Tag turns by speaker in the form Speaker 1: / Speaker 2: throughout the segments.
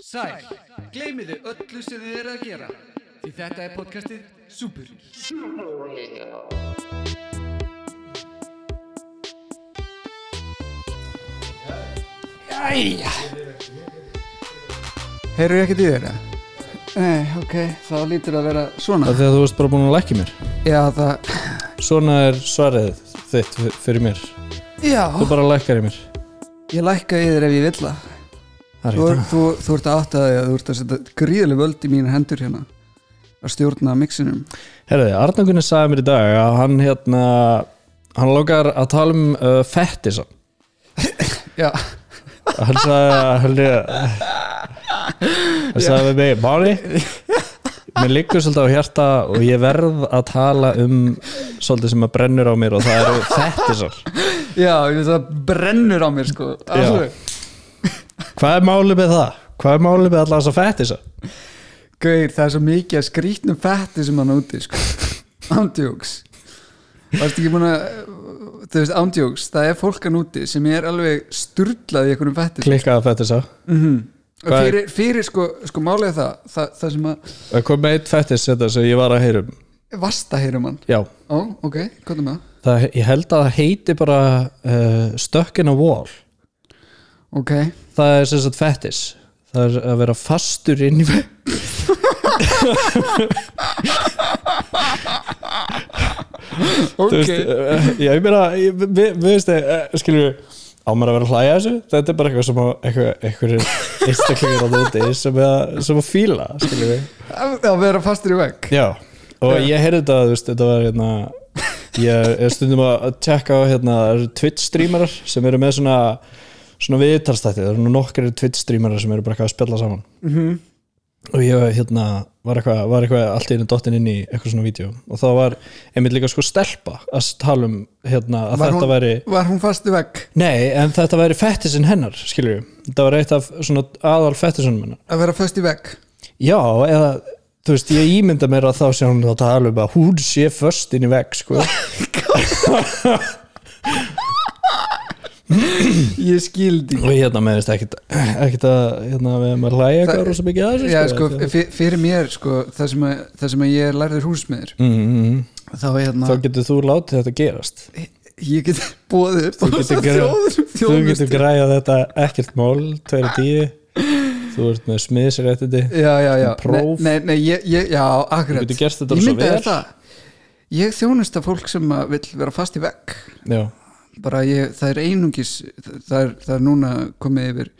Speaker 1: Sæl, gleymiðu öllu sem þið eru að gera Því þetta er podcastið Súper
Speaker 2: Æja Heyrðu ég ekkert í þér? eða? Nei, ok, þá lítur að vera svona
Speaker 3: Það er því að þú varst bara búin að lækja mér
Speaker 2: Já, það,
Speaker 3: Svona er svarið þitt f- fyrir mér
Speaker 2: já
Speaker 3: Þú bara lækkar í mér
Speaker 2: Ég lækka í þér ef ég vill það
Speaker 3: Það er
Speaker 2: þú,
Speaker 3: ekki
Speaker 2: þú, þú ert að átta því að þú ert að setja gríðileg völd í mínu hendur hérna að stjórna mixinum
Speaker 3: það Herði, Arnangunni sagði mér í dag að hann hérna Hann lókar að tala um uh, fettisa
Speaker 2: Já,
Speaker 3: Hann sagði að hann Hann sagði við mig Máni Mér liggur svolítið á hjarta og ég verð að tala um svolítið sem að brennur á mér og það eru fettisar
Speaker 2: já, ég veit það brennur á mér sko Alveg.
Speaker 3: Hvað er málið með það? Hvað er málið með allar þess að fettisa?
Speaker 2: Gauir, það er svo mikið að skrýtnum fætti sem hann úti sko Ándjóks Varstu ekki búin að þú veist, ándjóks, það er fólkan úti sem er alveg sturlað í einhverjum fætti sko. Mhm.
Speaker 3: Klikkaða fettisa
Speaker 2: Og
Speaker 3: Hvað er-
Speaker 2: fyrir, fyrir sko, sko málið er það, það það sem að
Speaker 3: Það kom með eitt fettis þetta sem ég var að heyra um
Speaker 2: vasta heyrum hann
Speaker 3: Já,
Speaker 2: ó, ok, hvað er með það?
Speaker 3: það, ég held að það heiti bara uh, Stuck in a wall
Speaker 2: ok,
Speaker 3: Það er sem sagt fettis Það er að vera fastur inn í Það
Speaker 2: ok
Speaker 3: uh, Já, ég meina ég- Við við- við veist, uh, skilur á maður að vera að hlæja þessu þetta er bara eitthvað sem að eitthvað, eitthvað einstaklingur á úti sem að, sem að fíla skilur við
Speaker 2: að að vera fastur í vegg
Speaker 3: Já, og ég heyrði þetta þú veist, þetta var hérna ég er stundum að að tjekka á hérna, það eru Twitch streamerar sem eru með svona svona viðtalstætti, það eru nú nokkri Twitch streamerar sem eru bara eitthvað að spjalla saman
Speaker 2: Mhm.
Speaker 3: -hmm. og ég hérna var eitthvað, var eitthvað allt í einu dottin inn í eitthvað svona vídeo og þá var einmitt líka sko stelpa að tala um hérna að
Speaker 2: var
Speaker 3: þetta
Speaker 2: hún,
Speaker 3: væri
Speaker 2: var hún fastur í vegg
Speaker 3: Nei, en þetta væri fettisinn hennar, skilur við þetta var eitt af svona aðal fettisunum hennar
Speaker 2: að vera fast í vegg
Speaker 3: Já, eða þú veist, ég ímynda mér að þá sé hún þá tala um að hún sé först inn í vegg sko.
Speaker 2: ég skildi
Speaker 3: og hérna með þetta ekkit, ekkit að hérna, við erum að hlæja
Speaker 2: Það-
Speaker 3: eitthvað rosa mikið að þessu
Speaker 2: Já, sko,
Speaker 3: þetta-
Speaker 2: fyr- fyrir mér sko, það sem, að, það sem að ég er lærður húsmiður
Speaker 3: mm, mm, mm.
Speaker 2: þá er hérna
Speaker 3: þá getur þú látið þetta gerast
Speaker 2: ég get bóðið upp
Speaker 3: þú getur, græ... þú getur græjað þetta ekkert mál, tveira tíu þú ert með smiðisrættindi
Speaker 2: já, já, já,
Speaker 3: próf.
Speaker 2: nei, nei, nei ég, ég, já, akkurat
Speaker 3: Þú getur gert þetta
Speaker 2: ég
Speaker 3: svo
Speaker 2: myndaði
Speaker 3: vel.
Speaker 2: það ég þjónust að fólk sem að vill vera fast í vegg
Speaker 3: Já,
Speaker 2: bara ég, það er einungis það er, það er núna komið yfir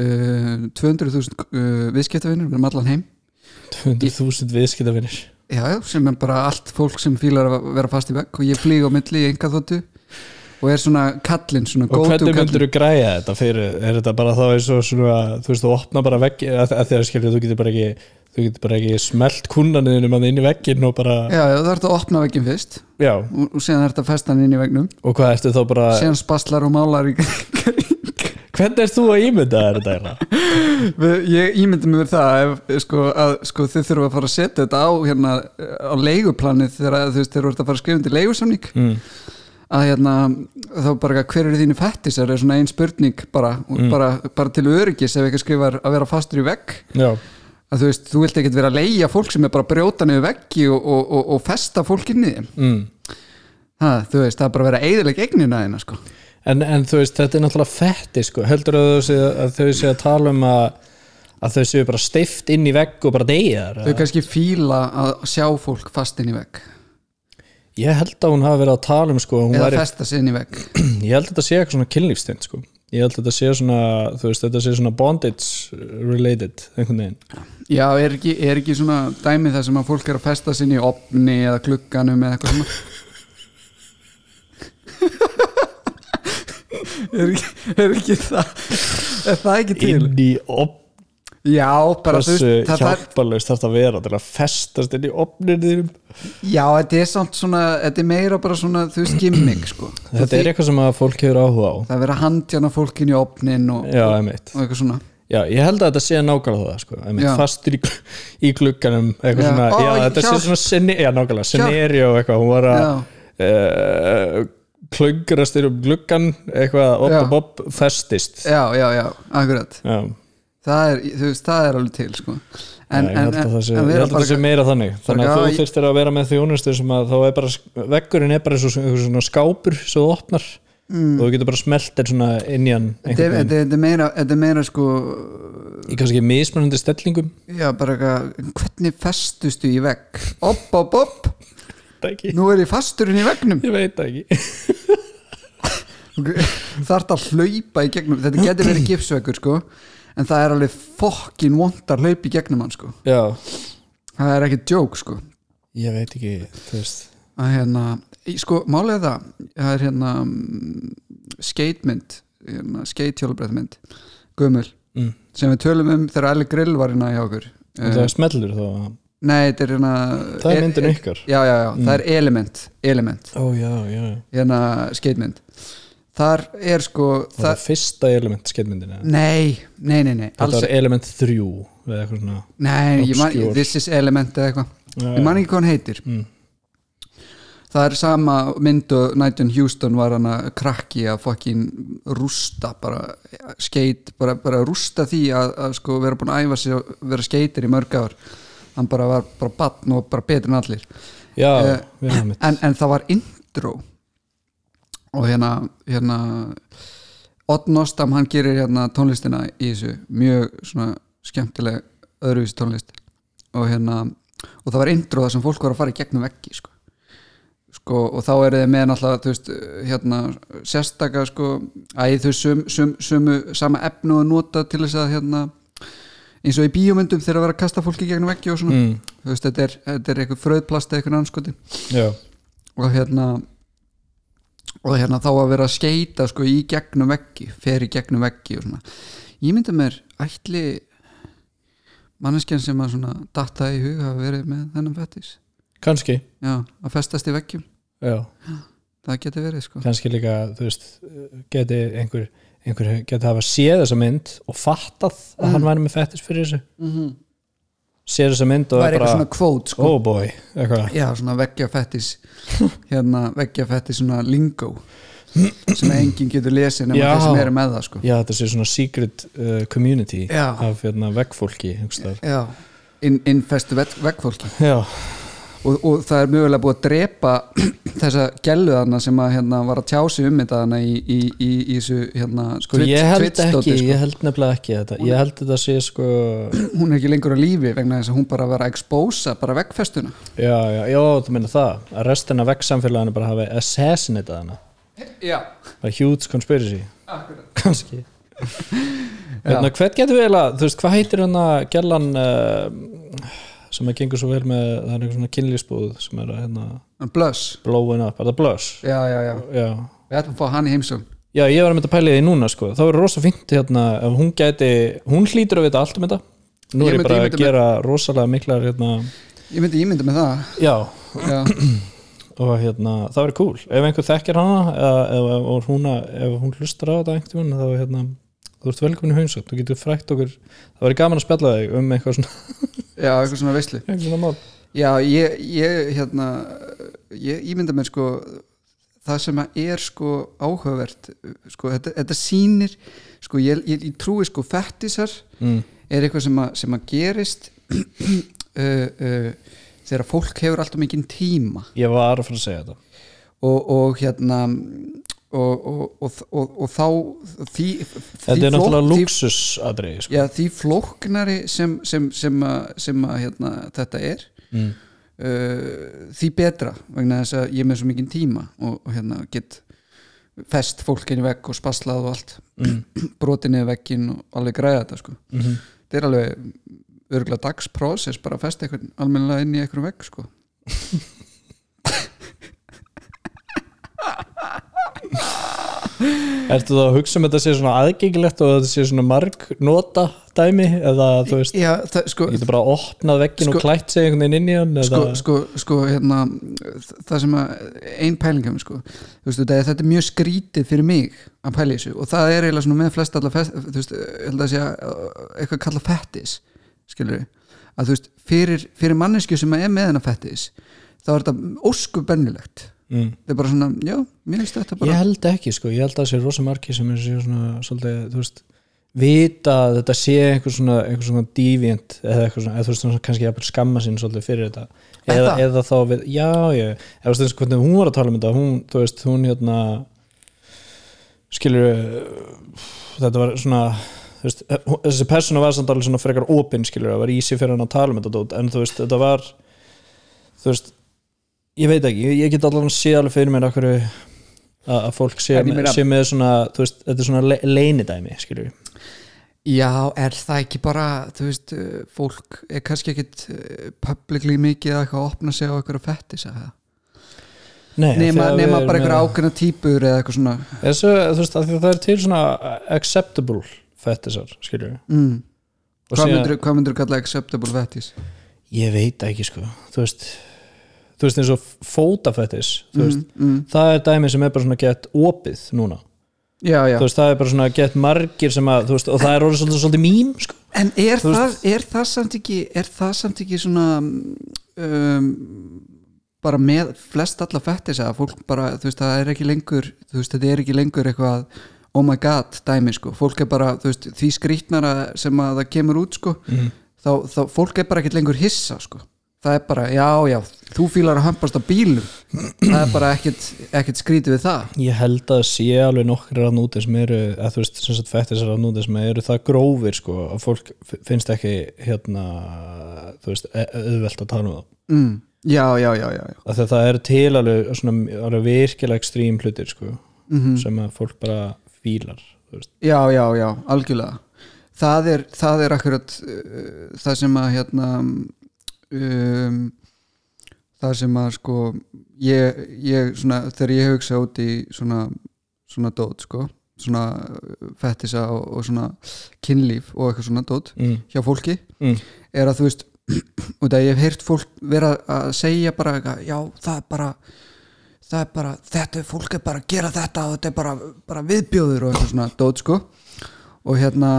Speaker 2: uh, 200.000 uh, viðskiptavinnur, við erum allan heim
Speaker 3: 200.000 viðskiptavinir
Speaker 2: já, já, sem er bara allt fólk sem fílar að vera fast í vegg og ég flýg á milli í enga þóttu og er svona kallinn, svona
Speaker 3: Og
Speaker 2: gótu
Speaker 3: hvernig myndur
Speaker 2: kallinn
Speaker 3: þú græja þetta fyrir, er þetta bara þá eins og svona, þú veist, þú opna bara vegg, að, að því að skilja, þú getur bara ekki, þú getur bara ekki smelt kunnaniðinu mann inn í vegginn og bara,
Speaker 2: já, já, það er þetta að opna vegginn fyrst
Speaker 3: já,
Speaker 2: og, og séðan er þetta að festa hann inn í veggnum
Speaker 3: og hvað ertu þá bara,
Speaker 2: séðan spaslar og málar í
Speaker 3: hvernig ert þú að ímynda þér þetta eiginlega?
Speaker 2: Við- Ég ímyndi mér það ef, sko, að sko, þið þurfum að fara að setja þetta á, hérna, á leiguplanið þegar að, þú veist, þeir eru að fara að skrifa undir leigusamning
Speaker 3: Mm.
Speaker 2: að hérna, þá bara eitthvað, hver eru þínu fættisar er svona ein spurning bara, mm. bara, bara til öryggis ef eitthvað skrifar að vera fastur í vegg
Speaker 3: Já,
Speaker 2: að þú veist, þú vilt ekkert vera að leigja fólk sem er bara að brjóta niður veggi og, og, og, og festa fólk inn í þeim
Speaker 3: mm.
Speaker 2: ha, þú veist, það er bara að vera eiginlega eignina þeina sko.
Speaker 3: en, en þú veist, þetta er náttúrulega fetti, sko, heldur að þau sé að, þau sé að tala um að, að þau séu bara steift inn í vegg og bara deyja
Speaker 2: Þau
Speaker 3: þar
Speaker 2: kannski fíla að sjá fólk fast inn í vegg
Speaker 3: ég held að hún hafi verið að tala um sko, að hún
Speaker 2: eða
Speaker 3: væri,
Speaker 2: festa sig inn í vegg
Speaker 3: ég held að þetta sé eitthvað svona kynlífstind sko. ég held að þetta sé svona þú veist, þetta sé svona bondage related einhvern veginn
Speaker 2: Já, er ekki, er ekki svona dæmi þar sem að fólk er að festa sig inn í opni eða klukkanum eða eitthvað svona er, ekki, er ekki það er það ekki til?
Speaker 3: inn í opn
Speaker 2: Já, bara þú
Speaker 3: hversu
Speaker 2: veist það, það,
Speaker 3: hjálparlaust þarf það að vera til að festast inn í opninu þínum
Speaker 2: Já, þetta er samt svona þetta er meira bara svona, þú veist, gimmick sko.
Speaker 3: þetta er eitthvað sem að fólk hefur áhuga á
Speaker 2: það verið að handjana fólkin í opnin og,
Speaker 3: já, einmitt
Speaker 2: og eitthvað svona
Speaker 3: já, ég held að þetta sé nákvæmlega það sko. einmitt,
Speaker 2: Já.
Speaker 3: fastur í, gl- í glugganum eitthvað
Speaker 2: Já.
Speaker 3: svona,
Speaker 2: Ó,
Speaker 3: já, þetta
Speaker 2: hjálp.
Speaker 3: sé svona sinni, já, nákvæmlega,
Speaker 2: Hjálp.
Speaker 3: scenario eitthvað, hún var
Speaker 2: Já.
Speaker 3: að uh, klöngrast yfir um gluggan eitthvað,
Speaker 2: Já.
Speaker 3: opp og bopp, festist já,
Speaker 2: Já, já, já, akkurat
Speaker 3: já
Speaker 2: það er, þú veist, það er alveg til sko. en,
Speaker 3: ég held að það sé,
Speaker 2: en
Speaker 3: ég
Speaker 2: vera
Speaker 3: held að það sé
Speaker 2: bara-
Speaker 3: meira þannig þannig
Speaker 2: bara-
Speaker 3: að
Speaker 2: já,
Speaker 3: þú þyrftir að vera með þjónustu sem að þá er bara, veggurinn er bara eins og svona, svona skápur sem þú opnar og þú getur bara smeltir svona inn í hann
Speaker 2: Mm. Þetta er-
Speaker 3: einhvern veginn,
Speaker 2: þetta er- þetta er meira, þetta er meira sko,
Speaker 3: í kannski mismunandi stellingum
Speaker 2: já, bara eitthvað hvernig festustu í vegg opp, opp, opp,
Speaker 3: Það ekki,
Speaker 2: nú er ég fasturinn í veggnum
Speaker 3: ég veit það ekki
Speaker 2: þarf að hlaupa í gegnum þetta getur verið gipsveggur sko en það er alveg fokkin vond að hlaupa í gegnum hann sko,
Speaker 3: já,
Speaker 2: það er ekki djók sko
Speaker 3: ég veit ekki, þú veist
Speaker 2: að hérna, í- sko, málið er það það er hérna mm, skeitmynd, hérna, skeithjólabræðmynd gömul,
Speaker 3: Mm.
Speaker 2: sem við tölum um þegar Elli Grill var hérna hjá okkur
Speaker 3: En
Speaker 2: Eh,
Speaker 3: það smellur þá
Speaker 2: nei, þetta er hérna
Speaker 3: Það er
Speaker 2: e-
Speaker 3: myndin
Speaker 2: e-
Speaker 3: ykkar Mm.
Speaker 2: já, já, já, það er element, element
Speaker 3: Ó já, já, já
Speaker 2: hérna skeitmynd þar er sko
Speaker 3: Það var
Speaker 2: það,
Speaker 3: fyrsta element skeitmyndina
Speaker 2: nei, nei, nei, nei
Speaker 3: Þetta
Speaker 2: alls,
Speaker 3: var element 3 eða eitthvað svona
Speaker 2: nei, ég man,
Speaker 3: obscure.
Speaker 2: this is element eða eitthvað, ég man ekki hvað hann heitir
Speaker 3: Mm.
Speaker 2: það er sama mynd og Nigel Houston var hann að krakki að fokkin rústa bara skeit, bara, bara rústa því að, að sko vera búin að æfa sig að vera skeitir í mörg ár hann bara var bara batn og bara betri en allir
Speaker 3: Já,
Speaker 2: Eh,
Speaker 3: við erum mitt
Speaker 2: en, en það var intro og hérna hérna Odd Nostam hann gerir hérna tónlistina í þessu mjög svona skemmtileg öðruvísi tónlist og hérna og það var intro þar sem fólk var að fara í gegnum veggi sko. Sko, og þá eru þið með náttúrulega þú veist, hérna, sérstaka sko, æ, þau sum, sum, sumu sama efnu að nota til þess að hérna, eins og í bíómyndum þegar að vera að kasta fólki í gegnum veggi og svona
Speaker 3: Mm.
Speaker 2: þú veist, þetta er, þetta er eitthvað fröðplast eða eitthvað sko, anskoti
Speaker 3: Já,
Speaker 2: og hérna og hérna þá að vera að skeita sko í gegnum veggi, fer í gegnum veggi og svona, ég myndi mér ætli manneskjan sem að svona datta í hug hafa verið með þennan fettis,
Speaker 3: kannski
Speaker 2: já, að festast í veggjum
Speaker 3: Já,
Speaker 2: það geti verið sko
Speaker 3: kannski líka, þú veist geti einhver, einhver geti hafa séð þessa mynd og fattað að
Speaker 2: Mhm.
Speaker 3: hann væri með fettis fyrir þessu mm séð þessa mynd og
Speaker 2: það er
Speaker 3: er
Speaker 2: Mhm. eitthvað
Speaker 3: bara,
Speaker 2: svona kvót sko
Speaker 3: oh boy eitthvað,
Speaker 2: já, svona veggja fettis hérna veggja fettis svona lingo sem enginn getur lesið nema
Speaker 3: Já.
Speaker 2: þeir sem eru með það sko
Speaker 3: já þetta sé svona secret uh, community
Speaker 2: Já.
Speaker 3: af hérna veggfólki einhvers staðar.
Speaker 2: já, inn, innfestu vegg, veggfólki
Speaker 3: Já,
Speaker 2: og, og það er mögulega búið að drepa þessa gelluðana sem að hérna var að tjá sig um þetta hana í, í, í, í þessu hérna
Speaker 3: sko ég held
Speaker 2: Twitch-dóti,
Speaker 3: ekki, ég held nefnilega ekki þetta, ég held þetta sé sko
Speaker 2: sko. hún er ekki lengur á lífi vegna þess að hún bara var að expósa bara vegfestuna
Speaker 3: já, já, já, þú meina það að restina veggsamfélaginu bara hafi assassinatað hana,
Speaker 2: já,
Speaker 3: bara huge conspiracy
Speaker 2: akkurat
Speaker 3: kannski hérna, hvert getur við eiginlega, þú veist, hvað heitir hann að gellan uh, sem að gengur svo vel með, það er einhver svona kynlýsbúð sem er að hérna
Speaker 2: blöss,
Speaker 3: blowin up, er það blush?
Speaker 2: já, já, já
Speaker 3: Já.
Speaker 2: við ætlum að fá hann í heimsum
Speaker 3: Já, ég var að mynda að pæla í því núna sko, þá er rosa fínt hérna, ef hún gæti, hún hlýtur að vita allt um þetta, nú
Speaker 2: Ég
Speaker 3: er ég
Speaker 2: myndi-
Speaker 3: bara
Speaker 2: ég
Speaker 3: að
Speaker 2: myndi-
Speaker 3: gera rosalega miklar hérna,
Speaker 2: ég myndi, ég myndi með það
Speaker 3: já,
Speaker 2: já,
Speaker 3: og hérna, það verið cool ef einhver þekkir hana eða, eða, eða, hún, að, ef hún hlustar á þetta einhvern veginn þá hérna, þú ert velkomin í haunsögt þú getur frækt okkur, það verið gaman að spjalla þig um eitthvað svona,
Speaker 2: já, eitthvað svona veislu
Speaker 3: eitthvað svona mál
Speaker 2: já, ég, ég hérna ég, ég myndi með sko það sem að er sko áhugavert sko, þetta, þetta sýnir sko, ég, ég, ég trúi sko fettisar
Speaker 3: mm.
Speaker 2: er eitthvað sem að, sem að gerist uh, uh, þegar fólk hefur alltaf mikinn tíma
Speaker 3: ég var að fara að segja þetta
Speaker 2: og, og hérna og, og, og, og, og þá því, því,
Speaker 3: Þetta er náttúrulega
Speaker 2: því,
Speaker 3: luxusadriði sko.
Speaker 2: já, því flóknari sem, sem, sem, að, sem að hérna, þetta er
Speaker 3: mm.
Speaker 2: uh, því betra vegna þess að ég er með svo mikinn tíma og, og hérna get fest fólkinni vekk og spaslað og allt
Speaker 3: Mm.
Speaker 2: brotið niður vegginn og alveg græða þetta sko
Speaker 3: Mm
Speaker 2: þetta er alveg örgulega dagsprocess bara að festa eitthvað almennilega inn í eitthvað vegg sko
Speaker 3: Ertu það að hugsa um þetta sé svona aðgengilegt og þetta sé svona marg nota dæmi eða þú veist,
Speaker 2: já, það, sko,
Speaker 3: ég getur bara að opna veggin
Speaker 2: Sko-
Speaker 3: og klætt sig einhvern veginn inn í hann eða,
Speaker 2: sko, sko, sko hérna, það sem að ein pælingum sko, þú veist, þetta er- þetta er mjög skrítið fyrir mig að pæla í þessu og það er eiginlega svona með flest allar fest, þú veist, ég held að sé að eitthvað kalla fettis skilur að þú veist, fyrir, fyrir mannesku sem er með hennar fettis þá er þetta ósku bennilegt
Speaker 3: mm.
Speaker 2: það er bara svona, já, mér finnst þetta bara
Speaker 3: Ég held ekki sko, ég held að það sé rosa margi sem er séu svona svolítið, þú veist vita að þetta sé einhver svona, einhver svona deviant eða eitthvað svona, eða þú veist svona kannski jafnvel skamma sín svolítið fyrir þetta eða,
Speaker 2: það?
Speaker 3: eða þá við, já, já eða þú veist eins og hvernig hún var að tala um þetta hún, þú veist, hún hérna skilur þetta var svona þú veist, eh, hún- þessi persóna var samt alveg svona frekar opinn skilur, það var í sig fyrir hann að tala um þetta dót, en þú veist, þetta var þú veist, ég veit ekki ég, ég get allan sé alveg fyrir mér akkur að, að fólk sé,
Speaker 2: En ég meina-
Speaker 3: sé með svona, þú veist, þetta er svona le, leinidæmi skilur við
Speaker 2: Já, er það ekki bara, þú veist, uh, fólk er kannski ekkit uh, publicly mikið að eitthvað að opna sig á eitthvað fettis að það.
Speaker 3: Nei,
Speaker 2: Nema,
Speaker 3: þegar við
Speaker 2: nema
Speaker 3: erum
Speaker 2: bara
Speaker 3: með-
Speaker 2: eitthvað ákveðna típur eða eitthvað svona.
Speaker 3: Þessu, þú veist, af því að það er til svona uh, acceptable fettisar, skilur við
Speaker 2: Mm.
Speaker 3: Og
Speaker 2: Hvað
Speaker 3: síðan-
Speaker 2: myndir, hvað myndir kalla acceptable fettis?
Speaker 3: ég veit ekki sko, þú veist þú veist eins og fótafettis þú veist,
Speaker 2: Mm.
Speaker 3: það er dæmi sem er bara svona gett opið núna,
Speaker 2: Já, já.
Speaker 3: þú veist, það er bara svona gett margir sem að, þú veist, og það er orðið svolítið, svolítið mím, sko,
Speaker 2: En er
Speaker 3: Þú
Speaker 2: það, er það samt ekki, er það samt ekki svona um, bara með flest alla fettis að fólk bara, þú veist, það er ekki lengur, þú veist, þetta er ekki lengur eitthvað oh my god dæmi, sko. Fólk er bara, þú veist, því skrýtnara sem að það kemur út, sko. þá, þá fólk er bara ekkert lengur hissa sko. það er bara, já, já, þú fílar að hampast á bílum það er bara ekkert, ekkert skrítið við það
Speaker 3: ég held að sé alveg nokkrir að núti sem eru að þú veist, sem sagt fættisar að núti sem eru það grófir sko, að fólk f- finnst ekki hérna, þú veist e- auðvelt að tala um það,
Speaker 2: mm. já, já, já, já, já.
Speaker 3: af því að það er til alveg, svona, alveg virkilega ekstrím hlutir sko, sem að fólk bara fílar, þú veist
Speaker 2: já, já, já, algjörlega það er, það er akkurat uh, það sem að hérna um, það sem að sko ég, ég svona, þegar ég hugsa út í svona, svona dót sko svona uh, fettisa og, og svona kynlíf og eitthvað svona dót
Speaker 3: mm.
Speaker 2: hjá fólki
Speaker 3: Mm.
Speaker 2: er að þú veist út að ég hef heyrt fólk vera að segja bara eitthvað, já það er bara það er bara, þetta er fólk er bara að gera þetta og þetta er bara, bara viðbjóður og eitthvað svona dót sko og hérna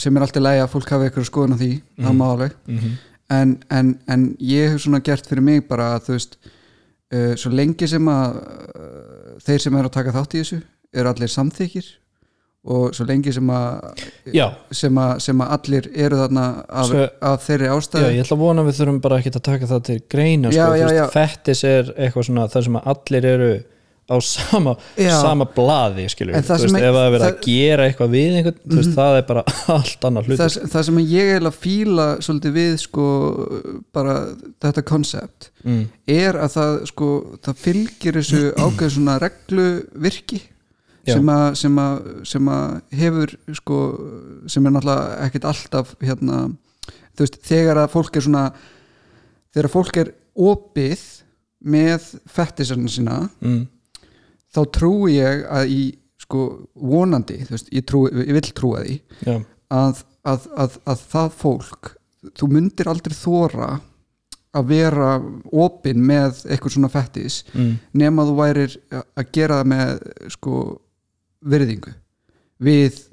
Speaker 2: sem er alltaf lægi að fólk hafi eitthvað skoðun á því það má alveg
Speaker 3: mhm.
Speaker 2: en, en, en ég hef svona gert fyrir mig bara að þú veist uh, svo lengi sem að uh, þeir sem eru að taka þátt í þessu eru allir samþykir og svo lengi sem að
Speaker 3: Já,
Speaker 2: sem, a, sem að allir eru þarna af,
Speaker 3: Svo-
Speaker 2: af þeirri
Speaker 3: já,
Speaker 2: ástæðu
Speaker 3: ég ætla að vona að við þurfum bara ekki að taka það til greina sko,
Speaker 2: Já,
Speaker 3: þú
Speaker 2: já,
Speaker 3: veist,
Speaker 2: já.
Speaker 3: fettis er eitthvað svona það sem að allir eru á sama,
Speaker 2: Já.
Speaker 3: sama blaði skilur,
Speaker 2: En
Speaker 3: við,
Speaker 2: það
Speaker 3: þú
Speaker 2: sem
Speaker 3: veist,
Speaker 2: er-
Speaker 3: ef það er verið að
Speaker 2: það- Mhm.
Speaker 3: gera eitthvað við einhvern, þú veist, það er bara allt annað hlut
Speaker 2: það, það sem ég eiginlega fíla svolítið við sko bara þetta koncept
Speaker 3: mm.
Speaker 2: er að það sko það fylgir þessu ákveð svona reglu virki
Speaker 3: Já.
Speaker 2: sem að, sem, að, sem að hefur sko sem er náttúrulega ekkit alltaf hérna þú veist þegar að fólk er svona þegar að fólk er opið með fettisarna sína
Speaker 3: Mm.
Speaker 2: þá trúi ég að í sko vonandi, þú veist, ég, trúi, ég vil trúa því
Speaker 3: Já.
Speaker 2: að, að, að, að það fólk þú myndir aldrei þóra að vera opinn með eitthvað svona fettis
Speaker 3: Mm.
Speaker 2: nema þú værir a- að gera það með sko virðingu við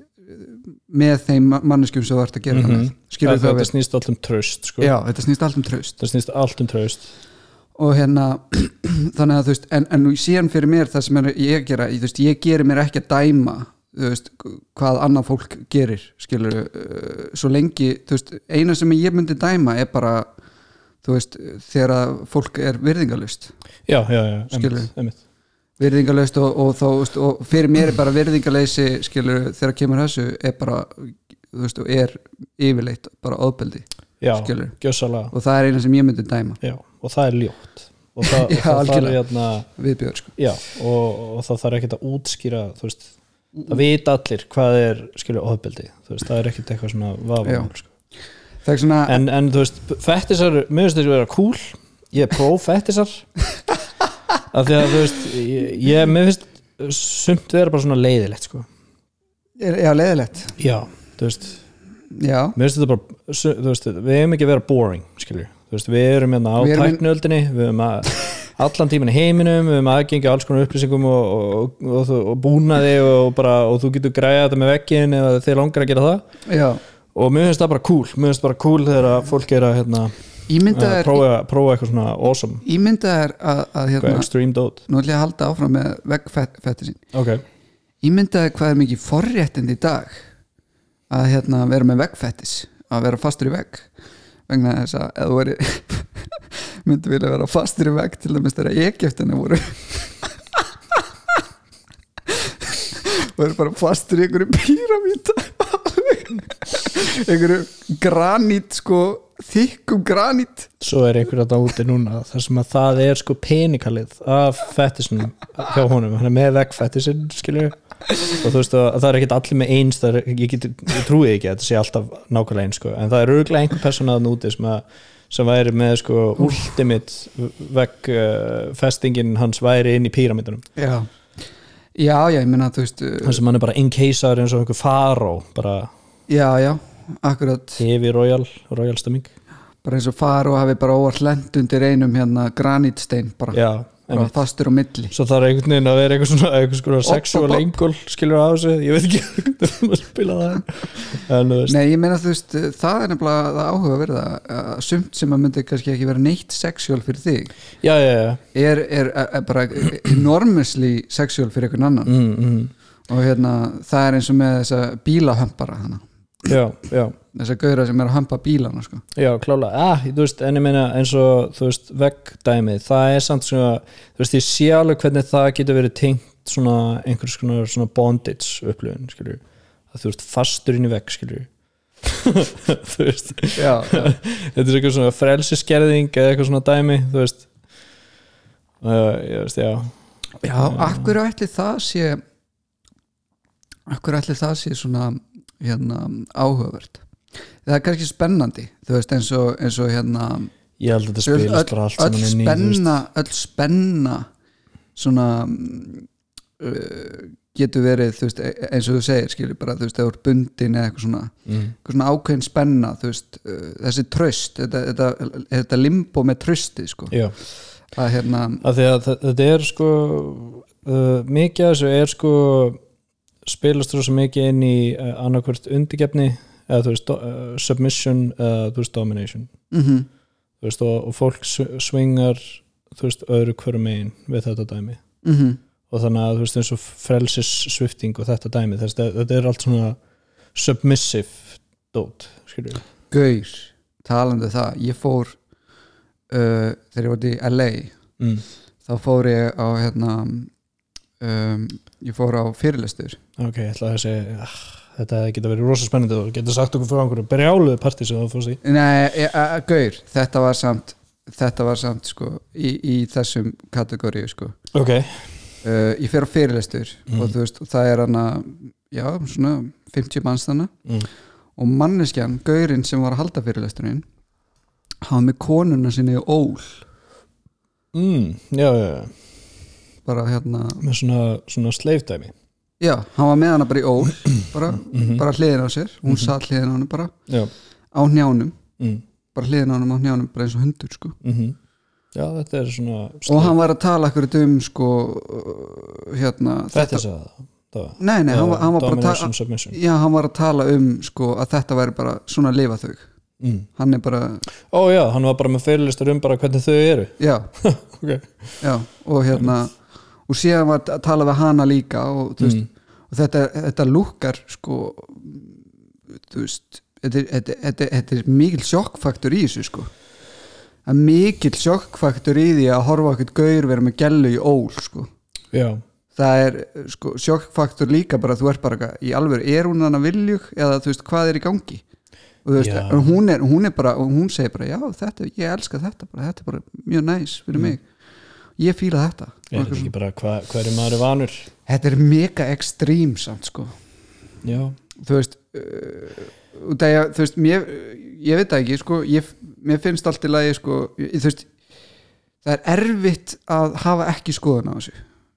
Speaker 2: með þeim ma- manneskjum sem þú ert að gera
Speaker 3: Mhm.
Speaker 2: það með skilur það
Speaker 3: þetta
Speaker 2: við,
Speaker 3: snýst allt um tröst sko.
Speaker 2: já, þetta snýst allt um traust
Speaker 3: það snýst allt um tröst
Speaker 2: og hérna þannig að þú veist, en, en síðan fyrir mér það sem er ég að gera, ég, þú veist, ég gerir mér ekki að dæma þú veist, hvað annað fólk gerir, skilur svo lengi, þú veist, eina sem ég myndi dæma er bara þú veist, þegar að fólk er virðingalust
Speaker 3: já, já, já,
Speaker 2: Skilur.
Speaker 3: einmitt, einmitt.
Speaker 2: virðingarleist og, og, þá, þú veist, og fyrir mér er bara virðingarleisi skilur þegar kemur þessu er bara, þú veist, og er yfirleitt bara ofbeldi
Speaker 3: já,
Speaker 2: Skilur.
Speaker 3: gjössalega
Speaker 2: og það er eina sem ég myndi dæma
Speaker 3: já, og það er ljótt og það,
Speaker 2: Já,
Speaker 3: og það þarf
Speaker 2: algjörlega.
Speaker 3: hérna
Speaker 2: viðbjörn sko
Speaker 3: já, og, og það þarf ekkert að útskýra þú veist, það vita allir hvað er skilur ofbeldi, þú veist, það er ekkert eitthvað svona
Speaker 2: Já.
Speaker 3: vafamál, sko.
Speaker 2: það er svona,
Speaker 3: en, en þú veist, fettisar mér finnst þess að vera cool, ég er pro-fettisar af því að þú veist ég, ég mér finnst sumt vera bara svona leiðilegt, sko
Speaker 2: er, já leiðilegt
Speaker 3: já, þú veist
Speaker 2: já,
Speaker 3: mér finnst þetta bara su- þú veist, við hefum ekki að vera boring skilur, þú veist, við erum hérna á
Speaker 2: Við erum ein-
Speaker 3: tæknöldinni við erum að allan tíman í heiminum við erum aðgengi að alls konar upplýsingum og, og, og, og, og búnaði og, bara, og þú getur græða þetta með veggin eða þið langar að gera það
Speaker 2: já
Speaker 3: og mér finnst það bara cool, mér finnst bara cool þegar að fólk er að hérna,
Speaker 2: ímyndað
Speaker 3: að
Speaker 2: er,
Speaker 3: prófa, prófa eitthvað svona awesome,
Speaker 2: ímyndað er að, að
Speaker 3: eitthvað
Speaker 2: hérna,
Speaker 3: extreme dot
Speaker 2: nú ætlum ég að halda áfram með veggfætti sín
Speaker 3: ok,
Speaker 2: ímyndaði hvað er mikið forréttindi í dag að hérna vera með veggfettis að vera fastur í vegg vegna þess að eða þú veri myndi vilja vera fastur í vegg til dæmis þegar Egyptina voru voru bara fastur í einhverju píramíta einhverju granít sko þykkum granít
Speaker 3: svo er einhver að úti núna þar sem að það er sko peningalið af fettisunum hjá honum hann er með vekk fettisinn skilju og þú veist að það er ekkit allir með eins það er, ég, get, ég trúi ekki að þetta sé alltaf nákvæmlega eins sko en það er auðvitað einhver persóna að úti sem, að, sem væri með sko ultimate vekk uh, festingin hans væri inn í píramítunum
Speaker 2: já já, já, ég meina þú veist uh,
Speaker 3: þar sem hann er bara inkeisar eins og einhver faró bara
Speaker 2: já, já, akkurat
Speaker 3: TV Royal, Royal stemming
Speaker 2: bara eins og fara og hafi bara óvart lent undir einum hérna granítstein bara,
Speaker 3: já,
Speaker 2: bara
Speaker 3: einmitt
Speaker 2: fastur á milli
Speaker 3: svo þarf einhvern veginn að vera einhvers svona, einhvers svona sexual
Speaker 2: opp, opp.
Speaker 3: engul skilur á þessu, ég veit ekki hvernig maður spila það en þú veist,
Speaker 2: Nei, ég meina þú veist, það er nefnilega það áhuga að verða að sumt sem að myndi kannski ekki vera neitt sexual fyrir þig
Speaker 3: já, já, já
Speaker 2: er, er, er bara enormously sexual fyrir einhvern annan
Speaker 3: mm, mm,
Speaker 2: og hérna, það er eins og með þessa bílahömpara hana,
Speaker 3: já, já,
Speaker 2: þessa gauðra sem er að hömpa bílana sko.
Speaker 3: já, klála ah, þú veist, en ég meina eins og þú veist, veggdæmið, það er samt svona þú veist, ég sé alveg hvernig það getur verið tengt svona einhvers konar svona bondage upplöfun, skilur að þú veist, fastur inn í vegg, skilur þú veist
Speaker 2: Já,
Speaker 3: þetta er eitthvað svona frelsiskerðing eða eitthvað svona dæmi, þú veist uh, ég veist, já
Speaker 2: Já, akkur ætli það sé akkur ætli það sé svona hérna, áhugavert það er kannski spennandi þú veist eins og, eins og hérna
Speaker 3: Ég held að þetta
Speaker 2: öll,
Speaker 3: spilast
Speaker 2: öll,
Speaker 3: bara allt saman inn í þú veist.
Speaker 2: spenna öll spenna svona mm, uh, getur verið þú veist, e- eins og þú segir skilur bara þú veist, eða úr bundin eða eitthvað svona,
Speaker 3: Mm.
Speaker 2: eitthvað svona ákveðin spenna þú veist, uh, þessi tröst þetta, þetta, þetta limbo með trösti sko,
Speaker 3: Já,
Speaker 2: að hérna
Speaker 3: af því að þe- þetta er sko uh, mikið af þessu er sko spilast rosa mikið inn í uh, annarkvört undirgefni eða þú veist do- uh, submission eða þú veist domination
Speaker 2: mm
Speaker 3: þú veist og, og fólk s- svingar þú veist öðru hverju megin við þetta dæmi
Speaker 2: mhm.
Speaker 3: og þannig að þú veist eins og frelsis svifting og þetta dæmi þess, þetta, þetta er allt svona submissive dót skilur við
Speaker 2: Gaur, talandi um það ég fór uh, þegar ég var í LA
Speaker 3: mm.
Speaker 2: þá fór ég á hérna um, ég fór á fyrirlestur
Speaker 3: Ok, ég ætla að segja ah, Þetta hefði geta verið rosa spennandi og geta sagt okkur frá einhverju brjáluðu partí sem það fórst í
Speaker 2: Nei, e- e- e- Gaur, þetta var samt þetta var samt sko í, í þessum kategóriu sko
Speaker 3: Ok,
Speaker 2: uh, ég fer á fyrirlestur
Speaker 3: Mm.
Speaker 2: og þú veist, og það er hana já, svona 50 manns þarna
Speaker 3: Mm.
Speaker 2: og manneskjan, Gaurinn sem var að halda fyrirlesturinn hafa með konuna sinni í ól
Speaker 3: mm, já, já, já
Speaker 2: bara hérna,
Speaker 3: Með svona, svona sleifdæmi
Speaker 2: já, hann var með hana bara í ól bara, bara hliðin á sér
Speaker 3: Mhm.
Speaker 2: hún satt hliðin á hann bara
Speaker 3: Já,
Speaker 2: á njánum
Speaker 3: mm,
Speaker 2: bara hliðin á hann á njánum, bara eins og hundur sko
Speaker 3: mm já þetta er svona
Speaker 2: og hann var að tala akkur um sko uh, hérna
Speaker 3: Þetta er það, það.
Speaker 2: Nei, nei, hann var- hann var bara að ta-
Speaker 3: Domination, submission
Speaker 2: já, hann var að tala um sko að þetta væri bara svona lifa þau
Speaker 3: mm.
Speaker 2: hann er bara,
Speaker 3: Ó já, hann var bara með fyrirlistur um bara hvernig þau eru
Speaker 2: já,
Speaker 3: Ok
Speaker 2: já og hérna, og síðan var að tala við hana líka og, þú veist, og þetta, þetta lukkar sko þú veist þetta, er- þetta, þetta, þetta er mikil sjokkfaktur í þessu sko það er mikil sjokkfaktur í því að horfa okkur gaur vera með gellu í ól sko
Speaker 3: já,
Speaker 2: það er sko, sjokkfaktor líka bara þú ert bara eitthvað, í alvöru, er hún hann að viljug eða þú veist hvað er í gangi og þú veist,
Speaker 3: Já.
Speaker 2: en hún er, hún er bara og hún segir bara, já þetta, ég elska þetta bara, þetta er bara mjög næs
Speaker 3: Mm.
Speaker 2: fyrir mig ég fíla þetta
Speaker 3: er
Speaker 2: Og
Speaker 3: þetta ekki bara hva, hverju maður er vanur
Speaker 2: þetta er mega ekstrím samt sko
Speaker 3: já,
Speaker 2: þú veist uh, út af ég, þú veist, mér ég veit það ekki, sko, ég, mér finnst allt í lagi, sko, ég, þú veist það er erfitt að hafa ekki skoðun á þessu,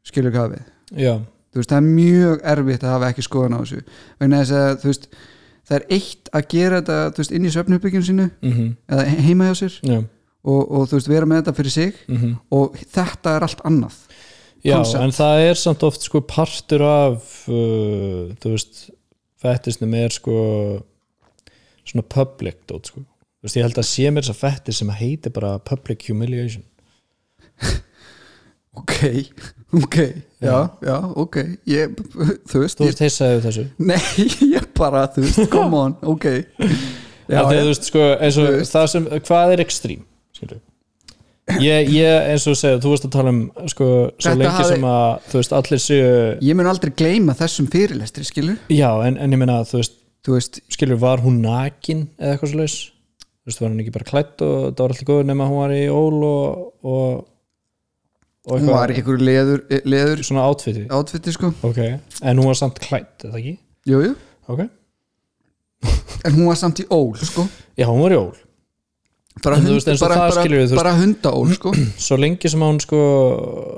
Speaker 2: skilur hvað við
Speaker 3: já,
Speaker 2: þú veist, það er mjög erfitt að hafa ekki skoðun á þessu, vegna þess að þú veist, það er eitt að gera þetta þú veist, inn í svefnherbygginu sínu
Speaker 3: mhm
Speaker 2: eða he- heima hjá sér
Speaker 3: já,
Speaker 2: og, og þú veist, vera með þetta fyrir sig
Speaker 3: mhm
Speaker 2: og þetta er allt annað
Speaker 3: Já,
Speaker 2: concept.
Speaker 3: en það er samt oft sko partur af uh, þú veist fettisnum er sko svona public dot sko þú veist, ég held að sé mér þess að fettis sem heitir bara public humiliation
Speaker 2: ok, ok, já, já, ok ég, þú veist,
Speaker 3: þú
Speaker 2: ég
Speaker 3: veist, heissaðu þessu
Speaker 2: Nei, ég bara, þú veist, come on, ok
Speaker 3: já,
Speaker 2: Já,
Speaker 3: því,
Speaker 2: já,
Speaker 3: þú veist, sko, eins og
Speaker 2: Þú veist.
Speaker 3: það sem hvað er ekstrím skilur ég, ég eins og segja, þú veist að tala um sko, svo
Speaker 2: Þetta
Speaker 3: lengi
Speaker 2: hafði-
Speaker 3: sem að þú veist, allir séu,
Speaker 2: ég mun aldrei gleyma þessum fyrirlestri, skilur
Speaker 3: já, en, en ég meina þú veist,
Speaker 2: Þú veist,
Speaker 3: skilur, var hún nakin eða eitthvað svo laus þú veist, var hún ekki bara klætt og það var allir góður nema hún var í ól og, og, og
Speaker 2: hún var í einhverju leður, eh, leður
Speaker 3: svona átfiti
Speaker 2: átfitti, sko
Speaker 3: ok, en hún var samt klætt, eða ekki
Speaker 2: Jú, jú,
Speaker 3: ok,
Speaker 2: en hún var samt í ól, sko
Speaker 3: já, hún var í ól
Speaker 2: Bara,
Speaker 3: En þú
Speaker 2: hund,
Speaker 3: veist, eins og
Speaker 2: bara,
Speaker 3: það
Speaker 2: bara,
Speaker 3: skilur við, þú veist-
Speaker 2: bara hundaól, sko
Speaker 3: svo lengi sem að hún sko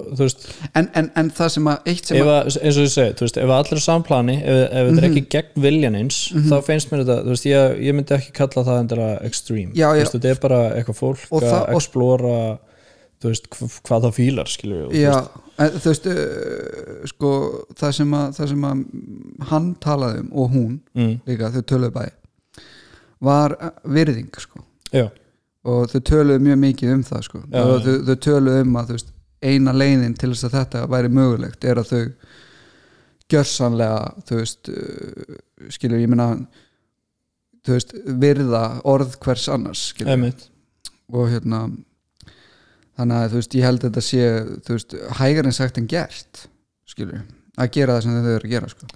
Speaker 3: þú veist,
Speaker 2: en, en, en það sem að, eitt sem
Speaker 3: ef
Speaker 2: að Mhm.
Speaker 3: að, eins og ég segi, þú veist, ef að allir er á samplani ef, ef þetta er ekki gegn viljan eins þá finnst mér þetta, þú veist, ég, ég myndi ekki kalla það endilega extreme,
Speaker 2: Já,
Speaker 3: þú
Speaker 2: já.
Speaker 3: veist, þetta er bara eitthvað fólk
Speaker 2: Og
Speaker 3: að
Speaker 2: það- og-
Speaker 3: explora þú veist, hv- hvað það fílar skilur við, og þú
Speaker 2: Já,
Speaker 3: veist,
Speaker 2: en, þú veist, uh, sko það sem, að, það sem að hann talaði um og hún
Speaker 3: mm,
Speaker 2: líka, þau töluðu bæði var eh, virðing, sko
Speaker 3: mm, já,
Speaker 2: og þau töluðu mjög mikið um það sko.
Speaker 3: Já,
Speaker 2: og
Speaker 3: já.
Speaker 2: þau, þau töluðu um að þú veist, eina leiðin til þess að þetta væri mögulegt er að þau gjörsanlega þú veist, uh, skilur ég meina þú veist, virða orð hvers annars skilur,
Speaker 3: emitt
Speaker 2: og hérna þannig að þú veist, ég held að þetta sé þú veist, hægar en sagt en gert skilur, að gera það sem þau eru að gera sko.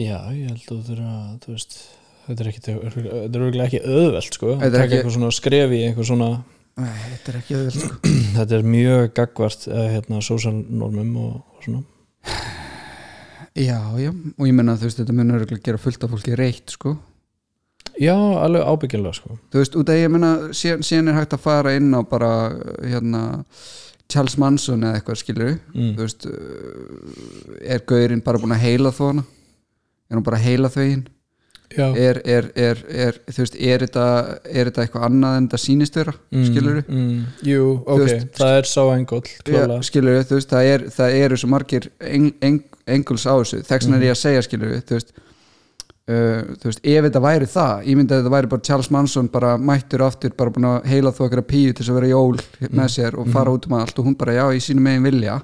Speaker 3: Já, ég held að þú þurfa að, þú veist, þetta er ekki, þetta er örugglega ekki auðvelt, sko,
Speaker 2: Þetta
Speaker 3: að
Speaker 2: er
Speaker 3: taka
Speaker 2: ekki-
Speaker 3: eitthvað svona skref í eitthvað svona,
Speaker 2: Æ, þetta er ekki öðvöld sko.
Speaker 3: þetta er mjög gagvart, eh, hérna, sósalnormum og, og svona.
Speaker 2: já, já, og ég meina þú veist, þetta mun örgulega gera fullt af fólki reitt sko
Speaker 3: Já, alveg ábyggilega, sko.
Speaker 2: þú veist, út af ég meina síðan, síðan er hægt að fara inn á bara hérna Charles Manson eða eitthvað skilur
Speaker 3: Mm.
Speaker 2: þú veist, uh, er gaurinn bara búin að heila þó hana er hún bara að heila þau hinn
Speaker 3: Já.
Speaker 2: er, er, er, er, þú veist, er þetta er þetta eitthvað annað en þetta sýnist vera
Speaker 3: Mm,
Speaker 2: skilur
Speaker 3: Mm, jú, ok,
Speaker 2: Eh, veist-
Speaker 3: það er sá engoll, klála.
Speaker 2: skilur þú veist, það, er, það eru svo margir eng, eng, enguls á þessu þess vegna er ég að segja skilur þú veist Uh, þú veist, ef þetta væri það ég myndi að þetta væri bara Charles Manson bara mættur aftur, bara búin að heila þó okkar píu til þess að vera jól með sér og fara út um allt og hún bara, já, ég sínum megin vilja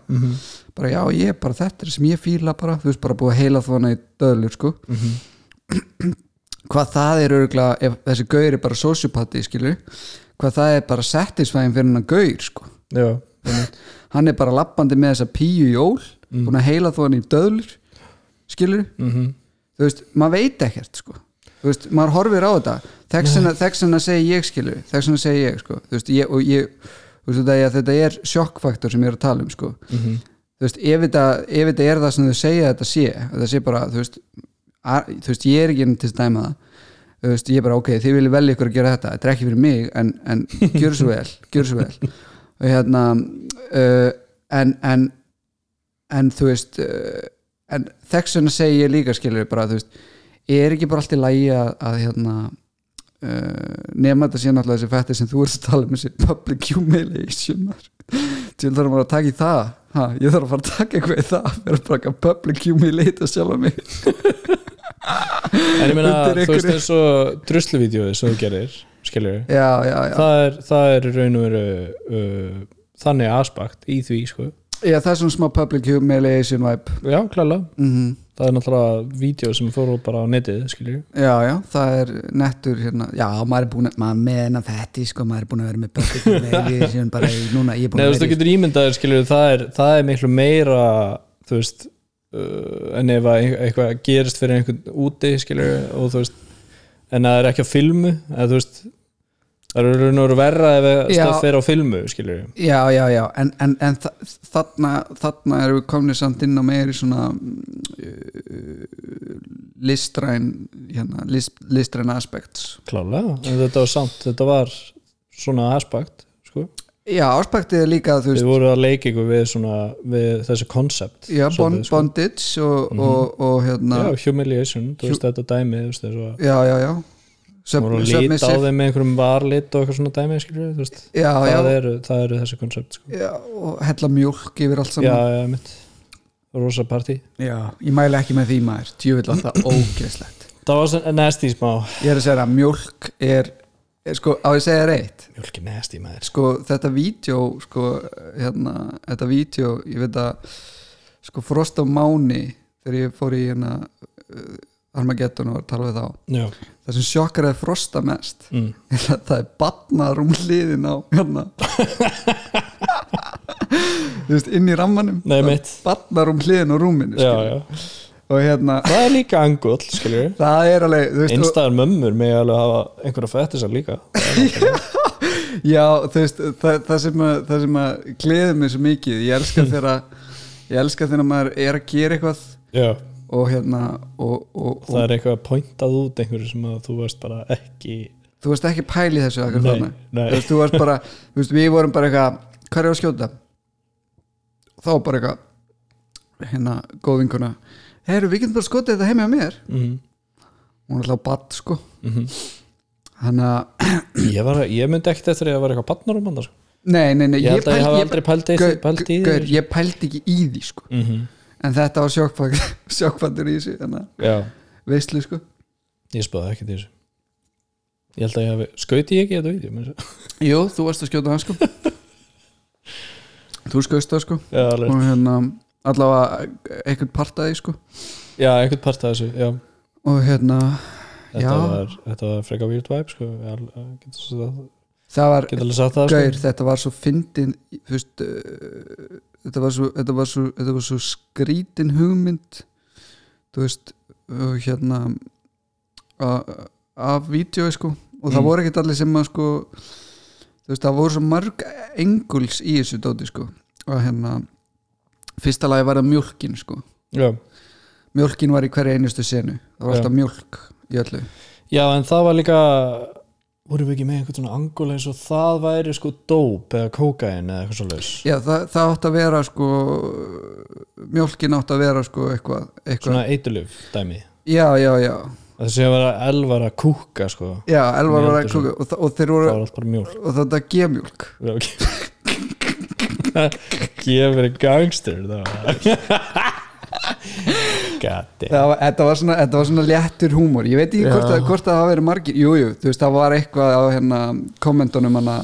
Speaker 2: bara, já, ég, bara þetta er sem ég fíla bara, þú veist, bara búið að heila þó hana í döðlur, sko hvað það er örgulega, ef þessi gaur er bara sociopati, skilur hvað það er bara satisfæðin fyrir hennan gaur, sko
Speaker 3: Já,
Speaker 2: hann er bara lappandi með þessa píu í jól búin að heila þó hann í döðlur skilur,
Speaker 3: mhm,
Speaker 2: þú veist, maður veit ekkert sko, þú veist, maður horfir á þetta þess vegna- þess vegna segi ég skilur þess vegna segi ég sko, þú veist ég, og ég, þú veist, þetta, þetta er sjokkfaktor sem ég er að tala um sko
Speaker 3: mhm,
Speaker 2: þú veist, ef þetta, ef þetta er það sem þau segja að þetta sé, að þetta sé bara þú veist, að, þú veist, ég er ekki inn til þess að dæma það þú veist, ég er bara, ok, þið viljið velja ykkur að gera þetta, þetta er ekki fyrir mig en, en gjör svo vel, gjör svo vel og hérna uh, en, en en þú veist uh, en þess vegna segi ég líka skilur bara, þú veist, er ekki bara allt í lægi að, að hérna uh, nema þetta sé náttúrulega þessi fætti sem þú ert að tala um þessi public humiliation maður til þarf maður að taka í það ha, ég þarf að fara að taka eitthvað í það vera bara eitthvað public humiliate sjálf að mig
Speaker 3: En ég meina,
Speaker 2: Undir
Speaker 3: þú veist,
Speaker 2: einhverju-
Speaker 3: eins og drusluvídeóið sem þú gerir, skilur við,
Speaker 2: já, já, já,
Speaker 3: það er, það er í raun og veru uh, þannig aspekt í því, sko.
Speaker 2: já, það er svona smá public humiliation vibe
Speaker 3: Já, klála.
Speaker 2: mm
Speaker 3: það er náttúrulega vídeo sem fór út bara á netið skiljur
Speaker 2: já, já, það er nettur hérna, já, maður er búin að maður er með hennar fætti, sko, maður er búin að vera með public humiliation bara í, núna, ég er
Speaker 3: Nei,
Speaker 2: búin
Speaker 3: þú
Speaker 2: að
Speaker 3: veist, þú
Speaker 2: vera í
Speaker 3: getur ímyndaðir skiljur það er, það er miklu meira þú veist uh, en ef að ein- eitthvað gerist fyrir einhvern úti skilur og þú veist en að það er ekki á filmu eða þú veist það eru raun og veru verra ef að
Speaker 2: Já.
Speaker 3: stöf fer á filmu skilur
Speaker 2: Já, já, já, en, en, en þa þarna, þarna erum við komnið samt inn á meiri svona uh, listræn hérna, list, listræn aspekt
Speaker 3: klálega, en þetta var samt, þetta var svona aspekt sko.
Speaker 2: Já, aspektið er líka þú
Speaker 3: við
Speaker 2: veist,
Speaker 3: vorum að leika ykkur við, svona, við þessi koncept
Speaker 2: já, bond, sko. bondage og, og, og hérna
Speaker 3: já, humiliation, þú veist þetta dæmi þú veist, þessu að
Speaker 2: já, já, já Sub-
Speaker 3: voru að líta á
Speaker 2: submissive.
Speaker 3: þeim með einhverjum varlit og eitthvað svona dæmi skilur, þú veist,
Speaker 2: já,
Speaker 3: það,
Speaker 2: já,
Speaker 3: eru, það eru þessi koncept sko.
Speaker 2: já, og hella mjólk yfir allt
Speaker 3: já,
Speaker 2: saman
Speaker 3: já, mitt rosa partí
Speaker 2: Já, ég mæli ekki með því maður djúvill að það ógeðslegt
Speaker 3: það var svona nasty smá
Speaker 2: Ég er að segja að mjólk er, er sko, á ég að segja reitt
Speaker 3: mjölki nasty maður
Speaker 2: sko þetta vídeo sko hérna, þetta vídeo ég veit að sko Frost á Máni þegar ég fór í hérna uh, Armageddon og var að tala við þá
Speaker 3: já,
Speaker 2: það sem sjokkaraði Frosta mest
Speaker 3: mm.
Speaker 2: er að það er batnar um hliðin á hérna þú veist inn í rammanum
Speaker 3: Nei, mitt.
Speaker 2: batnar um hliðin á rúminu
Speaker 3: já,
Speaker 2: skilur.
Speaker 3: já
Speaker 2: og hérna
Speaker 3: það er líka angull, skilur
Speaker 2: það er alveg þú veist, og-
Speaker 3: einstæðar mömmur með alveg hafa einhverja fættisar líka
Speaker 2: Já, þú veist, það, það, sem að, það sem að gleði mig svo mikið, ég elska þegar að, ég elska þegar maður er að gera eitthvað
Speaker 3: já,
Speaker 2: og hérna og, og, og
Speaker 3: það er eitthvað að pointað út einhverju sem að þú varst bara ekki
Speaker 2: þú veist ekki pæli þessu akkur
Speaker 3: Nei,
Speaker 2: þarna
Speaker 3: nei.
Speaker 2: þú veist, þú varst bara, þú veist, við vorum bara eitthvað hvað er ég að skjóta? þá var bara eitthvað hérna, góðinguna heyru, við getum bara skotið þetta heima hjá mér
Speaker 3: mm.
Speaker 2: hún er alltaf badd, sko
Speaker 3: Mhm.
Speaker 2: hann að,
Speaker 3: ég, var, ég myndi ekkert eftir að ég var eitthvað patnar um hann sko.
Speaker 2: nei, nei, nei
Speaker 3: ég held að ég
Speaker 2: pældi-
Speaker 3: hafa aldrei pælt í því
Speaker 2: Gaur,
Speaker 3: pælt í
Speaker 2: gaur,
Speaker 3: því
Speaker 2: ég pældi ekki í því, sko
Speaker 3: Mhm.
Speaker 2: en þetta var sjokkfaktur, sjokkfaktur í þessu þannig að
Speaker 3: já,
Speaker 2: veistlu sko
Speaker 3: ég spöði ekki því þessu ég held að ég hafi, skauti ég ekki þetta vídeo meira að segja?
Speaker 2: Jú, þú varst að skjóta hann sko Þú skjóst það sko
Speaker 3: já, alveg.
Speaker 2: og hérna allavega einhvern partaði sko
Speaker 3: já, einhvern part af þessu já.
Speaker 2: og hérna
Speaker 3: Þetta,
Speaker 2: Já.
Speaker 3: var, þetta var freka weird vibe sko. Ég al- getur svo það-
Speaker 2: það var
Speaker 3: getur alveg sagt það
Speaker 2: gaur,
Speaker 3: sko.
Speaker 2: þetta var svo fyndin þú veist uh, þetta var svo, þetta var svo, þetta var svo skrítin hugmynd þú veist og hérna a- af vídeo sko og það
Speaker 3: Mm.
Speaker 2: voru ekkert allir sem að sko þú veist það voru svo marg enguls í þessu dóti sko og hérna fyrsta lagi var það mjólkin sko
Speaker 3: já.
Speaker 2: mjólkin var í hverju einustu senu það var
Speaker 3: Já.
Speaker 2: alltaf mjólk í öllu
Speaker 3: já, en það var líka vorum við ekki með einhvern svona angul eins og það væri sko dóp eða kókain eða eitthvað svo laus
Speaker 2: já það, það átt að vera sko mjólkin átt að vera sko eitthvað, eitthvað.
Speaker 3: svona eiturluf dæmi
Speaker 2: já já já
Speaker 3: að þessi að vera elvar að kúka sko.
Speaker 2: já elvar
Speaker 3: Ég
Speaker 2: var
Speaker 3: heldur
Speaker 2: að
Speaker 3: svo.
Speaker 2: kúka og, þa- og þeir
Speaker 3: það
Speaker 2: voru
Speaker 3: var allt bara mjól
Speaker 2: og þetta gemjólk
Speaker 3: gefur gangster það var gati
Speaker 2: það var, þetta, var svona, þetta var svona léttur húmor ég veit ekki hvort,
Speaker 3: Já.
Speaker 2: að, hvort að það hafa verið margir jújú, jú, þú veist það var eitthvað á hérna kommentunum hana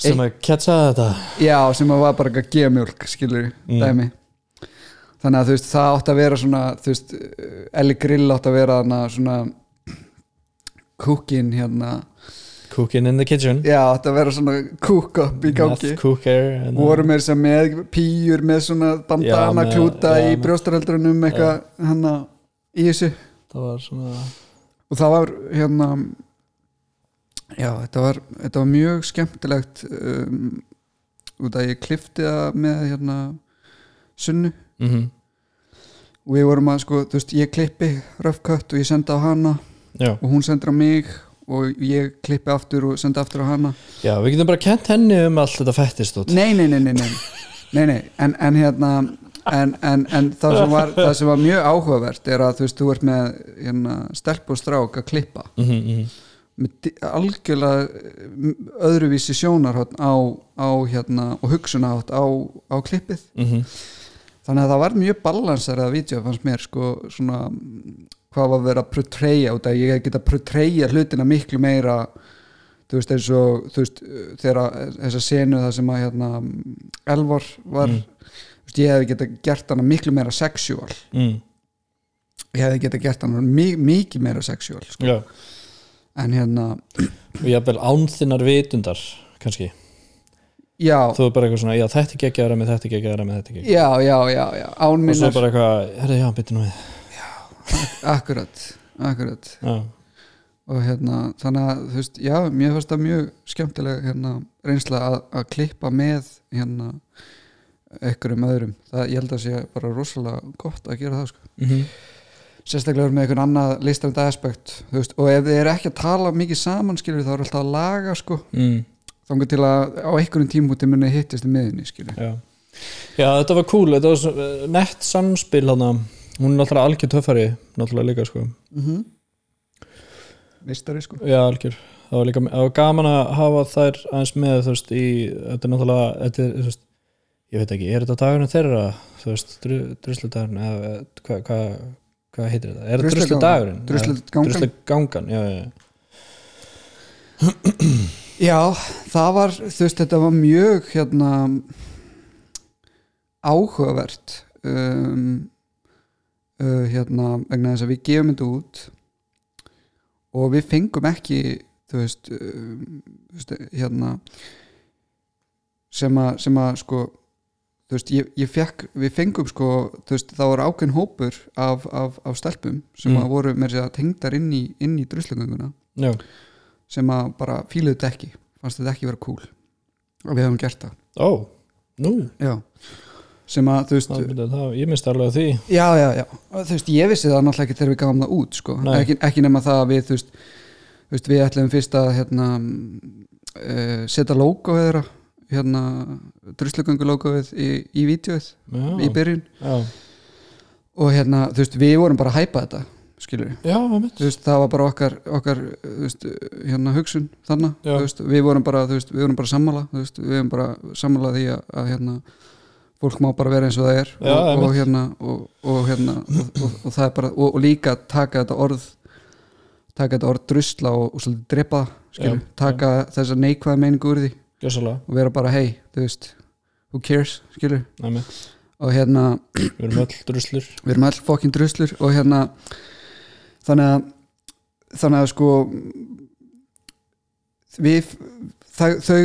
Speaker 3: sem að ketsa þetta
Speaker 2: já, sem að var bara eitthvað gemjólk skilur
Speaker 3: Mm.
Speaker 2: dæmi þannig að þú veist það átt að vera svona þú veist, Ellie Grill átt að vera hana, svona kúkin hérna
Speaker 3: cooking in the kitchen
Speaker 2: já, átt að vera svona kúk upp í gangi
Speaker 3: Meth cooker and-
Speaker 2: voru meir sem með pýjur með svona bandana
Speaker 3: með-
Speaker 2: klúta
Speaker 3: já,
Speaker 2: í
Speaker 3: með-
Speaker 2: brjóstaröldrunum eitthvað hana í þessu
Speaker 3: það var svona
Speaker 2: og það var hérna já, þetta var, þetta var mjög skemmtilegt um, út að ég klifti það með hérna sunnu
Speaker 3: mm
Speaker 2: og við vorum að sko, þú veist, ég klippi röfkött og ég sendi á hana
Speaker 3: já.
Speaker 2: og hún sendir á mig og ég klippi aftur og sendi aftur á hana
Speaker 3: já, við getum bara kent henni um allt þetta fættist út
Speaker 2: nei, nei, nei, nei, nei. nei, nei. En, en hérna en, en, en það, sem var, það sem var mjög áhugavert er að þú veist, þú ert með hérna, stelp og strák að klippa
Speaker 3: Mhm,
Speaker 2: með di- algjörlega eh, m- öðruvísi sjónarhótt á, á hérna og hugsunátt á, á klippið
Speaker 3: mhm,
Speaker 2: þannig að það var mjög balansar að vídeo fannst mér sko svona mm, hvað var verið að portraya út að ég hef getað portraya hlutina miklu meira þú veist eins og þú veist eh, þegar að- þessa senu það sem að hérna mm, Elvar var
Speaker 3: Mm.
Speaker 2: þú veist, ég hef getað gert hana miklu meira sexual
Speaker 3: mm.
Speaker 2: ég hef getað gert hana mi mikið meira sexual sko.
Speaker 3: já
Speaker 2: en hérna
Speaker 3: og jafnvel án þinnar vitundar kannski
Speaker 2: já,
Speaker 3: þú er bara eitthvað svona, já þetta er geggjara með þetta er geggjara með þetta er geggjara
Speaker 2: já, já, já, já án
Speaker 3: og svo
Speaker 2: minnar,
Speaker 3: bara eitthvað, herri já, byttu nú við
Speaker 2: akkurat akkurat
Speaker 3: já,
Speaker 2: og hérna, þannig að þú veist, já, mér fannst það mjög skemmtileg hérna, reynsla að, að klippa með hérna einhverjum öðrum, það ég held að sé bara rosalega gott að gera það sko
Speaker 3: mm -hmm.
Speaker 2: sérstaklega með einhvern annað listrandi aspekt þú veist, og ef þið eru ekki að tala mikið saman skilur þá er alltaf að laga sko
Speaker 3: mm,
Speaker 2: þangar til að á einhverjum tímúti muni hittist í miðinni skilur
Speaker 3: já. já, þetta var cool þetta var svo- eh, nett samspil hana hún er náttúrulega algjör töffari náttúrulega líka sko
Speaker 2: mm -hmm. mistari sko
Speaker 3: Já, algjör. Það var líka það var gaman að hafa þær aðeins með þú veist, í, þetta er náttúrulega þetta er, þú veist, ég veit ekki, er þetta dagurinn þeirra, þú veist, dru, drusludagurinn eða eða hvað hva, hva heitir þetta? Er þetta
Speaker 2: Drusluganga-
Speaker 3: drusludagurinn?
Speaker 2: druslugangan.
Speaker 3: Druslugangan, já, já, já.
Speaker 2: Já, það var, þú veist, þetta var mjög hérna áhugavert um, uh, hérna vegna þess að við gefum þetta út og við fengum ekki þú veist, um, þú veist hérna sem að, sem að sko þú veist, ég, ég fekk, við fengum sko þú veist, það var ákveðin hópur af, af, af stelpum sem
Speaker 3: Mm.
Speaker 2: að voru með þess að segja tengdar inn í, inn í druslugönguna
Speaker 3: já.
Speaker 2: sem að bara fíluðu þetta ekki fannst þetta ekki vera cool og við hefum gert það
Speaker 3: Ó, nú,
Speaker 2: já. sem að þú veist
Speaker 3: það, það, það, ég misti alveg því.
Speaker 2: já, já, já, þú veist ég vissi það náttúrulega ekki þegar við gafum það út sko.
Speaker 3: Nei.
Speaker 2: ekki, ekki nema það að við þú veist, þú veist við ætlum fyrst að hérna, uh, setja logo þeirra hérna druslugöngu logoið í, í vídeoið í
Speaker 3: Já,
Speaker 2: byrjun
Speaker 3: já,
Speaker 2: og hérna þú veist við vorum bara að hæpa þetta skilur
Speaker 3: já, það mitt.
Speaker 2: þú veist, það var bara okkar, okkar eh, þú veist, hérna hugsun þarna
Speaker 3: Já.
Speaker 2: þú veist, við vorum bara, þú veist, við vorum bara sammála þú veist, við vorum bara sammála því að, að hérna, fólk má bara vera eins og það er og,
Speaker 3: Já,
Speaker 2: og
Speaker 3: einmitt.
Speaker 2: hérna og, og hérna og, og, og það er bara, og, og líka taka þetta orð taka þetta orð drusla og, og svolítið drepa skilur,
Speaker 3: Já,
Speaker 2: taka þessa neikvæða meiningu úr því
Speaker 3: Gjössalega,
Speaker 2: og vera bara, hei, þú veist who cares, skilur,
Speaker 3: það mitt.
Speaker 2: og hérna
Speaker 3: Við erum öll druslur.
Speaker 2: við erum all fokkin druslur og hérna þannig að þannig að sko við það, þau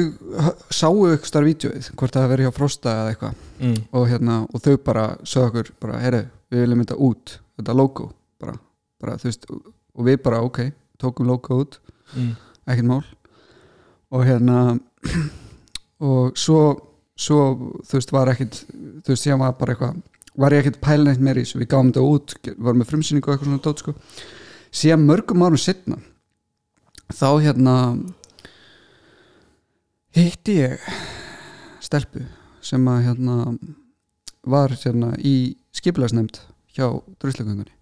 Speaker 2: sáu ykkur starf vídeoið hvort það hafi verið hjá Frosta eða eitthvað
Speaker 3: Mm.
Speaker 2: og hérna og þau bara sögðu okkur bara herru við viljum þetta út þetta logo bara, bara þú veist og við bara ok tókum logo út
Speaker 3: Mm.
Speaker 2: ekkert mál og hérna og svo, svo þú veist var ekkert þú veist síðan var bara eitthvað var ég ekkert pæla neitt meir í þessu, við gáum þetta út varum með frumsýningu og eitthvað svona dót sko síðan mörgum árum setna þá hérna hitti ég stelpu sem að hérna var hérna í skipilagsnefnd hjá druslugöngunni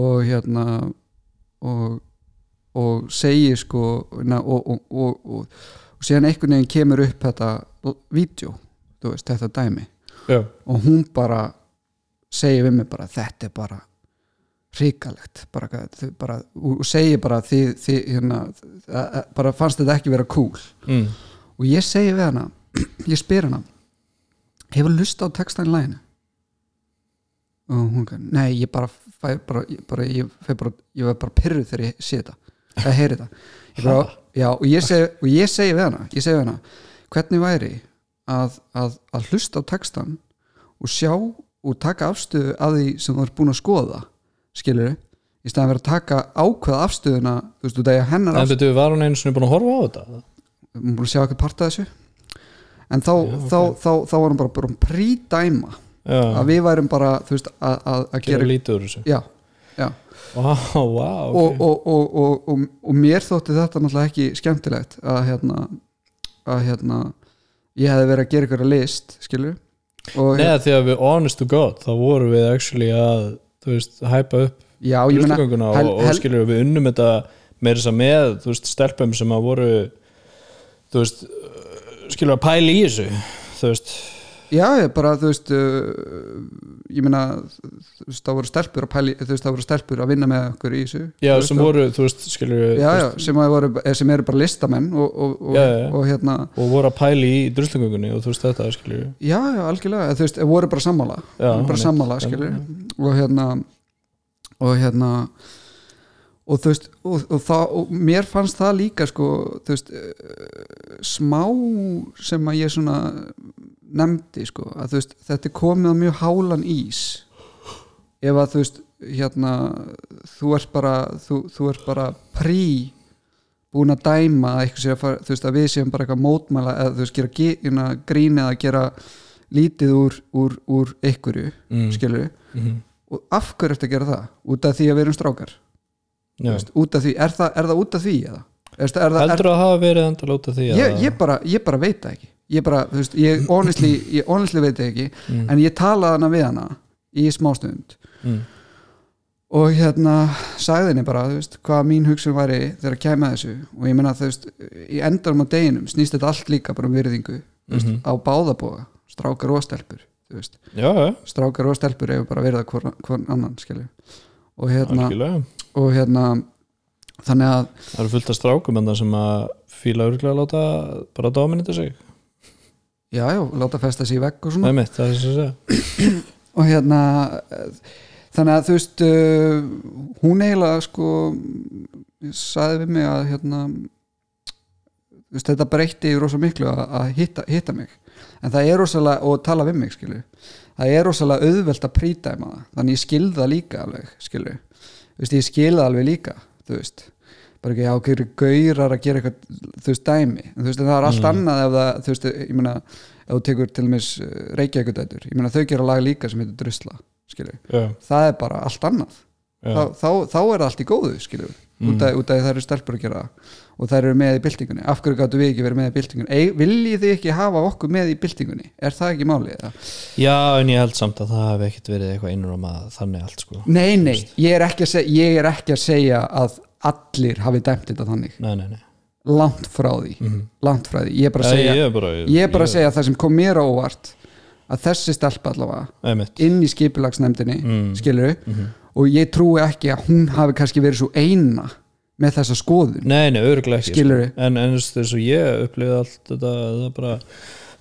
Speaker 2: og hérna og og segir sko na, og, og, og, og, og síðan einhvern veginn kemur upp þetta vídeo, þú veist, þetta dæmi
Speaker 3: Já,
Speaker 2: og hún bara segir við mig bara, þetta er bara hrikalegt bara, hvað- þau bara, og og segir bara því, því, hérna, að- að- bara fannst þetta ekki vera cool
Speaker 3: mm.
Speaker 2: og ég segi við hana, ég spyr hana hefur lust á textan í læginu og hún kann, nei, ég bara fæ bara, ég bara, ég fæ bara, ég var bara pyrruð þegar ég sé þetta, eða heyri þetta ég bara, já, og ég segi og ég segi við hana, ég segi við hana hvernig væri að, að, að hlusta á textan og sjá og taka afstöðu að því sem þú ert búin að skoða skilur í staðan verið að taka ákveða afstöðuna þú veist, þú dæja hennar
Speaker 3: En betur, var hún einu sinni búin að horfa á þetta?
Speaker 2: hún búin að sjá eitthvað part af þessu en þá, þá, þá, þá var hún bara, bara prídæma
Speaker 3: Já,
Speaker 2: að við værum bara þú veist, að, að, að
Speaker 3: gera
Speaker 2: gera
Speaker 3: lítið úr þessu.
Speaker 2: já, já.
Speaker 3: Vá, vá,
Speaker 2: Og,
Speaker 3: ok.
Speaker 2: og, og, og, og, og mér þótti þetta náttúrulega ekki skemmtilegt að hérna, að hérna ég hefði verið að gera eitthvað list skilur og
Speaker 3: Nei, því að við honest to god þá vorum við actually að þú veist, hæpa upp
Speaker 2: já, ég meina
Speaker 3: hlustagönguna og,
Speaker 2: hel-
Speaker 3: og
Speaker 2: hel-
Speaker 3: skilur við unnum þetta meira þess að með, þú veist, stelpum sem að voru þú veist uh, skilur að pæla í þessu þú veist,
Speaker 2: já, ég bara þú veist uh, ég meina þú veist, það voru stelpur að pæli þú veist, það voru stelpur að vinna með okkur í þessu
Speaker 3: já,
Speaker 2: þú veist,
Speaker 3: sem
Speaker 2: og-
Speaker 3: voru þú veist, skilur við,
Speaker 2: já, já, sem, að voru, eh, sem eru bara listamenn og, og, og,
Speaker 3: Já, já, já.
Speaker 2: og hérna
Speaker 3: og voru að pæla í druslugöngunni og þú veist þetta, skilur við
Speaker 2: já, já, algjörlega, eða þú veist, voru bara sammála voru
Speaker 3: Já,
Speaker 2: bara
Speaker 3: einmitt.
Speaker 2: sammála, skilur og hérna og hérna og og þú veist og, og, það, og mér fannst það líka sko, þú veist eh, smá sem að ég svona nefndi sko að þú veist þetta er komið á mjög hálan ís ef að þú veist hérna þú ert bara þú, þú ert bara prí búin að dæma að eitthvað sé að fara þú veist að við séum bara eitthvað mótmæla eða þú veist gera gi- hérna, grín eða gera lítið úr, úr, úr einhverju mm. skilur
Speaker 3: mhm.
Speaker 2: og af hverju ertu að gera það? Út af því að við erum strákar Þú
Speaker 3: Já.
Speaker 2: veist, út af því, er það, er það út af því eða? Er það, er það, er,
Speaker 3: heldur að hafa verið endala út af því
Speaker 2: ég, ég, bara, ég bara veit það ekki ég bara, þú veist, ég honestly, ég honestly veit það ekki en ég talaði hana við hana í smástund
Speaker 3: Mm.
Speaker 2: og hérna sagði henni bara, þú veist, hvað mín hugsun væri þegar að kæma þessu og ég meina, þú veist, í endanum á deginum snýst þetta allt líka bara um virðingu þú
Speaker 3: mhm.
Speaker 2: veist, á báðabóga, strákar og stelpur þú veist,
Speaker 3: já, já,
Speaker 2: strákar og stelpur hefur bara verið að hvern hvor annan, skilju og hérna,
Speaker 3: algjörlega
Speaker 2: og hérna þannig að
Speaker 3: það eru fullt af strákum en það sem að fíla örgulega að láta bara dominita sig
Speaker 2: já, já, láta festa sér í vegg og svona
Speaker 3: það er mitt, það er sem að segja
Speaker 2: og hérna eh, þannig að þú veist uh, hún eiginlega sko saði við mig að hérna þú veist, þetta breytti rosa miklu að, að hitta, hitta mig en það er rosalega, og tala við mig skilu, það er rosalega auðvelt að prítæma það, þannig ég skil það líka alveg, skilu, þú veist, ég skil það alveg líka, þú veist bara ekki, já, okkur eru gaurar að gera eitthvað þú veist, dæmi, en þú veist, en það er
Speaker 3: Mm.
Speaker 2: allt annað ef það, þú veist, ég meina ef þú tekur til og meins reykjaukudætur ég meina þau gera lag líka sem heitir drusla skilu,
Speaker 3: já,
Speaker 2: það er bara allt annað
Speaker 3: já,
Speaker 2: þá, þá, þá er það allt í góðu skilur mm. út af út af því það eru stelpur að gera það og þær eru með í byltingunni, af hverju gáttu við ekki verið með í byltingunni Ei, viljið þið ekki hafa okkur með í byltingunni er það ekki málið? eða?
Speaker 3: já, en ég held samt að það hef ekkit verið eitthvað innróma þannig allt sko
Speaker 2: Nei, nei, ég er, ekki að segja, ég er ekki að segja að allir hafi dæmt þetta þannig
Speaker 3: nei, nei, nei,
Speaker 2: langt frá því, langt frá því ég er bara að
Speaker 3: Nei,
Speaker 2: segja,
Speaker 3: Mhm. ég er bara
Speaker 2: ég er bara að segja að það sem kom mér á óvart að þessi stelpa allavega
Speaker 3: það er mitt,
Speaker 2: inn í skipulagsnefndinni mm. skilur
Speaker 3: Mhm.
Speaker 2: og ég trúi ekki að hún hafi kannski verið svo eina með þessa skoðun
Speaker 3: nei, nei, örgulega ekki sko.
Speaker 2: Skilurðu?
Speaker 3: en en þú veist, eins og ég upplifði allt þetta, það bara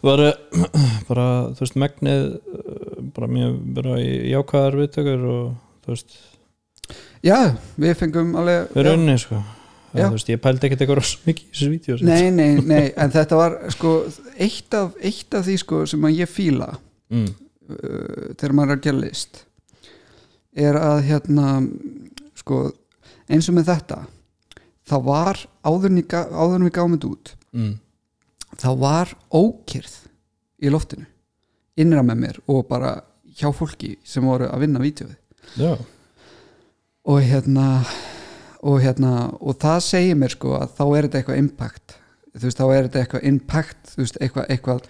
Speaker 3: var bara, þú veist, megnið uh, bara mjög, bara í- jákvæðar viðtökur og, þú veist
Speaker 2: Já, við fengum alveg
Speaker 3: við rauninni, sko
Speaker 2: Já.
Speaker 3: Eða, þú veist, ég pældi ekkert eitthvað rosa mikið í þessu vídeo sko.
Speaker 2: Nei, nei, nei, en þetta var sko eitt af, eitt af því sko sem að ég fíla
Speaker 3: mm.
Speaker 2: uh, þegar maður er að gera list er að hérna sko eins og með þetta það var áðurinn, í ga- áður en við gáum þetta út
Speaker 3: Mm.
Speaker 2: það var ókyrð í loftinu innra með mér og bara hjá fólki sem voru að vinna vídeoið
Speaker 3: já,
Speaker 2: og hérna og hérna og það segir mér sko að þá er þetta eitthvað impact þú veist þá er þetta eitthvað impact þú veist eitthvað, eitthvað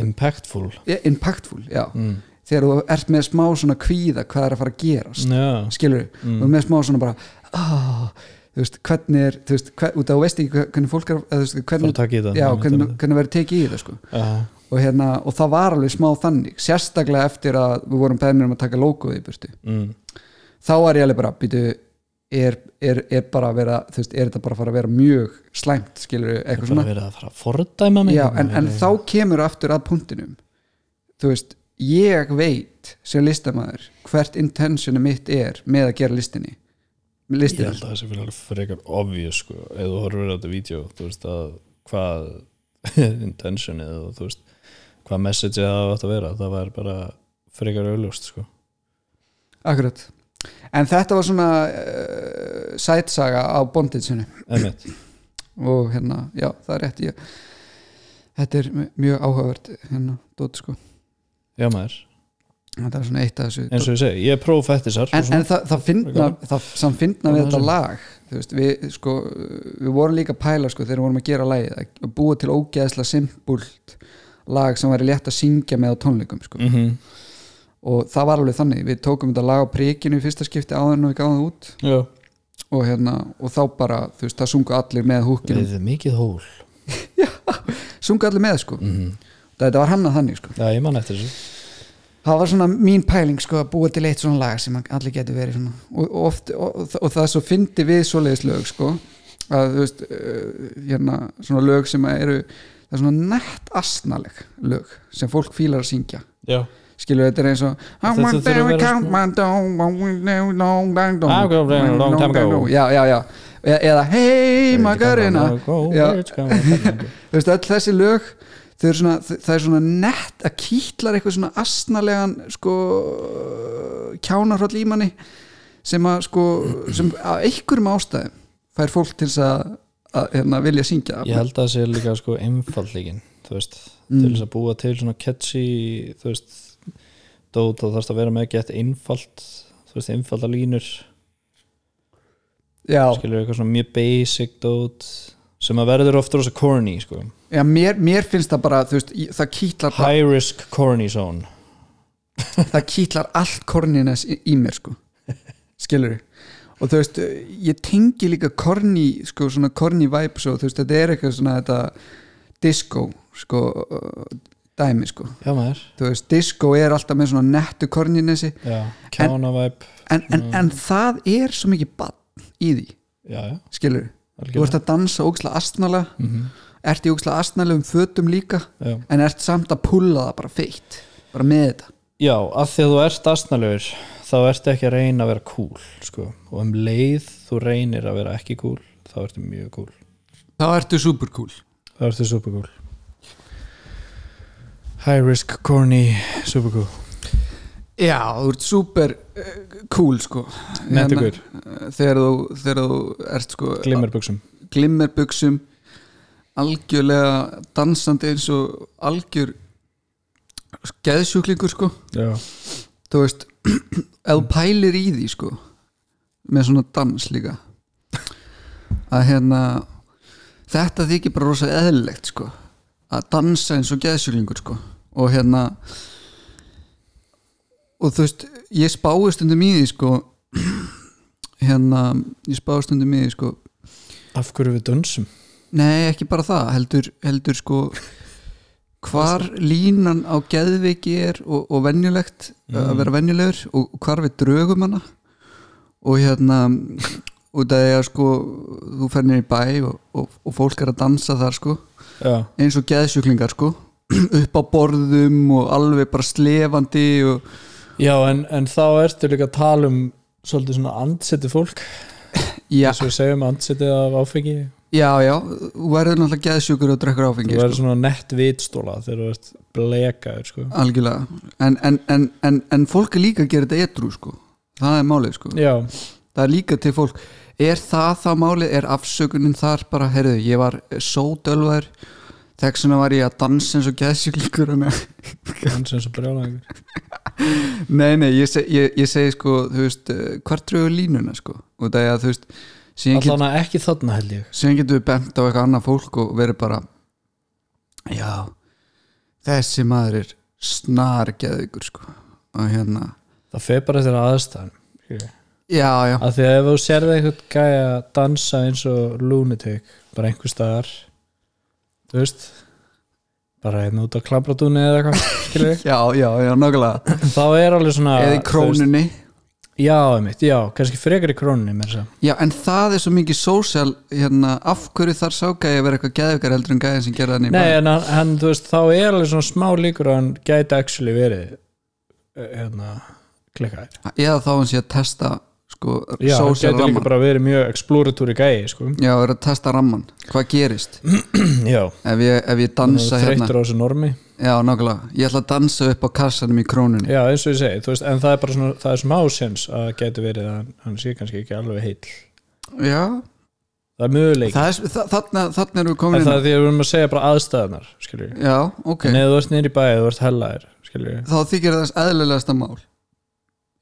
Speaker 3: impactful
Speaker 2: eh, impactful já
Speaker 3: mm.
Speaker 2: þegar þú ert með smá svona kvíða hvað er að fara að gerast
Speaker 3: já,
Speaker 2: skilur við, mm. og með smá svona bara ah, þú veist hvernig er þú veist hver, út af þú veist ekki hver- hvernig fólk er eða, þú veist,
Speaker 3: fara að
Speaker 2: hvernig,
Speaker 3: taka í það
Speaker 2: já, hvernig, hvernig verður tekið í það sko
Speaker 3: uh,
Speaker 2: og, hérna, og það var alveg smá þannig sérstaklega eftir að við vorum beðnir um að taka logoið í burtu
Speaker 3: mm.
Speaker 2: þá var ég alveg bara býtu, er, er, er, bara að vera, þú veist, er þetta bara að fara að vera mjög slæmt skilur
Speaker 3: bara hérna,
Speaker 2: eitthvað svona
Speaker 3: verið að fara að fordæma mig
Speaker 2: Já, en, en þá kemur aftur að punktinum þú veist, ég veit sem listamaður hvert intentionu mitt er með að gera listinni
Speaker 3: ég
Speaker 2: listinni
Speaker 3: held að það sé fyrir alveg frekar obvious sko, ef þú horfir á þetta vídeo þú veist að hvað intentionið og þú veist hvað messageið það átt að vera það var bara frekar auðljóst sko.
Speaker 2: akkurat en þetta var svona uh, sætsaga á bondinsinu
Speaker 3: emitt,
Speaker 2: og hérna, já, það er rétt ég, þetta er mj- mjög áhugavert hérna, dót sko
Speaker 3: já maður
Speaker 2: þetta er svona eitt af þessu
Speaker 3: eins og ég segi, ég er prófættisar
Speaker 2: en, en það, það finna, það, það finna við
Speaker 3: Gaman
Speaker 2: þetta
Speaker 3: þessu.
Speaker 2: lag þú veist, við, sko, við vorum líka að pæla sko, þegar við vorum að gera lagið að búa til ógeðslega simpult lag sem væri létt að syngja með á tónleikum sko.
Speaker 3: mm -hmm.
Speaker 2: og það var alveg þannig, við tókum þetta lag á prikinu í fyrsta skipti áður en við gáðum það út
Speaker 3: já
Speaker 2: og, hérna, og þá bara, þú veist, það sungu allir með húkinu,
Speaker 3: Við mikið hól
Speaker 2: sungu allir með sko.
Speaker 3: Mhm.
Speaker 2: þetta var hannað þannig sko.
Speaker 3: Já, ég man eftir þessu
Speaker 2: það var svona mín pæling sko að búa til eitt svona lag sem allir getur verið svona og, og, oft, og, og það svo fyndi við svoleiðis lög sko að þú veist uh, hérna svona lög sem að eru það er svona nætt asnaleg lög sem fólk fílar að syngja
Speaker 3: Já,
Speaker 2: skilur þetta er eins og I
Speaker 3: Þetta
Speaker 2: want
Speaker 3: þurfa að
Speaker 2: every
Speaker 3: vera
Speaker 2: count my dong long long long
Speaker 3: Ah, okay, long time ago.
Speaker 2: já, já, já E- eða hey Magarina Já.
Speaker 3: já
Speaker 2: þú veist, öll þessi lög þau eru svona, þau- það er svona nett að kýtlar eitthvað svona astnalegan sko kjánarhroll í manni sem að sko sem af einhverjum ástæðum fær fólk til þess að, að hérna, vilja syngja
Speaker 3: ég held að það sé líka sko einfallíkin þú veist,
Speaker 2: Mm.
Speaker 3: til þess að búa til svona catchy, þú veist dót þá þarfst að vera með gett einfalt þú veist, einfalda línur
Speaker 2: já,
Speaker 3: skilur eitthvað svona mjög basic dót sem að verður ofta rosa corny sko.
Speaker 2: já mér, mér finnst það bara þú veist, ég- það kýtlar, bara,
Speaker 3: high risk corny zone
Speaker 2: það kýtlar allt korniness í, í mér sko skilur og þú veist, ég tengi líka korni sko svona korni vibes og þú veist, þetta er eitthvað svona þetta disco sko uh, dæmi sko
Speaker 3: já maður,
Speaker 2: þú veist, disco er alltaf með svona nettu korninesi
Speaker 3: já, kjánavæp
Speaker 2: en, en, en það er svo mikið bann í því,
Speaker 3: já, já,
Speaker 2: skilur þú ert að dansa ógslag astnala ert í ógslag astnalegum fötum líka
Speaker 3: já
Speaker 2: en ert samt að pulla það bara feitt bara með þetta
Speaker 3: Já, af því að þú ert astnalegur þá ertu ekki að reyna að vera cool sko. og um leið þú reynir að vera ekki cool þá ertu mjög cool
Speaker 2: þá ertu supercool
Speaker 3: þá ertu super cool High risk, corny, super cool
Speaker 2: já, þú ert super uh, cool sko
Speaker 3: Nettugur,
Speaker 2: Hérna, þegar, þú, þegar þú ert sko
Speaker 3: glimmerbuxum
Speaker 2: glimmerbuxum algjörlega dansandi eins og algjör geðsjúklingur sko
Speaker 3: Já,
Speaker 2: þú veist ef þú pælir í því sko með svona dans líka að hérna þetta þykir bara rosa eðlilegt sko að dansa eins og geðsjúlingur sko og hérna og þú veist ég spáði stundum í því sko hérna ég spáði stundum í því sko
Speaker 3: af hverju við dönsum
Speaker 2: nei ekki bara það heldur, heldur sko hvar línan á geðviki er og, og venjulegt
Speaker 3: Mm.
Speaker 2: að vera venjulegur og hvar við drögum hana og hérna út af því að sko þú fer niður í bæ og, og, og fólk er að dansa þar sko
Speaker 3: Já,
Speaker 2: eins og geðsjúklingar sko upp á borðum og alveg bara slefandi og
Speaker 3: Já en, en þá ertu líka að tala um svolítið svona andsetti fólk
Speaker 2: já,
Speaker 3: eins og við segjum andsettið af áfengi
Speaker 2: já, já þú verður náttúrulega geðsjúkur og drekkur áfengi sko.
Speaker 3: þú verður svona nett vitstóla þegar þú ert blekaður sko.
Speaker 2: algjörlega en, en, en, en, en fólk er líka að gera þetta edru sko það er málið sko
Speaker 3: Já,
Speaker 2: það er líka til fólk er það það málið, er afsökunin þar bara, heyrðu, ég var sódölvar þegar svona var ég að dansa eins og geðsjúklingur en
Speaker 3: hans eins og brjálæðingur
Speaker 2: nei, nei, ég, seg, ég, ég segi sko þú veist, eh, hvar drögu línuna sko og það er að þú veist síðan, get,
Speaker 3: Allan að ekki þarna held ég
Speaker 2: síðan getum við bent á eitthvað annað fólk og verið bara já þessi maður er snar geðvíkur sko og hérna,
Speaker 3: það fer bara eftir aðstæðan
Speaker 2: já, já
Speaker 3: að því að ef þú sérði eitthvað gæja dansa eins og lunatic bara einhver staðar þú veist bara einn út á klambratúni eða eitthvað skilurðu.
Speaker 2: já, já, já, nákvæmlega
Speaker 3: þá er alveg svona
Speaker 2: eða í
Speaker 3: þú veist,
Speaker 2: krónunni
Speaker 3: já, einmitt, já, kannski frekar í krónunni mér sem
Speaker 2: Já, en það er svo mikið social hérna, af hverju þar sá gæði að vera eitthvað geðvikar heldur en gæði sem gerða hann í
Speaker 3: Nei,
Speaker 2: bæ
Speaker 3: en hann, hann, þú veist, þá er alveg svona smá líkur að hann gæti actually verið eh, hérna, klikkaðir
Speaker 2: eða þá hann sé að testa sko,
Speaker 3: Já, hann
Speaker 2: social
Speaker 3: gæti líka
Speaker 2: ramman
Speaker 3: bara verið mjög exploratory gæi, sko
Speaker 2: Já, er að testa ramman, hvað gerist
Speaker 3: Já,
Speaker 2: ef ég, ef ég dansa hérna
Speaker 3: þreyttur á þessu normi
Speaker 2: Já, nákvæmlega, ég ætla að dansa upp á kassanum í krónunni
Speaker 3: Já, eins og ég segi, þú veist, en það er bara svona, það er smá sens að getur verið að hann- hann sé kannski ekki alveg heill.
Speaker 2: Já,
Speaker 3: Það er möguleik.
Speaker 2: það er, s- þa- þarna, þarna erum við
Speaker 3: en
Speaker 2: komin
Speaker 3: það er
Speaker 2: inn
Speaker 3: því að við erum að segja bara aðstæðanar, skiljum.
Speaker 2: Já, ok,
Speaker 3: En ef þú ert niður í bæði, þú ert hellaðir, skiljum.
Speaker 2: þá þykir það eðlilegasta mál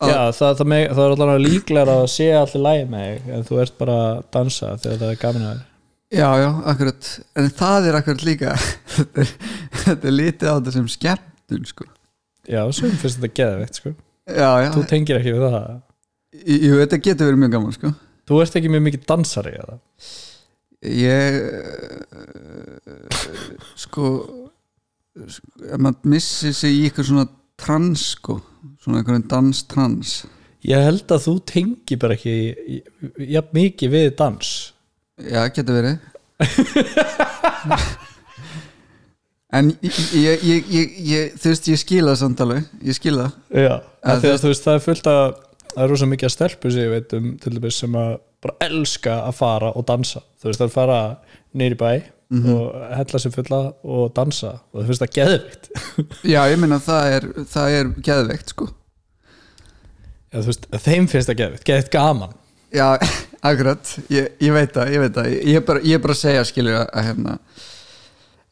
Speaker 2: Að-
Speaker 3: Já, það, það, meg, það er allavega líklar að sé allir lægi með þig, en þú ert bara að dansa þegar það er gaman að þér.
Speaker 2: Já, já, akkurat En það er akkurat líka Þetta er- þetta er litið á þetta sem skemmtun sko.
Speaker 3: Já, sem finnst þetta geðveikt, sko.
Speaker 2: Já, já,
Speaker 3: Þú tengir ekki við það.
Speaker 2: Jú, þetta getur verið mjög gaman sko
Speaker 3: Þú ert ekki mjög mikið dansari, eða?
Speaker 2: Ég eh, sko sko, ef maður missir sig í ykkur svona trans sko svona einhverjum dans-trans
Speaker 3: Ég held að þú tengir bara ekki jafn mikið við dans.
Speaker 2: Já, getur verið en ég, ég, ég, ég, ég þú veist, ég skila samtali ég skila,
Speaker 3: Já,
Speaker 2: Að
Speaker 3: að því að þú veist það er fullt að það er rosa mikið að stelpu sig ég veit um til dæmis sem að bara elska að fara og dansa þú veist það er fara neyri bæ og hella sér fulla og dansa og þú veist það geðvikt
Speaker 2: já, ég meina það er það er geðveikt, sko
Speaker 3: Já, þú veist, þeim finnst það geðvikt, geðvikt gaman
Speaker 2: já, akkurat, ég, ég veit það ég veit það, ég, ég, er bara, ég er bara að segja skilur að, að hérna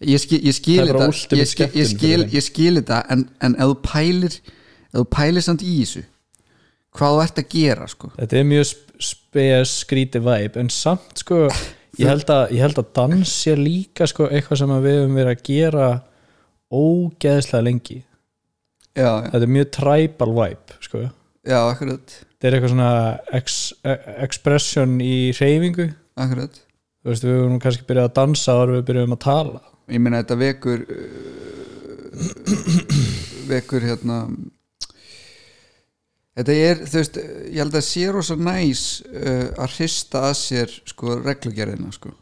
Speaker 2: ég skil, ég skil
Speaker 3: Það er bara
Speaker 2: þetta
Speaker 3: últimate
Speaker 2: ég skil, ég
Speaker 3: skemmtun
Speaker 2: skil,
Speaker 3: fyrir þeim.
Speaker 2: ég skil þetta en, en ef þú pælir ef þú pælir samt í þessu hvað þú ert að gera, sko
Speaker 3: þetta er mjög sp- spes skríti væp en samt sko ég held að, ég held að dans sé líka sko eitthvað sem að við höfum verið að gera ógeðslega lengi
Speaker 2: já, já,
Speaker 3: þetta er mjög tribal væp sko
Speaker 2: já, akkurat
Speaker 3: þetta er eitthvað svona ex, e- expression í hreyfingu
Speaker 2: akkurat
Speaker 3: þú veist við höfum nú kannski byrjað að dansa áður en við byrjum að tala
Speaker 2: ég meina þetta vekur uh, vekur hérna þetta er þú veist ég held að sé rosa næs uh, að hrista að sér sko reglugerðina sko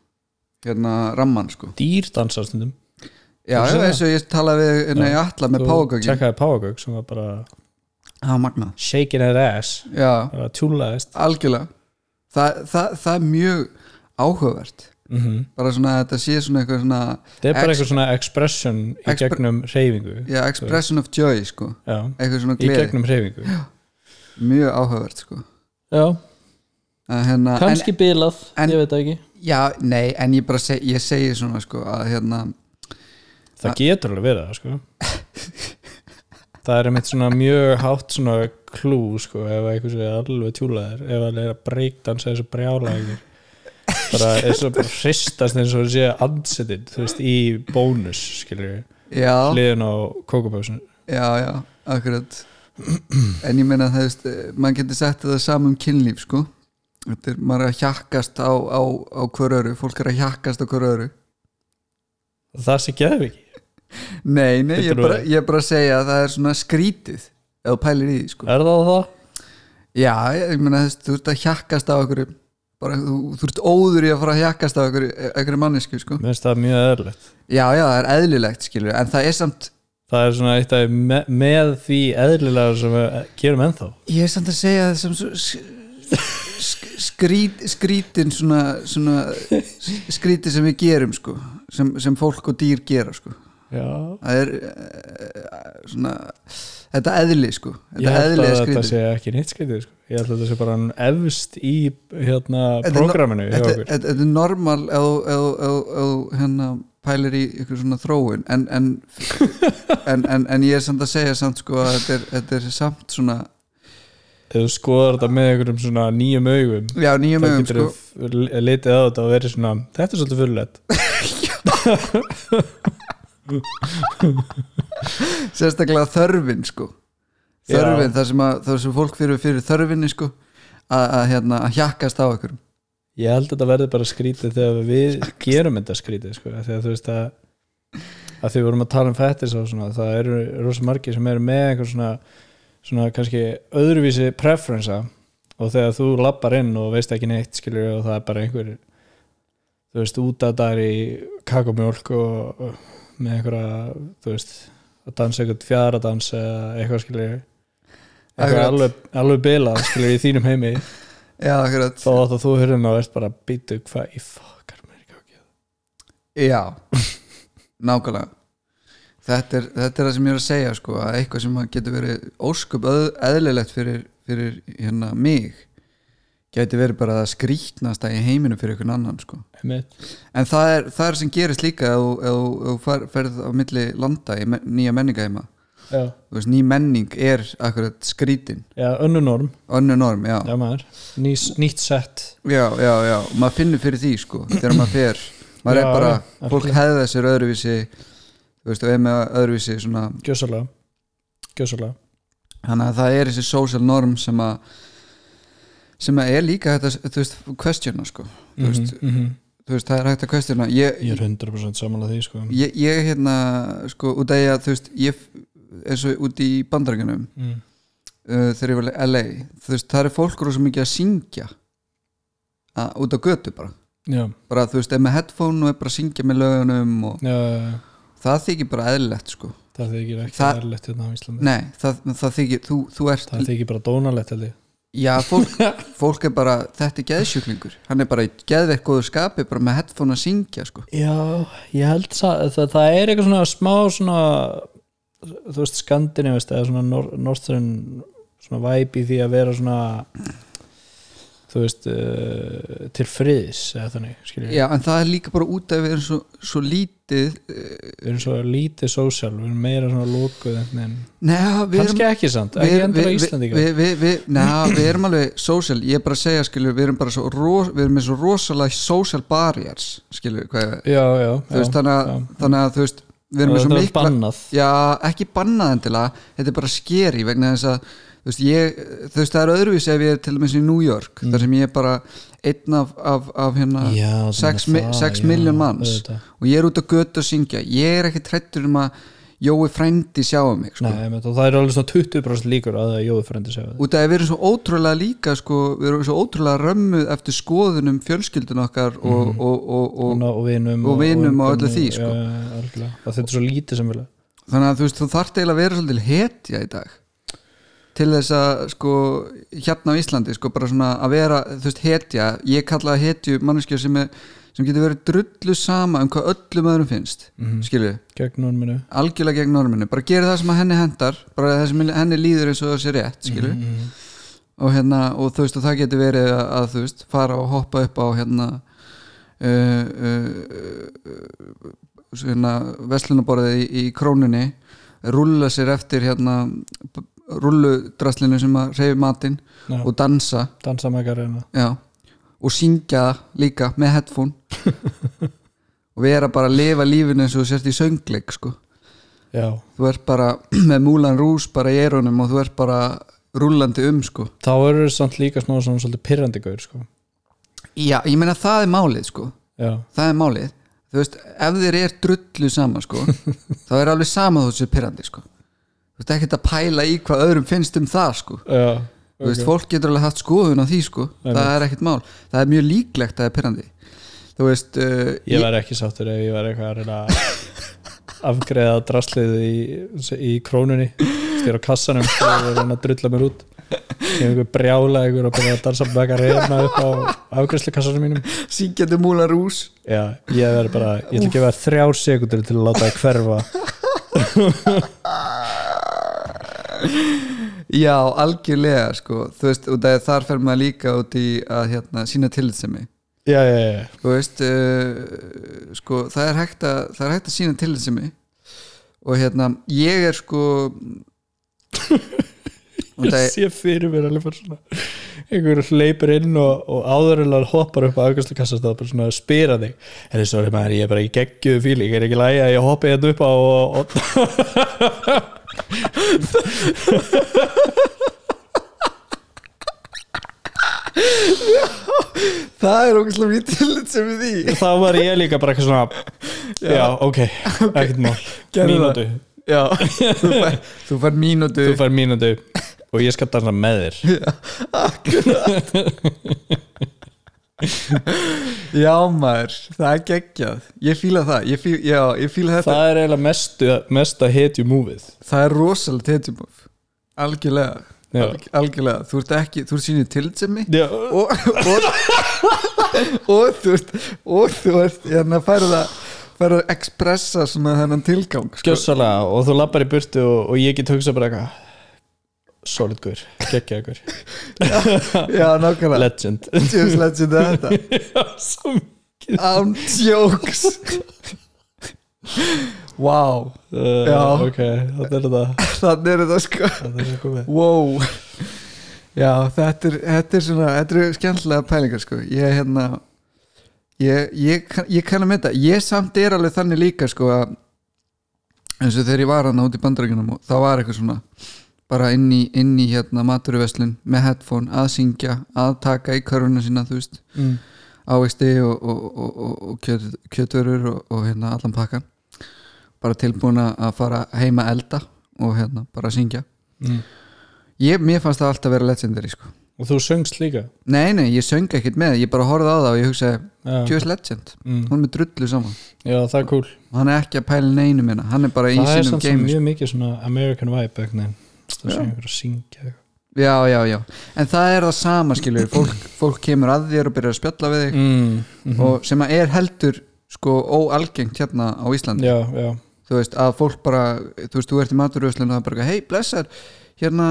Speaker 2: hérna ramman sko
Speaker 3: dýr dansa stundum
Speaker 2: já
Speaker 3: Þú segir
Speaker 2: eins og ég talaði við hérna í alla með págögin
Speaker 3: tjekkaði Páagögg sem var bara
Speaker 2: það var magnað
Speaker 3: shaking her ass
Speaker 2: já
Speaker 3: bara tjúlaðist
Speaker 2: algjörlega það, það, það er mjög áhugavert
Speaker 3: mm
Speaker 2: bara svona að þetta sé svona eitthvað svona
Speaker 3: þetta er bara
Speaker 2: Ex-
Speaker 3: eitthvað svona expression í
Speaker 2: Expre-
Speaker 3: gegnum hreyfingu
Speaker 2: já, expression of joy sko
Speaker 3: Já,
Speaker 2: eitthvað svona
Speaker 3: í
Speaker 2: gleði
Speaker 3: gegnum hreyfingu
Speaker 2: mjög áhugavert sko
Speaker 3: Já,
Speaker 2: Að hérna, en-
Speaker 3: kannski bilað,
Speaker 2: en-
Speaker 3: ég veit það ekki
Speaker 2: Já, nei, en ég bara seg, ég segi svona sko að hérna
Speaker 3: Það getur alveg verið það sko Það er einmitt svona mjög hátt svona klú sko ef eitthvað er alveg tjúlaðir ef það er að breakdansa þessu brjála ykkur bara eins og bara hristast eins og það sé ansettinn þú veist í bónus skilur við
Speaker 2: Já,
Speaker 3: hliðin á kókupásun
Speaker 2: já, já, akkurat En ég meina það, veist, eh, maður getur sett þetta saman um kynlíf sko Þetta er, maður er að hjakkast á, á, á hver öru, fólk er að hjakkast á hver öru
Speaker 3: Það sé geðum ekki
Speaker 2: Nei, nei, ég er
Speaker 3: Þetta er
Speaker 2: bara,
Speaker 3: alveg.
Speaker 2: ég er bara að segja að það er svona skrítið ef þú pælir í því sko
Speaker 3: Er það það?
Speaker 2: Já, ég meina þú veist, þú ert að hjakkast á okkur bara, þú, þú ert óður í að fara að hjakkast á okkur, okkur mannesku sko
Speaker 3: Mér finnst það mjög eðlilegt
Speaker 2: Já, já, það er eðlilegt skilur, en það er samt
Speaker 3: Það er svona eitt af því me með því eðlilega sem við gerum ennþá
Speaker 2: Ég er samt að segja það sem svo sk- skrít, skrítin svona, svona skríti sem við gerum sko sem, sem fólk og dýr gera sko
Speaker 3: Já
Speaker 2: það er uh, svona þetta eðli sko
Speaker 3: Ég
Speaker 2: þetta
Speaker 3: held
Speaker 2: eðli er
Speaker 3: að þetta
Speaker 2: skrítið
Speaker 3: sé ekki neitt skrítið sko. ég held að þetta sé bara hann efst í hérna,
Speaker 2: Þetta er no-
Speaker 3: prógraminu hjá
Speaker 2: þetta
Speaker 3: okkur
Speaker 2: þetta- þetta er normal ef þú- ef þú- ef þú- ef þú hérna pælir í ykkur svona þróun en, en, en, en, en ég er samt að segja samt sko að þetta er, þetta er samt svona
Speaker 3: ef þú skoðar þetta með einhverjum svona nýjum augum
Speaker 2: já nýjum
Speaker 3: þá
Speaker 2: öfum
Speaker 3: getur
Speaker 2: sko
Speaker 3: þú f- litið á þetta og verið svona þetta er svolítið fyrirlegt
Speaker 2: sérstaklega þörfin sko
Speaker 3: Já.
Speaker 2: þörfin, þar sem, að, þar sem fólk fyrir fyrir þörfinni sko að, að, hérna, að hjakkast á okkur
Speaker 3: ég held að þetta verði bara skrítið þegar við gerum þetta skrítið sko. af því að þú veist að að því við vorum að tala um fættis og svona það eru rosa margir sem eru með einhver svona, svona kannski öðruvísi preferensa og þegar þú lappar inn og veist ekki neitt skilur og það er bara einhver þú veist út að það er í kakomjólk og og með einhverja þú veist að dansa eitthvað fjaradans eða eitthvað skilur eitthvað
Speaker 2: Akkurat.
Speaker 3: alveg, alveg bilað skilur í þínum heimi
Speaker 2: já, akkurat
Speaker 3: þá átt að þú hörðin og ert bara að býta hvað í fokkar mér ekki ákveð
Speaker 2: já, nákvæmlega þetta er, þetta er það sem ég er að segja sko, að eitthvað sem að getur verið óskup öð, eðlilegt fyrir, fyrir hérna, mig getur verið bara það skrítnasta í heiminu fyrir einhvern annan sko.
Speaker 3: Einmitt.
Speaker 2: en það er, það er sem gerist líka ef þú- ef þú- ef þú fer- ferð á milli landa í me- nýja menninga heima
Speaker 3: já,
Speaker 2: ný menning er akkurat skrítin
Speaker 3: já önnu norm,
Speaker 2: önnu norm, já
Speaker 3: já maður Nýs, nýtt sett
Speaker 2: já, já, já, og maður finnur fyrir því sko þegar maður fer, maður
Speaker 3: Já,
Speaker 2: er bara
Speaker 3: já,
Speaker 2: fólk hefða sér öðruvísi þú veist, og er með öðruvísi svona
Speaker 3: gjössalega gjössalega,
Speaker 2: þannig að það er þessi social norm sem að sem að er líka þetta, þú veist, questiona sko þú veist,
Speaker 3: Mhm,
Speaker 2: þú veist, það er hægt að questiona ég,
Speaker 3: ég er 100% samanlega því sko.
Speaker 2: ég, ég hérna, sko, út af ég að þú veist, ég, eins og út í bandarækjunum
Speaker 3: mm.
Speaker 2: uh, þegar ég var í LA þú veist, það er fólk rosa mikið að syngja að, út á götu bara
Speaker 3: já,
Speaker 2: bara þú veist, er með headphone og er bara að syngja með lögunum og
Speaker 3: já, já, já.
Speaker 2: það þykir bara eðlilegt sko
Speaker 3: það þykir ekki
Speaker 2: Það-
Speaker 3: það... erlegt hérna á Íslandi
Speaker 2: nei, það, það þykir, þú, þú ert
Speaker 3: það þykir bara dónalegt held ég
Speaker 2: já, fólk, fólk er bara, þetta er geðsjúklingur hann er bara í geðveikt góðu skapi bara með headphone að syngja sko
Speaker 3: Já, ég held það, það, það er eitthvað svona smá svona þú veist skandinavist eða svona nor northern svona væp í því að vera svona þú veist uh, til friðis eða þannig skiljum
Speaker 2: já, en það er líka bara út af við erum svo, svo lítið eh,
Speaker 3: við erum svo lítið sósjál, við erum meira svona lókuð en
Speaker 2: neða, við erum
Speaker 3: kannski ekki samt, ekki endur á Íslandi
Speaker 2: við, við, við, neða, við erum alveg social, ég er bara að segja skilur, við erum bara svo, ros, við erum með svo rosalega social barriers, skilur hvað, já,
Speaker 3: Já, já, já,
Speaker 2: veist, þannig, að,
Speaker 3: já.
Speaker 2: þannig að þú veist, við erum með
Speaker 3: Og
Speaker 2: svo
Speaker 3: þetta er
Speaker 2: mikla
Speaker 3: bannað.
Speaker 2: já, ekki bannað endilega, þetta er bara skeri vegna þess að þú veist, ég, þú veist, það er öðruvísi ef ég er til dæmis í New York þar sem ég er bara einn af, af, af hérna
Speaker 3: Mm. Já, þannig
Speaker 2: 6,
Speaker 3: að
Speaker 2: mi
Speaker 3: það,
Speaker 2: 6
Speaker 3: já,
Speaker 2: miljón manns
Speaker 3: auðvitað.
Speaker 2: og ég er út á götu að syngja ég er ekki trættur um að Jói frændi sjáum mig sko.
Speaker 3: Nei, einmitt, og það er alveg svona 20% líkur að það jóðu frendi segja
Speaker 2: út af að við erum svo ótrúlega líka sko, við erum svo ótrúlega römmuð eftir skoðunum fjölskyldun okkar og, og, og, og,
Speaker 3: Mhm. og, og vinum
Speaker 2: og vinum og öllu því, sko.
Speaker 3: já, já, algjörlega. og þetta er svo lítið sem vilja
Speaker 2: þannig að þú veist þú þarft eiginlega að vera svolítið hetja í dag til þess að sko hérna á Íslandi sko bara svona að vera þú veist hetja, ég kalla það hetju manneskja sem, er, sem getur verið drullu sama um hvað öllum öðrum finnst mm -hmm.
Speaker 3: gegn norminu
Speaker 2: algjörlega gegn norminu, bara gera það sem að henni hendar bara það sem henni líður eins og það sé rétt skilur og hérna og þú veist og það getur verið að, að þú veist fara og hoppa upp á hérna uh, uh, uh, svona veslunaborðið í, í krónunni rúlla sér eftir hérna rulludraslinu sem að reyfi matinn
Speaker 3: Já.
Speaker 2: og dansa
Speaker 3: dansa mækar reyna
Speaker 2: já, og syngja það líka með headphone og vera bara að lifa lífinu eins og þú sért í söngleik sko
Speaker 3: já,
Speaker 2: þú ert bara með múlan rús bara í erunum og þú ert bara rullandi um sko
Speaker 3: þá eru þau samt líka svona svona svolítið pirrandi gaur sko.
Speaker 2: já, ég meina það er málið sko
Speaker 3: já,
Speaker 2: það er málið, þú veist, ef þér er drullu sama sko, þá er alveg sama þú sér pirrandi sko þú veist ekkert að pæla í hvað öðrum finnst um það sko
Speaker 3: já,
Speaker 2: þú veist, fólk getur alveg haft skoðun á því sko það er ekkert mál, það er mjög líklegt að það er pirrandi þú veist uh,
Speaker 3: ég væri ekki sáttur ef ég væri eitthvað að reyna að afgreða draslið í, í krónunni styrir á kassanum sko, og reyna að drulla mér út kemur einhver brjála einhver og byrja að dansa mækar reyna upp á afgreðslu kassanum mínum
Speaker 2: syngjandi múlan rús
Speaker 3: Já, ég verði bara, ég ætla ekki að vera þrjár sekundur til að láta það hverfa
Speaker 2: já, algjörlega sko þú veist, og það, þar fer maður líka út í að hérna, sína tillitsemi
Speaker 3: Já, já, já,
Speaker 2: þú veist uh, sko, það er hægt að það er hægt að sína til þessum og hérna, ég er sko og það
Speaker 3: ég
Speaker 2: er
Speaker 3: sé fyrir mér alveg bara svona einhver hleypur inn og, og áðurilega hoppar upp á aukvæmstu kassast og bara svona spyr að þig Herri, sorry maður, ég er bara ekki geggjuðu fíli ég er ekki lægi að ég hoppi hérna upp á og, og...
Speaker 2: það er okkur slúmið til þessum í því
Speaker 3: þá var ég líka bara eitthvað svona Já, ok, ekkert mál
Speaker 2: Gerðu það.
Speaker 3: Mínútu,
Speaker 2: já, þú fær, þú fær mínútu
Speaker 3: þú fær mínútu og ég skal dansa með þér
Speaker 2: já maður, það er geggjað ég fíla það, ég fíla, já, ég fíla þetta
Speaker 3: Það er eiginlega mestu, mesta hetju múfið
Speaker 2: það er rosalega tetjumöf algjörlega,
Speaker 3: Já.
Speaker 2: alg, algjörlega þú ert ekki, þú ert sínið til þessum
Speaker 3: Já,
Speaker 2: og, og, og þú ert og þú ert hérna færið að færið að expressa svona þennan tilgang sko.
Speaker 3: Gjössalega og þú lappar í burtu og, og ég get hugsað bara eitthvað solid guður, geggja guður
Speaker 2: já, nákvæmlega
Speaker 3: legend
Speaker 2: Djöfis legend er þetta
Speaker 3: Svo mikið.
Speaker 2: án tjóks wow
Speaker 3: Uh,
Speaker 2: Já.
Speaker 3: ok, þetta er þetta
Speaker 2: þannig er þetta sko
Speaker 3: þetta er eitthvað með
Speaker 2: wow já, þetta er, þetta er svona þetta eru skemmtilega pælingar sko ég hérna ég, ég, kann- ég kann að mynda, ég samt er alveg þannig líka sko að eins og þegar ég var hann út í bandarækjunum og það var eitthvað svona bara inn í, inn í hérna maturuveslin með headphone, að syngja, að taka í körfuna sína, þú veist
Speaker 3: Mm.
Speaker 2: ávegsti og, og, og, og, og kjöt, kjötörur og, og hérna allan pakkan bara tilbúin að fara heima elda og hérna bara syngja
Speaker 3: Mm.
Speaker 2: ég, mér fannst það alltaf vera legendary sko
Speaker 3: og þú söngst líka
Speaker 2: Nei, nei, ég söng ekkert með, ég bara horfði á það og ég hugsaði,
Speaker 3: Já.
Speaker 2: Tjóðs Legend
Speaker 3: Mm.
Speaker 2: hún er með drullu saman
Speaker 3: já það er cool
Speaker 2: og hann er ekki að pæla neinu minna hann er bara í
Speaker 3: það er
Speaker 2: sínum sko.
Speaker 3: samt sem
Speaker 2: game
Speaker 3: mjög mikið svona American vibe ekki neinn það sé einhver að syngja eitthvað.
Speaker 2: já, já, já, en það er það sama skilur fólk, fólk kemur að þér og byrjar að spjalla við þig
Speaker 3: mm,
Speaker 2: og sem að er heldur sko óalgengt hérna á Íslandi
Speaker 3: já, já,
Speaker 2: þú veist, að fólk bara, þú veist, þú ert í maturöðslun og það er bara, hei, blessar hérna,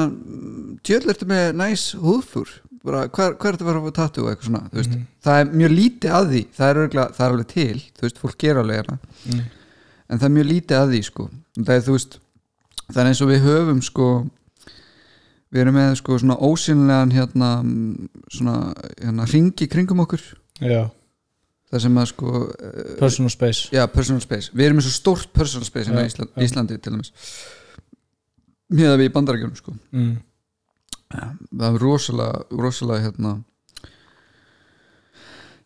Speaker 2: tjöll ertu með næs húðflúr, bara, hvað hva er þetta að fara á tattu og eitthvað svona, þú veist, það er mjög lítið að því, það er örgulega, það er alveg til þú veist, fólk gera alveg hérna
Speaker 3: Mm.
Speaker 2: en það er mjög lítið að því, sko það er, þú veist, það er eins og við höfum sko, við erum með sko svona ósynlegan hérna, svona, hérna, ringi kringum okkur,
Speaker 3: já
Speaker 2: Uh, það sem að sko eh,
Speaker 3: personal space
Speaker 2: Já, personal space, við erum með svo stórt personal space hérna
Speaker 3: Já,
Speaker 2: í Ísland,
Speaker 3: já.
Speaker 2: Íslandi til dæmis með að við í bandarækjunum sko
Speaker 3: mm.
Speaker 2: það er rosalega, rosalega hérna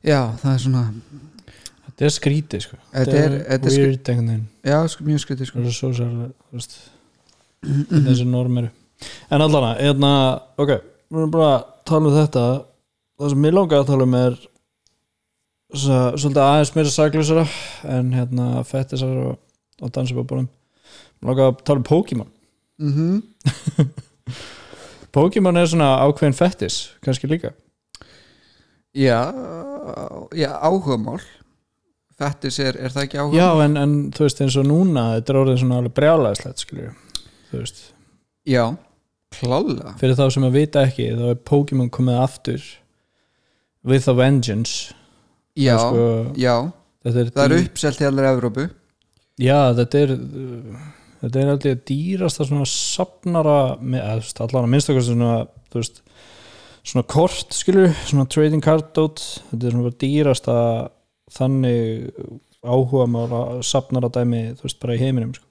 Speaker 2: já, það er svona
Speaker 3: þetta er skrítið sko
Speaker 2: Þetta er- þetta er skrí-
Speaker 3: weird Mm. einhvern veginn
Speaker 2: já, sko, mjög skrítið sko
Speaker 3: það er svo sér þú veist, þessi norm eru en allana, hérna, ok við erum bara að tala um þetta það sem mér langar að tala um er svo, svolítið aðeins meira saklusara en hérna fettisar og, og dansababunum mér langar að tala um Pokémon
Speaker 2: mm
Speaker 3: Pokémon er svona ákveðin fettis kannski líka
Speaker 2: já, já, áhugamál fættis er, er það ekki áhugamál?
Speaker 3: já, en, en þú veist eins og núna þetta er orðið svona alveg brjálæðislegt skiljum þú veist
Speaker 2: já, klálega
Speaker 3: fyrir þá sem að vita ekki þá er Pokémon komið aftur with a vengeance
Speaker 2: já,
Speaker 3: Það er sko- Mm.
Speaker 2: já,
Speaker 3: þetta er,
Speaker 2: það er
Speaker 3: dý-
Speaker 2: uppselt í allir Evrópu
Speaker 3: já, þetta er uh, þetta er alltaf dýrasta svona safnara með- eða, þú veist, allan að minnstakosti svona þú veist, svona kort skilur svona trading card dot þetta er svona bara dýrasta þannig áhuga maður safnara dæmi þú veist bara í heiminum sko.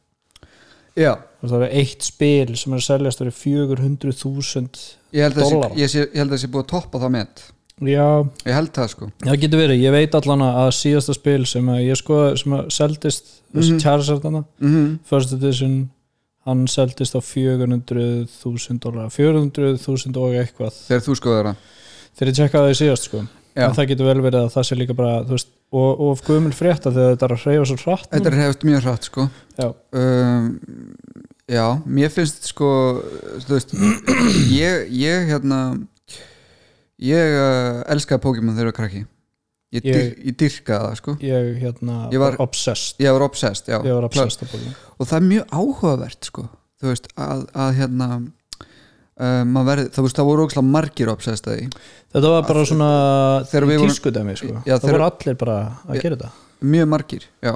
Speaker 2: já,
Speaker 3: Þú veist, það er eitt spil sem er að seljast fyrir 400.000
Speaker 2: ég held að
Speaker 3: Dollara.
Speaker 2: það sé, ég sé- ég held að sé búið að toppa það með
Speaker 3: já
Speaker 2: ég held það sko
Speaker 3: Það getur verið, ég veit allan að síðasta spil sem að ég skoði, sem að seldist þessi mm
Speaker 2: Mhm.
Speaker 3: -hmm. Charizardana,
Speaker 2: mm
Speaker 3: First Edition hann seldist á 400.000 dólar, 400.000 og eitthvað,
Speaker 2: þegar þú skoður það
Speaker 3: þegar ég tjekkaði það í síðast sko,
Speaker 2: Já.
Speaker 3: en það getur vel verið að það sé líka bara, þú veist, og, og gömul frétta þegar þetta er að hreyfa svo hratt
Speaker 2: Þetta er hefðt mjög hratt sko
Speaker 3: Já,
Speaker 2: um, Já, mér finnst sko þú veist ég, ég hérna ég uh, elskaði Pokémon þegar ég var krakki ég,
Speaker 3: Ég-
Speaker 2: ég, dyr, ég dyrkaði það sko
Speaker 3: ég hérna
Speaker 2: Ég var-
Speaker 3: obsessed,
Speaker 2: ég var obsessed, já
Speaker 3: ég var obsessed á bóðum
Speaker 2: og það er mjög áhugavert sko þú veist að, að hérna um, verið, það, veist, það voru ógslag margir obsessed að því
Speaker 3: Þetta var bara svona
Speaker 2: þegar við vorum-
Speaker 3: tískudæmi sko,
Speaker 2: Já,
Speaker 3: það
Speaker 2: þegar-
Speaker 3: voru allir bara að gera þetta
Speaker 2: mjög margir, já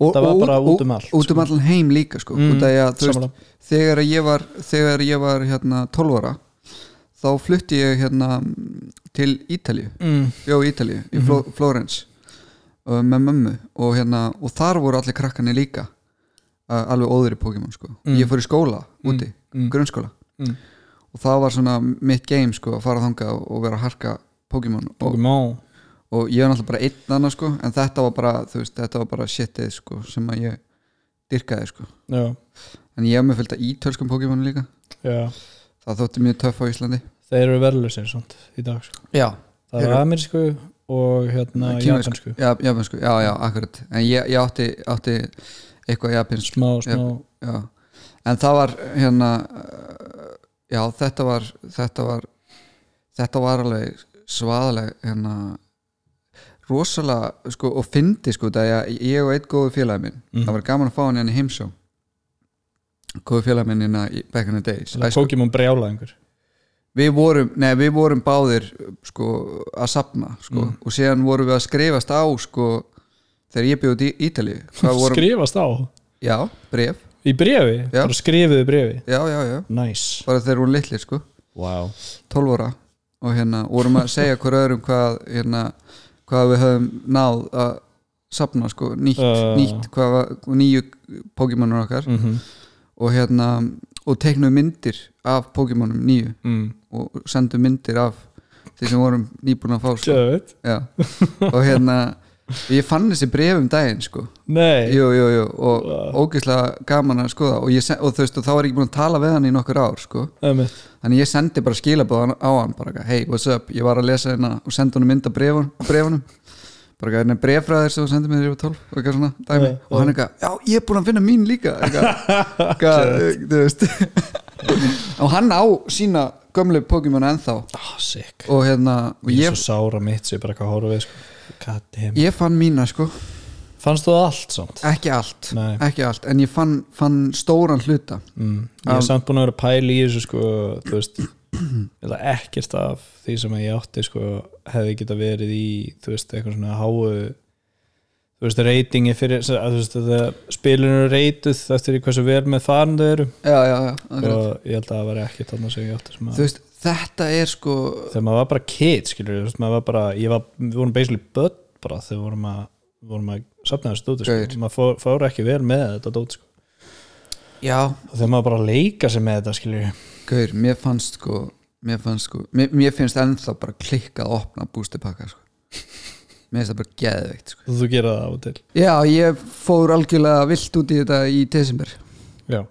Speaker 2: og,
Speaker 3: Það var bara
Speaker 2: og-
Speaker 3: út um allt,
Speaker 2: út um
Speaker 3: sko.
Speaker 2: allan heim líka sko
Speaker 3: Mm,
Speaker 2: út af því að þú veist
Speaker 3: sammála.
Speaker 2: þegar að ég var þegar ég var hérna 12 ára þá flutti ég hérna mm, til Ítalju,
Speaker 3: mm.
Speaker 2: bjó í Ítalju í Fló, Flórens uh, með mömmu og hérna, og þar voru allir krakkarnir líka uh, alveg óður í Pokémon sko,
Speaker 3: Mm.
Speaker 2: ég fór í skóla úti,
Speaker 3: mm.
Speaker 2: grunnskóla
Speaker 3: Mm.
Speaker 2: og það var svona mitt game sko að fara þangað og, og vera að harka Pokémon og,
Speaker 3: Pokémon
Speaker 2: og ég var náttúrulega bara einn annað sko, en þetta var bara, þú veist, þetta var bara shitið sko, sem að ég dyrkaði sko,
Speaker 3: Já,
Speaker 2: en ég hef með fylgta ítölskum Pokémon líka
Speaker 3: já
Speaker 2: það þótti mjög töff á Íslandi
Speaker 3: þeir eru verðlusir svont í dag sko.
Speaker 2: já,
Speaker 3: það eru
Speaker 2: Eru-
Speaker 3: amerísku og hérna japansku
Speaker 2: já, japansku, já, já, akkurat en ég, ég átti, átti eitthvað japansk
Speaker 3: smá, smá,
Speaker 2: já. en það var hérna uh, já, þetta var þetta var, þetta var alveg svaðaleg hérna rosalega sko, og fyndi sko, það að ég og einn góðu félagi minn
Speaker 3: Mhm.
Speaker 2: það var gaman að fá hann hérna í heimsjó góðu félagi minn hérna í- back in the days
Speaker 3: svona
Speaker 2: Æsku-
Speaker 3: Pokémon brjálæðingur
Speaker 2: við vorum, nei, við vorum báðir sko, að safna sko,
Speaker 3: Mm.
Speaker 2: og síðan vorum við að skrifast á sko, þegar ég bjóði í Ítali vorum,
Speaker 3: skrifast á
Speaker 2: já, bref
Speaker 3: í brefi,
Speaker 2: Já.
Speaker 3: bara skrifuðu brefi
Speaker 2: já, já, já,
Speaker 3: nice
Speaker 2: bara þegar hún litli sko,
Speaker 3: wow.
Speaker 2: 12 ára og hérna, vorum að segja hver öðrum hvað, hérna, hvað við höfum náð að safna, sko, nýtt,
Speaker 3: Já.
Speaker 2: nýtt hvað, var- nýju Pokémonur okkar
Speaker 3: mm -hmm.
Speaker 2: og hérna, og teiknum myndir af Pokémonum nýju
Speaker 3: mm.
Speaker 2: og sendum myndir af því sem vorum nýbúin að fá sko.
Speaker 3: Sjöðu,
Speaker 2: já. og hérna ég fann þessi bref um daginn sko
Speaker 3: Nei,
Speaker 2: jú, jú, jú, og ógeðslega gaman að skoða og, ég, se- og þú veist, og þá var ég ekki búin að tala við hann í nokkur ár sko,
Speaker 3: einmitt.
Speaker 2: þannig ég sendi bara skilabóð á hann, bara eitthvað, hey, what's up ég var að lesa hérna og sendi honum mynd af brefun, brefunum bara eitthvað, hérna er bref frá þér sem þú sendið mér þegar ég var 12 og eitthvað svona, dæmi,
Speaker 3: Já,
Speaker 2: og hann eitthvað, já, ég er búin að finna mín líka eitthvað, eitthvað, þú veist og hann á sína gömlu Pokémon ennþá
Speaker 3: Ah, sick
Speaker 2: og hérna, og
Speaker 3: Ég er
Speaker 2: ég,
Speaker 3: svo sára mitt sem ég bara eitthvað horfið sko. God damn
Speaker 2: ég fann mína sko
Speaker 3: Fannst þú það allt samt?
Speaker 2: ekki allt,
Speaker 3: Nei.
Speaker 2: ekki allt en ég fann, fann stóran hluta
Speaker 3: Mm. Ég
Speaker 2: Um,
Speaker 3: er samt búin að vera að pæla í þessu sko, þú veist eða ekkert af því sem ég átti sko, hefði geta verið í þú veist, eitthvað svona háu þú veist, reytingi fyrir sem- að, þú veist, þetta spilinu reytuð eftir því hversu vel með farin þau eru
Speaker 2: já, já, já, akkurat.
Speaker 3: og ég held að það var ekkert annars sem ég átti sem að
Speaker 2: þú veist, þetta er sko
Speaker 3: þegar maður var bara kid skilur við, þú veist, maður var bara, ég var, við vorum basically börn bara þegar við vorum að, vorum að safna þessu dóti,
Speaker 2: Gaur.
Speaker 3: sko. maður fór, fór ekki vel með þetta dóti, sko.
Speaker 2: já,
Speaker 3: og þegar maður bara að leika sig með þetta skilur við,
Speaker 2: gaur, mér fannst sko mér fannst sko, mér, mér finnst ennþá bara klikkað að opna bústipakka sko mér finnst það bara geðveikt sko
Speaker 3: þú, þú gera það á og til
Speaker 2: já, ég fór algjörlega vilt út í þetta í desember,
Speaker 3: já,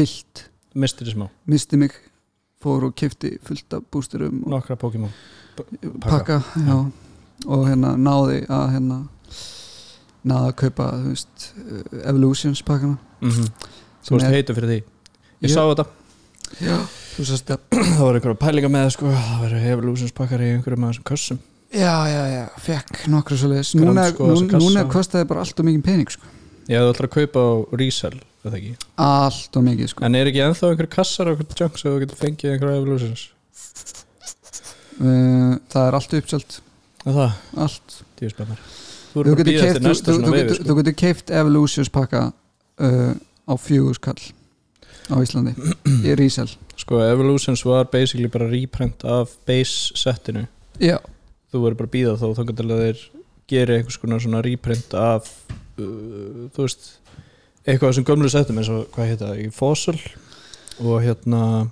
Speaker 2: vilt
Speaker 3: mistir þið smá,
Speaker 2: misti mig, fór og kefti fullt af bústurum og
Speaker 3: nokkra Pokémon
Speaker 2: pakka, já og hérna náði að hérna náði að kaupa, þú veist eh, Evolutions pakkana
Speaker 3: mm -hmm.
Speaker 2: Sem
Speaker 3: þú veist
Speaker 2: er-
Speaker 3: heitu fyrir því ég
Speaker 2: Mhm. Ég-
Speaker 3: sá þetta,
Speaker 2: já, þú sast að
Speaker 3: það var einhverja pælinga með það sko, það var evolutions pakkar í einhverjum af þessum kössum
Speaker 2: Já, já, já, fekk nokkru svo leiðis
Speaker 3: Grand
Speaker 2: Núna,
Speaker 3: sko, þessa
Speaker 2: núna,
Speaker 3: kassa.
Speaker 2: núna kostaði bara allt og mikið pening sko.
Speaker 3: ég hefði alltaf að kaupa á resell er það ekki.
Speaker 2: Allt og mikið sko.
Speaker 3: en er ekki ennþá einhver kassar og einhver junk sem þú getur fengið einhverja evolutions
Speaker 2: uh, Það er allt uppselt
Speaker 3: er það
Speaker 2: allt.
Speaker 3: Tíu spennar Þú
Speaker 2: Þú
Speaker 3: eru bara að
Speaker 2: getur
Speaker 3: býða
Speaker 2: keypt-
Speaker 3: eftir næsta
Speaker 2: þú-
Speaker 3: svona
Speaker 2: þú
Speaker 3: veifi
Speaker 2: getur-
Speaker 3: sko.
Speaker 2: Þú getur keift Evolutions pakka uh, á fjögurskall á Íslandi í Rísal
Speaker 3: sko Evolutions var basically bara reprint af base setinu
Speaker 2: Já,
Speaker 3: Þú voru bara að býða þá þangar til að þeir geri einhvers konar svona reprint af uh, þú veist eitthvað af þessum gömlu setum eins og hvað heita það í Fossil og hérna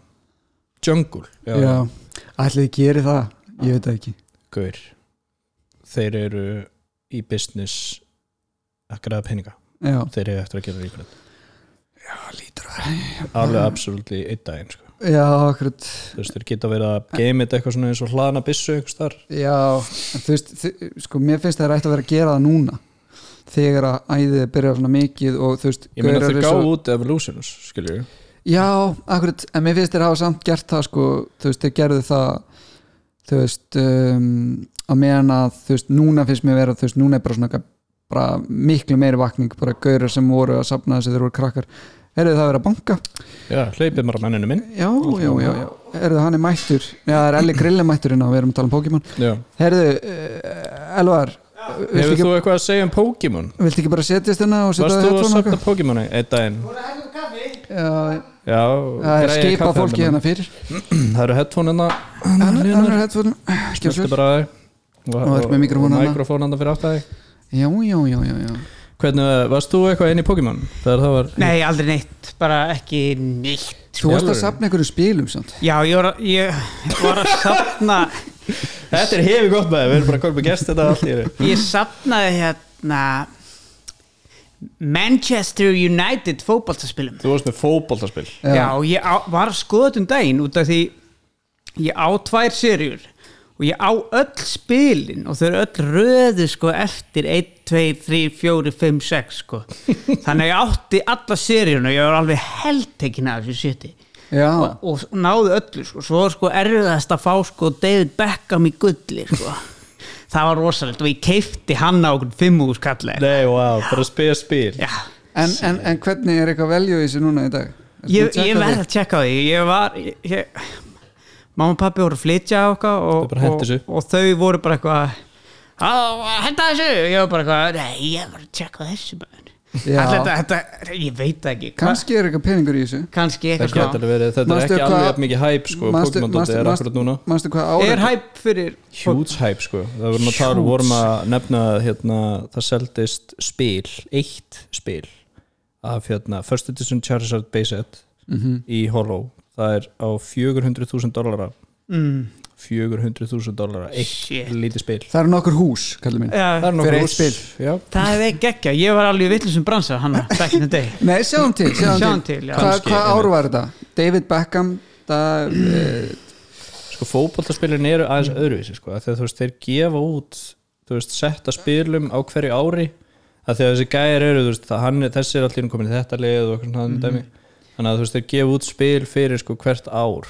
Speaker 3: Jungle
Speaker 2: já, já. Ætli þið gerir það, ég veit það ekki
Speaker 3: Gaur Þeir eru í business að græða peninga
Speaker 2: Já,
Speaker 3: Þeir eru eftir að gera reprint
Speaker 2: það lítur það Ah.
Speaker 3: Alveg absolutt í einn daginn sko.
Speaker 2: Já, akkurat
Speaker 3: Þú veist þeir geta verið að game it eitthvað svona eins og hlaðna byssu einhvers þar
Speaker 2: Já, en þú veist, þi- sko, mér finnst það rætt að vera að gera það núna þegar að æðið byrjar svona mikið og þú veist,
Speaker 3: Ég meina
Speaker 2: gaurar
Speaker 3: þeir
Speaker 2: eru
Speaker 3: gáðu
Speaker 2: svo-
Speaker 3: út Evolutions, skilju
Speaker 2: Já, akkurat, en mér finnst þeir hafa samt gert það, sko, þú veist, þeir gerðu það þú veist um, að meðan að, þú veist, núna finnst mér vera, þú veist, núna er bara svona eitthvað- bara miklu meiri vakning, bara gaurar sem voru að sapna þessi þeir voru krakkar Herðu það að vera að banka?
Speaker 3: Já, hleypið bara menninu minn
Speaker 2: Já, já, já, já. Herðu hann er mættur? Já, það er Elli Grilli mætturinn og við erum að tala um Pokémon.
Speaker 3: Já.
Speaker 2: Herðu, uh, Elvar, viltu
Speaker 3: Hefur
Speaker 2: ekki-
Speaker 3: þú eitthvað að segja um Pokémon?
Speaker 2: Viltu ekki bara setjast hérna og setja
Speaker 3: Varst þú að
Speaker 2: headphone
Speaker 3: safna Pokémoni einn daginn?
Speaker 2: Já,
Speaker 3: Já,
Speaker 2: Það er
Speaker 3: græja
Speaker 2: skipa
Speaker 3: kaffi
Speaker 2: fólki hérna
Speaker 3: handa mér.
Speaker 2: fyrir
Speaker 3: Það eru headphone hérna
Speaker 2: Annar annar headphone Gjörðu svo
Speaker 3: Smöldu
Speaker 2: vel.
Speaker 3: bara að þig
Speaker 2: Og ert með mikrofón handa.
Speaker 3: Mikrofón hérna. handa fyrir aftur að þig
Speaker 2: Já, já, já, já, já
Speaker 3: Hvernig, eh, varst þú eitthvað inn í Pokémon? Þegar það var
Speaker 4: Nei, aldrei neitt, bara ekki neitt
Speaker 2: Þú varst að
Speaker 3: Alvöru.
Speaker 2: safna einhverjum spilum samt
Speaker 4: Já, ég var, að- ég var að safna
Speaker 3: Þetta er hefur gott með, við erum bara að koma gæst þetta allt í eru
Speaker 4: Ég safnaði hérna Manchester United fótballtaspilum
Speaker 3: Þú varst með fótboltaspil
Speaker 4: Já, ég á, var að skoða þetta um daginn út af því ég á tvær serjur og ég á öll spilin og þau eru öll röðu sko eftir 1, 2, 3, 4, 5, 6 sko. þannig að ég átti alla serjun og ég var alveg heldtekin af þessu sétti
Speaker 2: Já,
Speaker 4: og, og náðu öllu sko. svo var, sko erfiðast að fá sko David Beckham í gulli sko. það var rosalegt og ég keifti hann á okkur fimmús kallega
Speaker 3: Nei, wow, bara að spila spil
Speaker 4: Já,
Speaker 2: en, en, en hvernig er eitthvað velju í þessu núna í dag? Ertu
Speaker 4: ég,
Speaker 2: búin að checka
Speaker 4: ég verði
Speaker 2: þig?
Speaker 4: að tjekka á því ég var ég, ég, mamma og pappi voru að flytja á okkar
Speaker 3: Þau
Speaker 4: og,
Speaker 3: bara hentu
Speaker 4: og,
Speaker 3: þessu.
Speaker 4: og þau voru bara eitthvað "Á, henda þessu ég var bara eitthvað, nei ég var að tjekka á þessu
Speaker 2: Já.
Speaker 4: alltaf þetta, þetta, ég veit það ekki Hva-
Speaker 2: Kannski er eitthvað peningur í þessu
Speaker 4: kannski
Speaker 3: Það
Speaker 4: eitthvað
Speaker 3: getur
Speaker 4: svona
Speaker 3: alveg verið, þetta er
Speaker 2: Manstu
Speaker 3: ekki
Speaker 2: hvað-
Speaker 3: alveg jafn mikið hæp sko
Speaker 2: Manstu-
Speaker 3: Pokémon.dot
Speaker 2: manstu-
Speaker 3: er
Speaker 2: manstu-
Speaker 3: akkurat núna
Speaker 2: Manstu hvað ára
Speaker 4: er hæp fyrir
Speaker 3: Huge hype sko Það vorum að tala,
Speaker 4: Huge.
Speaker 3: vorum að nefna að, hérna, það seldist spil, eitt spil af hérna First Edition Charizard
Speaker 2: Mhm.
Speaker 3: Base Set í Hollow það er á 400.000 dollara mm. 400.000 dólar
Speaker 4: Shit.
Speaker 3: eitt lítið spil
Speaker 2: Það eru nokkur hús, kallið minn
Speaker 3: það
Speaker 4: Já,
Speaker 3: er nokkuð
Speaker 2: Fyrir eitt
Speaker 3: hús.
Speaker 2: spil.
Speaker 3: já,
Speaker 4: það er geggja, ég var alveg vitlu sem bransa hann back in the day
Speaker 2: Nei, sjáum til, sjáum,
Speaker 4: Sjáum
Speaker 2: til,
Speaker 4: til, já.
Speaker 2: Hvað,
Speaker 3: Kannski,
Speaker 2: hvað
Speaker 3: einmitt.
Speaker 2: ár var þetta? David Beckham það, eh,
Speaker 3: sko fótboltaspilin eru
Speaker 2: Mm.
Speaker 3: aðeins öðruvísi sko, af því að þú veist, þeir gefa út þú veist, setta spilum á hverju ári að því að þessi gæjar eru, þú veist það, hann, er- þessi er allir komin í þetta lið og eitthvað svona mm dæmi þannig að þú veist, þeir gefa út spil fyrir sko hvert ár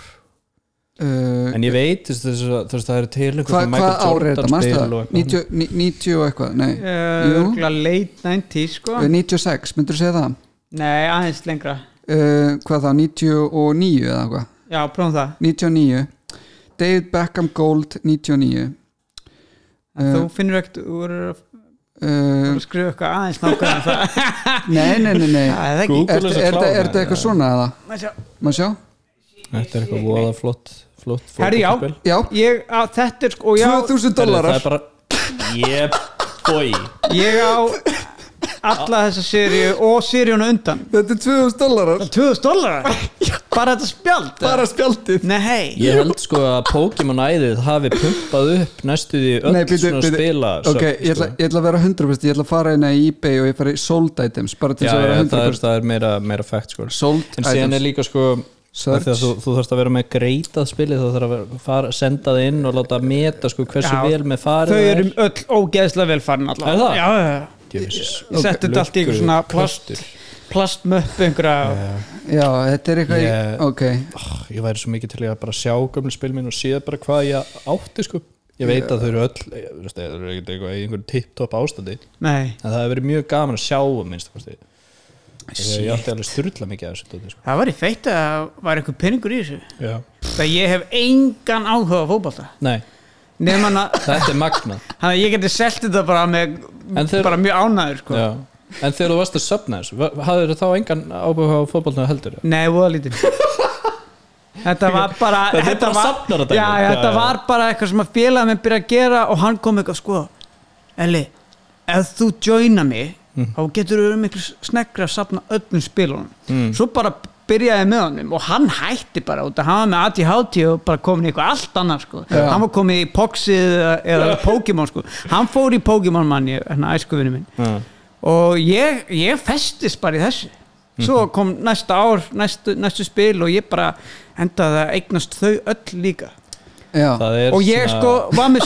Speaker 2: eh,
Speaker 3: en ég veit, þú veist, þess að- þú veist það eru til einhver
Speaker 2: Hvað
Speaker 3: svona
Speaker 2: hva
Speaker 3: Michael
Speaker 2: ár er
Speaker 3: Jordan
Speaker 2: þetta? Manstu
Speaker 3: spil
Speaker 2: það?
Speaker 3: og eitthvað.
Speaker 2: 90, ní- 90 og eitthvað? Nei, jú,
Speaker 4: Örgla Eh, late 90s sko
Speaker 2: eh, 96, myndur þú segja það?
Speaker 4: Nei, aðeins lengra
Speaker 2: Uh, hvað þá, 99 eða eitthvað?
Speaker 4: Já, prófum það
Speaker 2: 99 David Beckham Gold 99 uh,
Speaker 4: Þú finnur ekkert, þú verður að- þú
Speaker 2: uh,
Speaker 4: verður að skrifa eitthvað aðeins nákvæmlega en það
Speaker 2: Nei, nei, nei, nei.
Speaker 4: Það er ekki
Speaker 3: Google
Speaker 2: Er
Speaker 3: þessa
Speaker 2: þetta
Speaker 3: klána,
Speaker 2: er þetta eitthvað
Speaker 3: eða?
Speaker 2: svona eða?
Speaker 4: Má sjá.
Speaker 2: Má sjá?
Speaker 3: þetta er eitthvað voða flott flott
Speaker 4: Herri, já.
Speaker 3: fótboltaspil.
Speaker 2: Já,
Speaker 4: Ég á, þetta er sko, og ég á
Speaker 2: 2000
Speaker 3: Herri, það
Speaker 2: dólarar
Speaker 3: er bara yep, boy
Speaker 4: Ég á alla þessa seríu og seríuna undan
Speaker 2: Þetta er 2000 dólarar
Speaker 4: 2000 dólar Bara þetta spjald
Speaker 2: Bara spjaldið
Speaker 4: Nei, hei
Speaker 3: Ég held sko að Pokémon æðið hafi pumpað upp næstu því öll
Speaker 2: Nei, byrju,
Speaker 3: svona
Speaker 2: byrju.
Speaker 3: spila sko.
Speaker 2: Ok, ég ætla, ég ætla að vera 100% Ég ætla að fara inn í eBay og ég fara í sold items Bara til
Speaker 3: Já,
Speaker 2: þess að
Speaker 3: já,
Speaker 2: vera
Speaker 3: það er,
Speaker 2: 100%
Speaker 3: það er meira, meira fact sko
Speaker 2: Sold
Speaker 3: En síðan er
Speaker 2: items
Speaker 3: líka sko af
Speaker 2: Search.
Speaker 3: því að þú, þú þarfst að vera með greitað spilið þú þarf að vera- fara, senda það inn og láta meta sko hversu
Speaker 4: Já,
Speaker 3: vel með farið
Speaker 4: Þau
Speaker 3: það
Speaker 4: eru öll ógeðslega vel farin
Speaker 3: Er
Speaker 4: allavega
Speaker 3: það?
Speaker 4: Já, já, já
Speaker 3: Djöfis.
Speaker 4: Ég setti þetta allt í einhver svona plast
Speaker 3: Plöstur.
Speaker 4: plastmöppu einhverja
Speaker 2: Já, þetta er eitthvað
Speaker 3: Ég-
Speaker 2: yeah. Ok,
Speaker 3: Ah, Ég væri svo mikið til í að bara sjá gömlu spil minn og séð bara hvað ég átti sko Ég veit að þau eru öll ég, þú veist, þau eru ekkert eitthvað í einhverju tipptopp ástandi
Speaker 4: Nei,
Speaker 3: en það hefur verið mjög gaman að sjá um minnst kosti. Ég, ég átti alveg styrla mikið af þessu dóti, sko.
Speaker 4: það var í feitt að það var einhver peningur í þessu
Speaker 3: Já.
Speaker 4: Það ég hef engan áhuga á fótbolta
Speaker 3: Nei,
Speaker 4: Nefn hann að
Speaker 3: þetta er magna
Speaker 4: hann að ég geti selt þetta bara með
Speaker 3: En þeir-
Speaker 4: bara mjög ánæður sko.
Speaker 3: Já. En þegar þú varst að söfna þessu va- hafðir þá engan ábúið á fótbolna heldur já?
Speaker 4: Nei, voða lítið Þetta var bara
Speaker 3: Þetta er bara
Speaker 4: var,
Speaker 3: safnar þetta.
Speaker 4: já, já,
Speaker 3: Já,
Speaker 4: Þetta
Speaker 3: já.
Speaker 4: var bara eitthvað sem að félag minn byrja að gera og hann kom eitthvað sko Elli, ef þú joina mig
Speaker 3: Mm.
Speaker 4: þá getur þú miklu sneggra að safna öllum spilunum
Speaker 3: Mm.
Speaker 4: Svo bara byrjaði ég með honum og hann hætti bara út að hann var með ADHD og bara komin í eitthvað allt annað sko
Speaker 2: Já.
Speaker 4: hann var komin í Poxið eða, eða Pokémon sko hann fór í Pokémon manni, hann æskuvinu minn
Speaker 3: Já.
Speaker 4: og ég, ég festist bara í þessu svo
Speaker 3: Mhm.
Speaker 4: kom næsta ár, næstu, næstu spil og ég bara endaði að eignast þau öll líka
Speaker 2: já
Speaker 3: Það er
Speaker 4: og ég
Speaker 3: svona-
Speaker 4: sko var með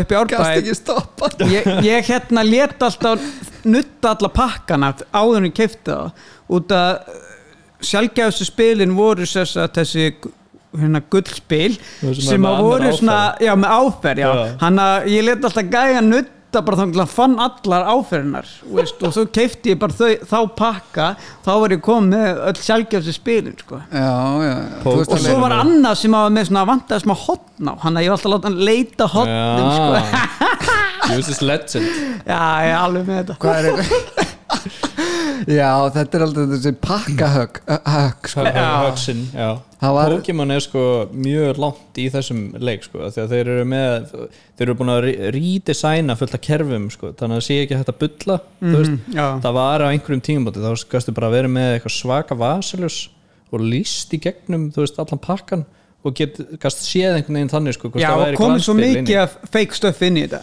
Speaker 4: upp í
Speaker 2: Gast
Speaker 4: árbæði
Speaker 2: ekki stoppa
Speaker 4: ég, ég hérna let alltaf nutta alla pakkana áður en ég kefti það út að sjálfgæðustu spilin voru sess að þessi gu- hérna gullspil
Speaker 3: Þau sem
Speaker 4: sem
Speaker 3: er með
Speaker 4: að voru
Speaker 3: annað
Speaker 4: svona, já með áferð já,
Speaker 3: Já.
Speaker 4: hann að ég let alltaf gæja nutta bara þannig að fann allar áferðinar veist, og svo kefti ég bara þau, þá pakka, þá var ég komið með öll sjálfgæðustu spilin sko
Speaker 2: Já, já Þú veist
Speaker 4: og
Speaker 2: alveg-
Speaker 4: svo var annað sem að var með svona vantaði smá hotn á, hann að ég var alltaf að láta hann leita hotnum sko,
Speaker 3: Já. Ég veist þessi legend
Speaker 4: já ég er alveg með þetta
Speaker 2: Hvað er eitthvað? Já, þetta er aldrei þessi pakkahögg högg, sko.
Speaker 4: Já.
Speaker 3: Huxin, já
Speaker 2: Það var-
Speaker 3: Pokémon er sko mjög langt í þessum leik sko, af því að þeir eru með þeir eru búin að re- redesigna fullt af kerfum sko, þannig að það sé ekki hægt að bulla þú veist,
Speaker 4: Mhm. já.
Speaker 3: það var á einhverjum tímabóti þá skastu bara að vera með eitthvað svaka vasaljus og líst í gegnum þú veist, allan pakkan og get, gast séð einhvern veginn þannig sko, hvort
Speaker 4: Já,
Speaker 3: það væri
Speaker 4: og komið svo
Speaker 3: glansbil inni.
Speaker 4: mikið af fake stuff inn í þetta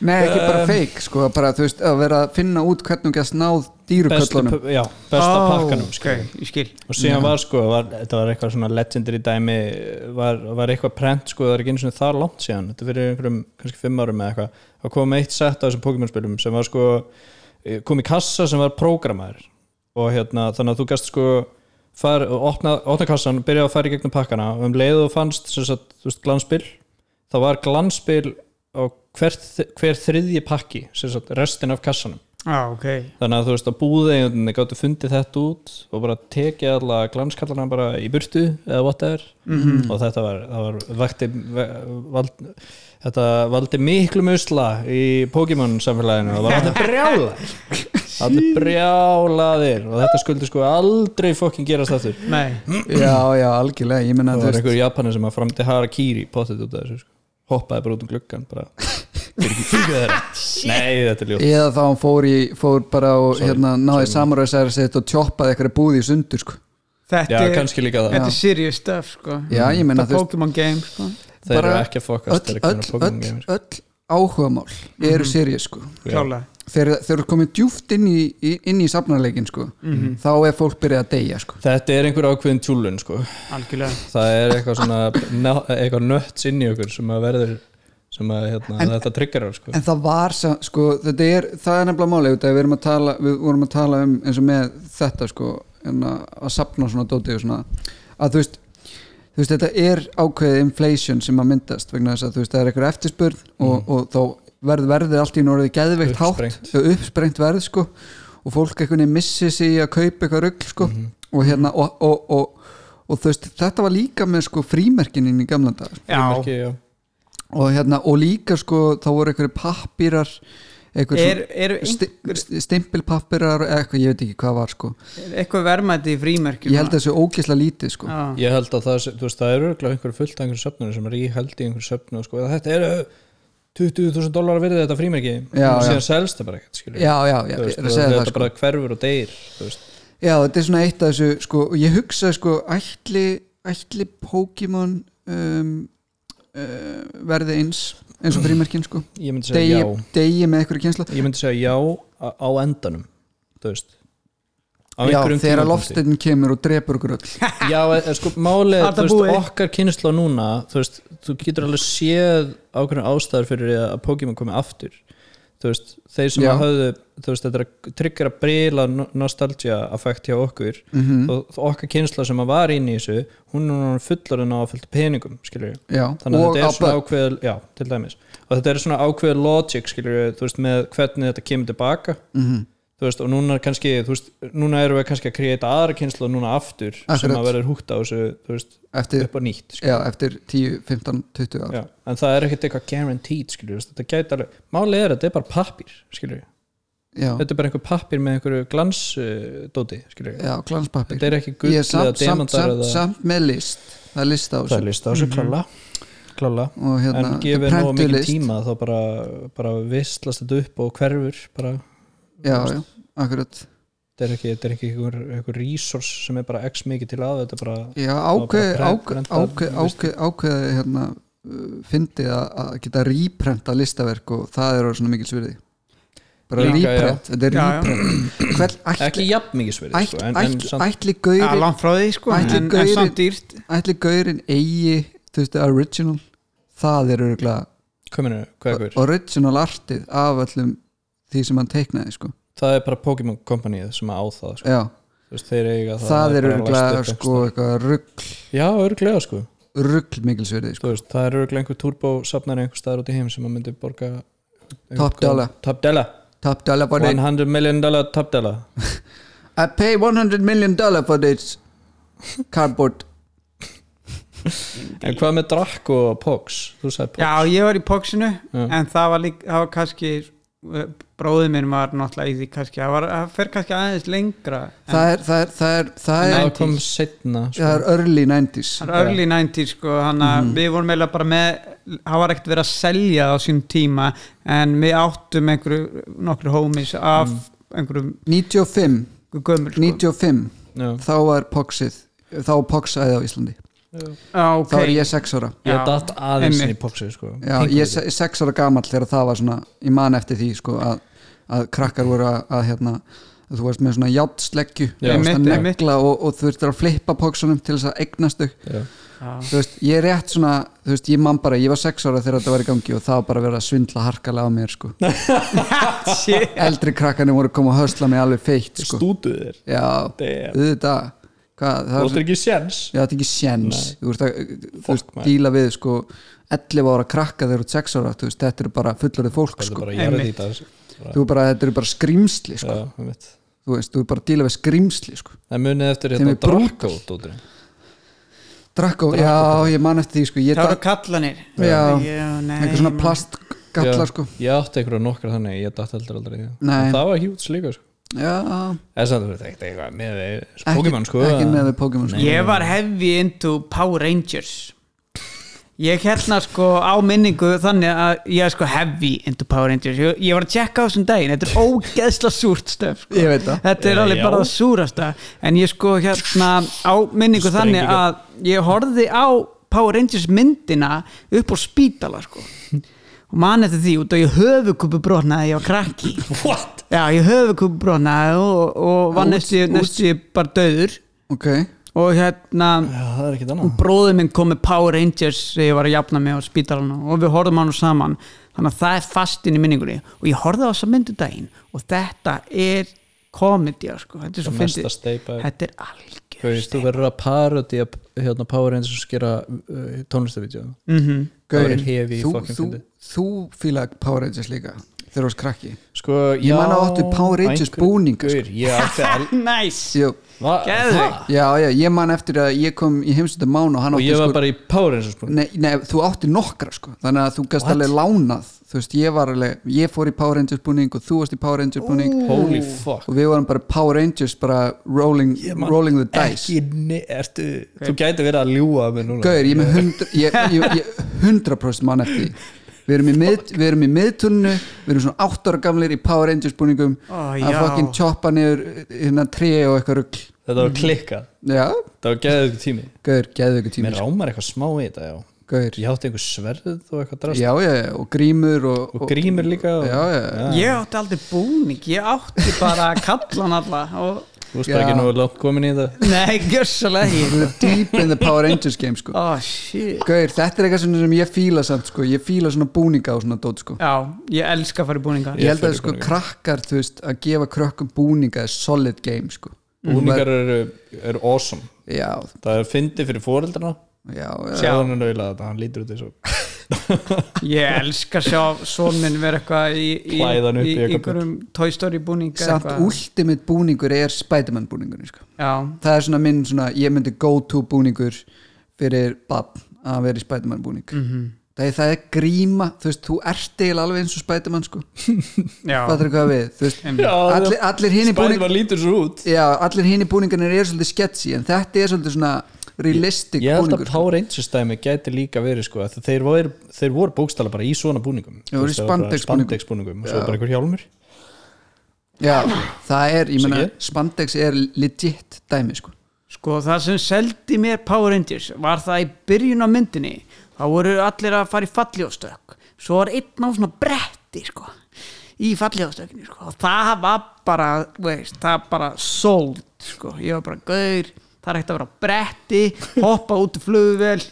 Speaker 2: Nei, ekki
Speaker 3: Um.
Speaker 2: bara fake, sko, bara þú veist, að vera að finna út hvernig gæst náð
Speaker 3: bestu,
Speaker 2: dýruköllunum.
Speaker 3: pu- já, besta pakkanum sko.
Speaker 4: ok, ég skil
Speaker 3: og síðan var sko var, þetta var eitthvað svona legendary dæmi var, var eitthvað prent sko það er ekki einu svona þar langt síðan þetta er fyrir einhverjum kannski fimm árum eða eitthvað það kom eitt sett af þessum Pokémon spilum sem var sko eh, kom í kassa sem var prógramaður og hérna þannig að þú gæst sko far, opna, opna kassan, byrja að fara í gegnum pakkana og um leiðu þú fannst sem sagt, þú veist, glanspil, þá var glanspil á hver, hver þriðji pakki sem sagt, restin af kassanum
Speaker 4: Já, ok
Speaker 3: þannig að þú veist að búðeigundinni gáttu fundið þetta út og bara tekið alla glanskallana bara í burtu eða whatever
Speaker 2: Mhm.
Speaker 3: og þetta var, það var vakti, vald, þetta valdi miklu musla í Pokémon samfélaginu það var allir brjálaðir allir brjálaðir og þetta skuldi sko aldrei fokkin gerast aftur
Speaker 4: Nei,
Speaker 2: Já, já, algjörlega, ég menna,
Speaker 3: það
Speaker 2: þú
Speaker 3: var
Speaker 2: veist,
Speaker 3: einhver japanin sem að framti Harakiri pottet út af þessu sko. hoppaði bara út um gluggan bara fyrir ekki fyrir þeirra nei þetta er ljótt
Speaker 2: eða þá hann fór, í, færi bara og
Speaker 3: Sorry,
Speaker 2: hérna náði samuræsæri sitt og tjoppaði eitthvað búði í sundur, sko.
Speaker 4: þetta
Speaker 3: já
Speaker 4: er
Speaker 3: kannski líka það
Speaker 4: Þetta er serious stuff, sko
Speaker 2: Já, ég meina,
Speaker 4: Þetta
Speaker 2: þú
Speaker 4: er
Speaker 2: veist-
Speaker 4: Pokémon game, sko
Speaker 3: þeir eru
Speaker 2: Bara
Speaker 3: ekki að um fokast
Speaker 2: öll,
Speaker 3: þegar
Speaker 2: öll,
Speaker 3: komið Pokémon Mhm.
Speaker 2: öll,
Speaker 3: gamer
Speaker 2: öll áhugamál eru seriðis sko
Speaker 4: klálega
Speaker 2: þegar þeir eru komið djúft inn í, í, inn í safnarleikin sko þá er fólk byrjað að deyja sko
Speaker 3: Þetta er einhver ákveðin tjúlun sko
Speaker 4: algjörlega
Speaker 3: það er eitthvað svona ná- eitthvað nötts inn í okkur sem að verður sem að hérna, þetta triggerar sko
Speaker 2: en það var sa- sko, þetta er, það er nefnilega máli við erum að tala, við vorum að tala um eins og með þetta sko en að, að sapna svona dóti og svona að þú veist, þú veist þetta er ákveðið inflation sem að myndast vegna þess að þú veist það er eitthvað eftirspurn og, og þá verð verðið allt í norðið geðveikt
Speaker 3: Mm. Uppsprengt.
Speaker 2: hátt og uppsprengt verð sko og fólk einhvern veginn missi sig í að kaupa eitthvað rugg sko
Speaker 3: Mhm.
Speaker 2: og hérna og, og, og, og, þú veist þetta var líka með sko frímerkinin í gamla dag
Speaker 4: já,
Speaker 3: Frímerki, já.
Speaker 2: og, hérna, og líka sko þá voru einhverju pappírar
Speaker 4: er, er
Speaker 2: sti, stimpilpappirar eða eitthvað, ég veit ekki hvað var sko
Speaker 4: eitthvað verðmæti í frímerkjum
Speaker 2: ég held þessu ógisla lítið sko
Speaker 4: Já.
Speaker 3: ég held að það, sé- þú veist, það eru örugglega einhver fullt af einhverjum söfnunum sem er íheld í einhverjum söfnunum sko, eða þetta eru 20.000 dólar virði þetta frímerki
Speaker 2: Já,
Speaker 3: og
Speaker 2: já.
Speaker 3: síðan selst það bara ekkert skilur við.
Speaker 2: já, já, já,
Speaker 3: Þú
Speaker 2: ég
Speaker 3: veist,
Speaker 2: er að
Speaker 3: og
Speaker 2: segja
Speaker 3: þetta
Speaker 2: það sko
Speaker 3: bara hverfur og deyr þú veist.
Speaker 2: já, þetta er svona eitt af þessu sko og ég hugsa sko, ætli ætli Pokémon um, uh, verði eins eins og frímerkin sko
Speaker 3: ég myndi
Speaker 2: degi,
Speaker 3: segja já
Speaker 2: degi með einhverju kynsla
Speaker 3: ég myndi segja já á á endanum þú veist á
Speaker 2: já,
Speaker 3: einhverjum
Speaker 2: þegar
Speaker 3: tímapunkti.
Speaker 2: loftsteitin kemur og drepur okkur öll
Speaker 3: já, en- en sko málið,
Speaker 4: Þetta
Speaker 3: þú veist,
Speaker 4: búið.
Speaker 3: okkar kynnsla núna þú veist, þú getur alveg séð ákveðin ástæður fyrir að Pokémon komi aftur þú veist, þeir sem
Speaker 2: Já.
Speaker 3: að höfðu þú veist, þetta er að tryggra brila nostalgia affekt hjá okkur
Speaker 2: Mhm.
Speaker 3: og okkar kynnsla sem að var inn í þessu hún er núna fullar en á að fylgta peningum skilur við
Speaker 2: já,
Speaker 3: þannig að
Speaker 2: og
Speaker 3: þetta er svona
Speaker 2: að-
Speaker 3: ákveð já, til dæmis, og þetta er svona ákveð logic, skilur við, þú veist, með hvernig þetta kemur tilbaka,
Speaker 2: Mhm.
Speaker 3: þú veist, og núna er kannski, þú veist, núna erum við kannski að kreita aðra kynslu núna aftur sem
Speaker 2: Akkurat.
Speaker 3: að verður húgt á þessu, þú veist,
Speaker 2: eftir,
Speaker 3: upp á nýtt skilur.
Speaker 2: já, eftir 10, 15, 20 ára
Speaker 3: já, en það er ekkert eitthvað guaranteed, skilur við, þú veist, þetta gæti alveg, málið er að þetta er bara pappir, skilur við,
Speaker 2: já,
Speaker 3: þetta er bara einhver pappir með einhverju glansdóti, uh, skilur við
Speaker 2: já glanspappir
Speaker 3: þetta er ekki gull
Speaker 2: ég er
Speaker 3: eða
Speaker 2: samt, samt,
Speaker 3: demandar
Speaker 2: samt,
Speaker 3: eða
Speaker 2: samt með list það er list á
Speaker 3: það er
Speaker 2: þessu
Speaker 3: list á þessu, klála klála
Speaker 2: og hérna,
Speaker 3: en gefið nóg
Speaker 2: prentuð
Speaker 3: mikið
Speaker 2: list.
Speaker 3: tíma þá bara, bara vistlast þetta upp og hverfur bara,
Speaker 2: já, já, akkurat
Speaker 3: þetta er ekki, þetta er ekki einhver, einhver resource sem er bara x mikið til að þetta er bara,
Speaker 2: já, ákveð,
Speaker 3: bara
Speaker 2: ákveð,
Speaker 3: prenta
Speaker 2: ákveð, ákveð, ákveð hérna, uh, fyndið að að geta rýprenta listaverk og það er á svona mikil svirði bara
Speaker 3: Líka,
Speaker 2: rýprent, þetta er
Speaker 4: Já, já.
Speaker 2: rýprent hvern ætli,
Speaker 3: ekki jafn mikið sverið
Speaker 2: ætli,
Speaker 3: sko, en, en
Speaker 2: ætli,
Speaker 3: samt,
Speaker 2: ætli
Speaker 4: Já,
Speaker 2: gaurin
Speaker 4: langt frá því sko
Speaker 2: Ætli
Speaker 4: en, en
Speaker 2: gaurin-
Speaker 4: samt dýrt
Speaker 2: ætli gaurin eigi, þú veist, original það er örgulega
Speaker 3: kominu, hvað er hver
Speaker 2: original artið af öllum því sem hann teiknaði sko.
Speaker 3: það er bara Pokémon Company sem að á það sko.
Speaker 2: já,
Speaker 3: Þú veist, þeir eiga það
Speaker 2: það,
Speaker 3: það
Speaker 2: er
Speaker 3: bara
Speaker 2: örgulega
Speaker 3: læst upp
Speaker 2: sko,
Speaker 3: einhvers
Speaker 2: eitthvað rugg
Speaker 3: staðar. já, örglega sko.
Speaker 2: ruggl mikilsverði sko.
Speaker 3: Þú veist, það er örglega einhver turbo safnar einhver staðar út í heim sem að myndi borga
Speaker 2: Top dollar.
Speaker 3: top dollar
Speaker 2: top dollar for this
Speaker 3: 100 million dollar top dollar
Speaker 2: I pay 100 million dollar for this cardboard
Speaker 3: en hvað með Draco og Pox þú sagði Pox
Speaker 4: Já, ég var í póksinu
Speaker 3: Já.
Speaker 4: en það var, lík, það var kannski bróðið minn var náttúrulega í því kannski, það, var, það fer kannski aðeins lengra en
Speaker 2: það er, það er, það er, það er,
Speaker 3: það
Speaker 4: 90s.
Speaker 3: kom sko. setna
Speaker 2: það er early 90s
Speaker 4: það er early 90s sko, hann að
Speaker 2: Mhm.
Speaker 4: við vorum eiginlega bara með það var ekkert verið að selja á sín tíma en við áttum einhverju nokkru homies af
Speaker 2: Mhm.
Speaker 4: einhverjum
Speaker 2: 95,
Speaker 4: gömul sko.
Speaker 2: 95
Speaker 3: Já.
Speaker 2: þá var poxið þá var poxaði á Íslandi
Speaker 4: Já,
Speaker 2: þá er
Speaker 4: okay.
Speaker 2: ég 6 ára
Speaker 3: Ég
Speaker 4: Já,
Speaker 3: datt aðeins inn í
Speaker 4: einmitt.
Speaker 3: popsið sko
Speaker 2: Já,
Speaker 3: Pingu
Speaker 2: ég
Speaker 3: lítið.
Speaker 2: er 6 ára gamall þegar það var svona ég man eftir því sko að, að krakkar voru að, að hérna að þú varst með svona játnsleggju
Speaker 3: Já,
Speaker 2: og,
Speaker 4: einmitt, einmitt.
Speaker 2: og, og þú ert að flippa poxunum til þess að eignast þau
Speaker 3: Já.
Speaker 4: Já.
Speaker 2: þú veist, ég er rétt svona þú veist, ég man bara, ég var sex ára þegar þetta var í gangi og það var bara að vera að svindla harkalega á mér sko.
Speaker 4: Shit.
Speaker 2: eldri krakkanir voru að koma að hösla mig alveg feitt sko.
Speaker 3: Stútuð þér
Speaker 2: já,
Speaker 3: Damn.
Speaker 2: auðvitað hvað,
Speaker 3: Þú
Speaker 2: það
Speaker 3: áttir
Speaker 2: var
Speaker 3: ekki séns
Speaker 2: Já, þetta er ekki séns
Speaker 3: Nei.
Speaker 2: þú veist að þú veist,
Speaker 3: Fólk, maður.
Speaker 2: díla við sko 11 ára krakka þegar þú ert 6 ára þú veist, þetta eru bara fullorðið fólk
Speaker 3: Það er
Speaker 2: sko.
Speaker 3: bara
Speaker 4: Einmitt.
Speaker 3: jarðið í dag
Speaker 2: þú er bara, þetta eru bara skrýmsli sko.
Speaker 3: Já, ég veit
Speaker 2: þú veist, þú er bara að díla við skrýmsli sko.
Speaker 3: Það munið eftir
Speaker 2: Þeim
Speaker 3: hérna
Speaker 2: er brútal.
Speaker 3: Draco dótturinn
Speaker 2: Drakko, já, ég man eftir því sko. ég
Speaker 4: það voru
Speaker 2: drakk
Speaker 4: kallanir
Speaker 2: Já.
Speaker 4: nei,
Speaker 2: einhver svona
Speaker 4: ég man-
Speaker 2: plastgalla
Speaker 3: Já,
Speaker 2: sko.
Speaker 3: Ég átti einhverja nokkra þannig, ég datt heldur aldrei í það
Speaker 2: Nei.
Speaker 3: En Það var hjúts líka sko
Speaker 2: já,
Speaker 3: Það er samt að þetta er ekkert eitthvað með við
Speaker 2: Ekki-
Speaker 3: Pokémon sko
Speaker 2: ekki
Speaker 3: að-
Speaker 2: með við Pokémon, sko.
Speaker 3: Nei.
Speaker 4: Ég var heavy into Power Rangers Ég hérna sko á minningu þannig að ég er sko heavy into Power Rangers Ég, ég var að tjekka á þessum daginn, þetta er ógeðsla súrt stöf sko.
Speaker 2: Ég veit það.
Speaker 4: Þetta er
Speaker 3: Eh,
Speaker 4: alveg
Speaker 3: já.
Speaker 4: bara það súrasta En ég sko hérna á minningu
Speaker 3: Sprengingar.
Speaker 4: þannig að ég horfði á Power Rangers myndina upp á spítala sko og man eftir því út að ég höfukupu brotnaði ég var krakki
Speaker 3: What?
Speaker 4: já ég höfukupu brotnaði og, og var
Speaker 2: Út-
Speaker 4: næstu,
Speaker 2: út-
Speaker 4: næstu bara döður
Speaker 2: ok,
Speaker 4: og hérna
Speaker 3: Já, það er ekkert
Speaker 4: og
Speaker 3: annað
Speaker 4: bróðið minn kom með Power Rangers þegar ég var að jafna mig á spítalunum og við horfðum á hann saman þannig að það er fastinn í minningunni og ég horfði á þessa myndu daginn og þetta er komedía sko, þetta er svo
Speaker 3: Það er mesta
Speaker 4: fyndið
Speaker 3: steypa.
Speaker 4: þetta er
Speaker 3: Þú
Speaker 4: algjör
Speaker 3: veist, þú verður að parodi að hérna, Power Rangers og skera uh, tónlistavídeó
Speaker 4: mm -hmm.
Speaker 3: Það
Speaker 2: Gaur,
Speaker 3: er hefi í
Speaker 2: þú,
Speaker 3: fucking
Speaker 2: þú,
Speaker 3: fyndið.
Speaker 2: þú fíla Power Rangers líka þegar þú varst krakki
Speaker 3: Sko,
Speaker 2: Ég man að áttu Power Rangers búning, sko.
Speaker 3: Gaur, ég átti all
Speaker 4: nice
Speaker 2: Jú,
Speaker 3: Va-
Speaker 4: Geðveik.
Speaker 3: Ha?
Speaker 2: já, já, ég man eftir að ég kom í heimsönda mán og hann
Speaker 3: Og
Speaker 2: átti
Speaker 3: ég var
Speaker 2: sko
Speaker 3: bara í Power Rangers búning
Speaker 2: Nei, nei, þú átti nokkra sko þannig að þú gast
Speaker 3: What?
Speaker 2: alveg lánað þú veist, ég var alveg, ég fór í Power Rangers búning og þú varst í Power Rangers búning
Speaker 3: Holy fuck
Speaker 2: og við vorum bara Power Rangers bara rolling, rolling the dice
Speaker 3: Ekki, ne, ertu, Þú gæti verið að ljúga að mig núna
Speaker 2: Gaur, ég er með hundra ég, ég, ég, 100% mann eftir því. við erum í, mið, við erum í miðtunnu við erum svona 8 ára gamlir í Power Rangers búningum
Speaker 4: Ó,
Speaker 2: að
Speaker 4: já.
Speaker 2: fucking choppa niður hérna tré og eitthvað rugl
Speaker 3: Þetta var klikkað,
Speaker 2: já,
Speaker 3: þetta var geðið ykkur tími
Speaker 2: gaur, geðu ykkur tími sko.
Speaker 3: Mér rámar eitthvað smá í þetta, já
Speaker 2: gaur, já,
Speaker 3: Ég átti einhver sverð og eitthvað drast
Speaker 2: já, já, og grímur og,
Speaker 3: Og grímur líka og,
Speaker 2: já, já, já.
Speaker 4: ég átti aldrei búning, ég átti bara kallan alla og
Speaker 3: Þú veist bara
Speaker 2: Já.
Speaker 3: ekki nú langt komin í þetta
Speaker 4: nei, gjörsalega
Speaker 2: Við
Speaker 4: ekki
Speaker 2: erum deep in the Power Rangers game sko
Speaker 4: oh shit
Speaker 2: Gaur, þetta er eitthvað svona sem ég fíla samt sko. ég fíla svona búninga á svona dót sko.
Speaker 4: já, ég elska að fara í búninga
Speaker 2: ég held
Speaker 3: fer
Speaker 2: að
Speaker 3: í
Speaker 2: sko
Speaker 3: búninga.
Speaker 2: krakkar þú veist, að gefa krökkum búninga er solid game sko.
Speaker 3: Búningar eru, eru awesome
Speaker 2: já,
Speaker 3: Það er fyndi fyrir fóreldrana
Speaker 2: já, já,
Speaker 3: Sjáðan er auðvitað þetta, hann lítur út eins og
Speaker 4: ég elska að sjá sonminn vera eitthvað í, í,
Speaker 3: Klæðan upp
Speaker 4: í,
Speaker 3: í
Speaker 4: í
Speaker 3: eitthvað.
Speaker 4: einhverjum Toy Story búninga
Speaker 2: samt
Speaker 4: eitthvað.
Speaker 2: ultimate búningur er Spiderman búningur sko.
Speaker 4: já,
Speaker 2: það er svona minn svona, ég myndi go to búningur fyrir bann að vera í Spiderman búning það, er, það er gríma, þú veist, þú ert eiginlega alveg eins og Spiderman sko.
Speaker 4: já,
Speaker 2: hvað er hvað við, þú veist
Speaker 3: Já,
Speaker 2: allir, allir hinn í búning
Speaker 3: Spæðvar lítur svo út
Speaker 2: Já, allir hinn í búningarnir eru svolítið sketchy en þetta er svolítið svona realistic
Speaker 3: Ég held að
Speaker 2: búningur sko.
Speaker 3: Power Rangers dæmi gæti líka verið sko að þeir voru, þeir voru bókstala bara í svona búningum
Speaker 2: Já, voru í
Speaker 3: Þú veist, það var bara
Speaker 2: spandex búningum.
Speaker 3: spandex búningum og svo bara einhver hjálmur
Speaker 2: Já, það er, ég meina,
Speaker 3: Siggi?
Speaker 2: spandex er legit dæmi sko.
Speaker 4: sko það sem seldi mér Power Rangers var það í byrjun á myndinni þá voru allir að fara í falljóðstök svo var einn á svona bretti sko, í falljóðstökinu sko. og það var bara þú veist, það bara sold sko. ég var bara gaur, það er ekkert að vera á bretti hoppa út í flugvel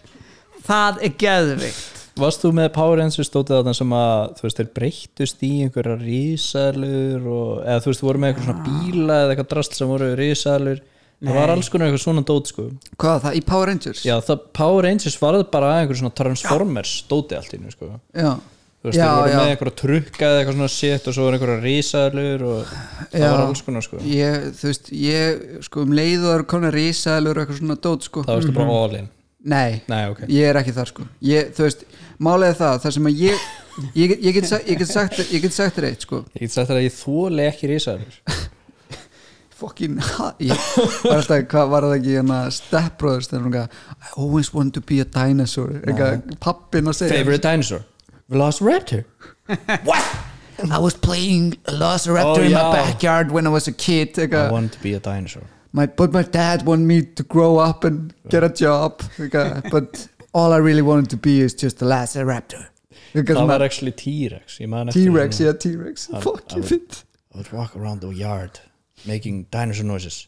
Speaker 4: það er geðvikt
Speaker 3: Varst þú með Power Rangers stótið þarna sem að þú veist þeir breyttust í einhverja risalur og, eða þú veist þú voru með eitthvað svona
Speaker 2: Ah.
Speaker 3: bíla eða eitthvað drast sem voru risalur það var alls konar eitthvað svona dót sko
Speaker 2: Hvað, það í Power Rangers?
Speaker 3: Já það Power Rangers varð bara að einhver svona Transformers dótið allt í nú sko
Speaker 2: já,
Speaker 3: Þú veist
Speaker 2: já,
Speaker 3: þeir voru með
Speaker 2: já.
Speaker 3: eitthvað trukka eða eitthvað svona shit og svo voru einhverja risalur og það
Speaker 2: Já.
Speaker 3: var alls konar sko
Speaker 2: Ég, þú veist, ég, sko, um leið og það eru konar risaðalur og eitthvað svona dót sko.
Speaker 3: Það varstu bara all in
Speaker 2: Nei,
Speaker 3: Nei, ok.
Speaker 2: ég er ekki þar sko. ég, Þú veist, málega það, það sem að ég ég, get- ég, get, sa- ég get sagt ég get sagt reitt sko.
Speaker 3: Ég get sagt þér að ég þóli ekki risaður
Speaker 2: fucking ég var alltaf, hvað var það ekki hérna Step Brothers þegar hún gaf I always want to be a dinosaur eitthvað pappin að segja
Speaker 3: Favorite dinosaur Velociraptor
Speaker 2: I was playing a Velociraptor
Speaker 3: Ó,
Speaker 2: in my
Speaker 3: já.
Speaker 2: backyard when Oh, I was a kid
Speaker 3: I
Speaker 2: eitthvað
Speaker 3: want to be a dinosaur
Speaker 2: my, but my dad wanted me to grow up and get a job eitthvað but all I really wanted to be is just a Velociraptor eitthvað
Speaker 3: Það var
Speaker 2: svona
Speaker 3: actually T-Rex ég man eftir
Speaker 2: T-Rex,
Speaker 3: því.
Speaker 2: já T-Rex fucking
Speaker 3: alveg.
Speaker 2: fint
Speaker 3: I would walk around the yard making dinosaur noises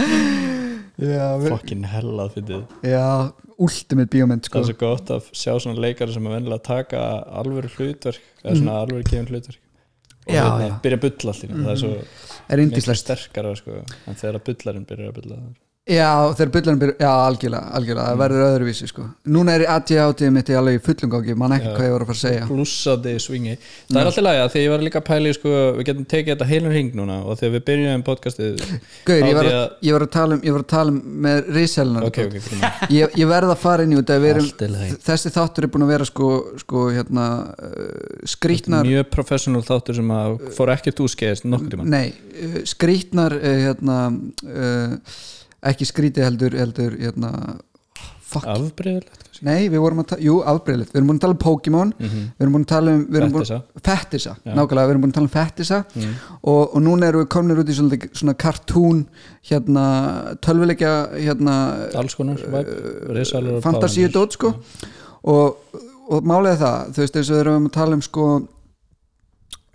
Speaker 2: já, við-
Speaker 3: Fucking hella fyndið
Speaker 2: já, ultimate bíómynd
Speaker 3: Það
Speaker 2: sko
Speaker 3: er svo gott að sjá svona leikara sem er vennilega að taka alvöru hlutverk eða svona alvöru gefin hlutverk og
Speaker 2: Já,
Speaker 3: hérna,
Speaker 2: já.
Speaker 3: byrja að bulla allir það er svo
Speaker 2: er
Speaker 3: mikið
Speaker 2: indislegt
Speaker 3: sterkara sko, en þegar að bullarinn byrjar að bulla
Speaker 2: Já, þegar bullarinn byrja, já, algjörlega, algjörlega,
Speaker 3: Mm.
Speaker 2: það verður öðruvísi, sko. Núna er ADHD-ið mitt í alveg í fullum gangi, mann ekki hvað ég voru að fara að segja.
Speaker 3: plussandi swingi það er alltaf lægja því ég var líka að pæli sko, við getum tekið þetta heilum hring núna og þegar við byrjum podcastið
Speaker 2: Gaur,
Speaker 3: þá
Speaker 2: ég var,
Speaker 3: því
Speaker 2: að,
Speaker 3: að-
Speaker 2: ég var að tala um, ég var að tala um með risalunar.
Speaker 3: ok, ok, fyrir mig
Speaker 2: Ég, ég verð að fara inn í út að við
Speaker 3: Allt í
Speaker 2: erum,
Speaker 3: lagi.
Speaker 2: þessi þáttur er búin að vera, sko, sko, hérna, uh, skrýtnar,
Speaker 3: mjög professional þáttur sem að fór ekkert úskeiðist nokkur tíma
Speaker 2: nei, uh, skrýtnar, uh, hérna, uh, ekki skrýti heldur, heldur, hérna, fuck
Speaker 3: afbreyðilegt kannski.
Speaker 2: Nei, við vorum að tala, jú, afbreyðilegt Við erum búin að tala um Pokémon, við erum búin að tala um við erum búin-
Speaker 3: Fettisa.
Speaker 2: Fettisa, nákvæmlega, við erum búin að tala um Fettisa og, og núna erum við komnir út í svona, svona kartún hérna, tölvileikja hérna,
Speaker 3: alls konar, væp, risalur og
Speaker 2: fantasíu
Speaker 3: plánetur.
Speaker 2: dót sko og, og málega það, þú veist eins og við erum að tala um sko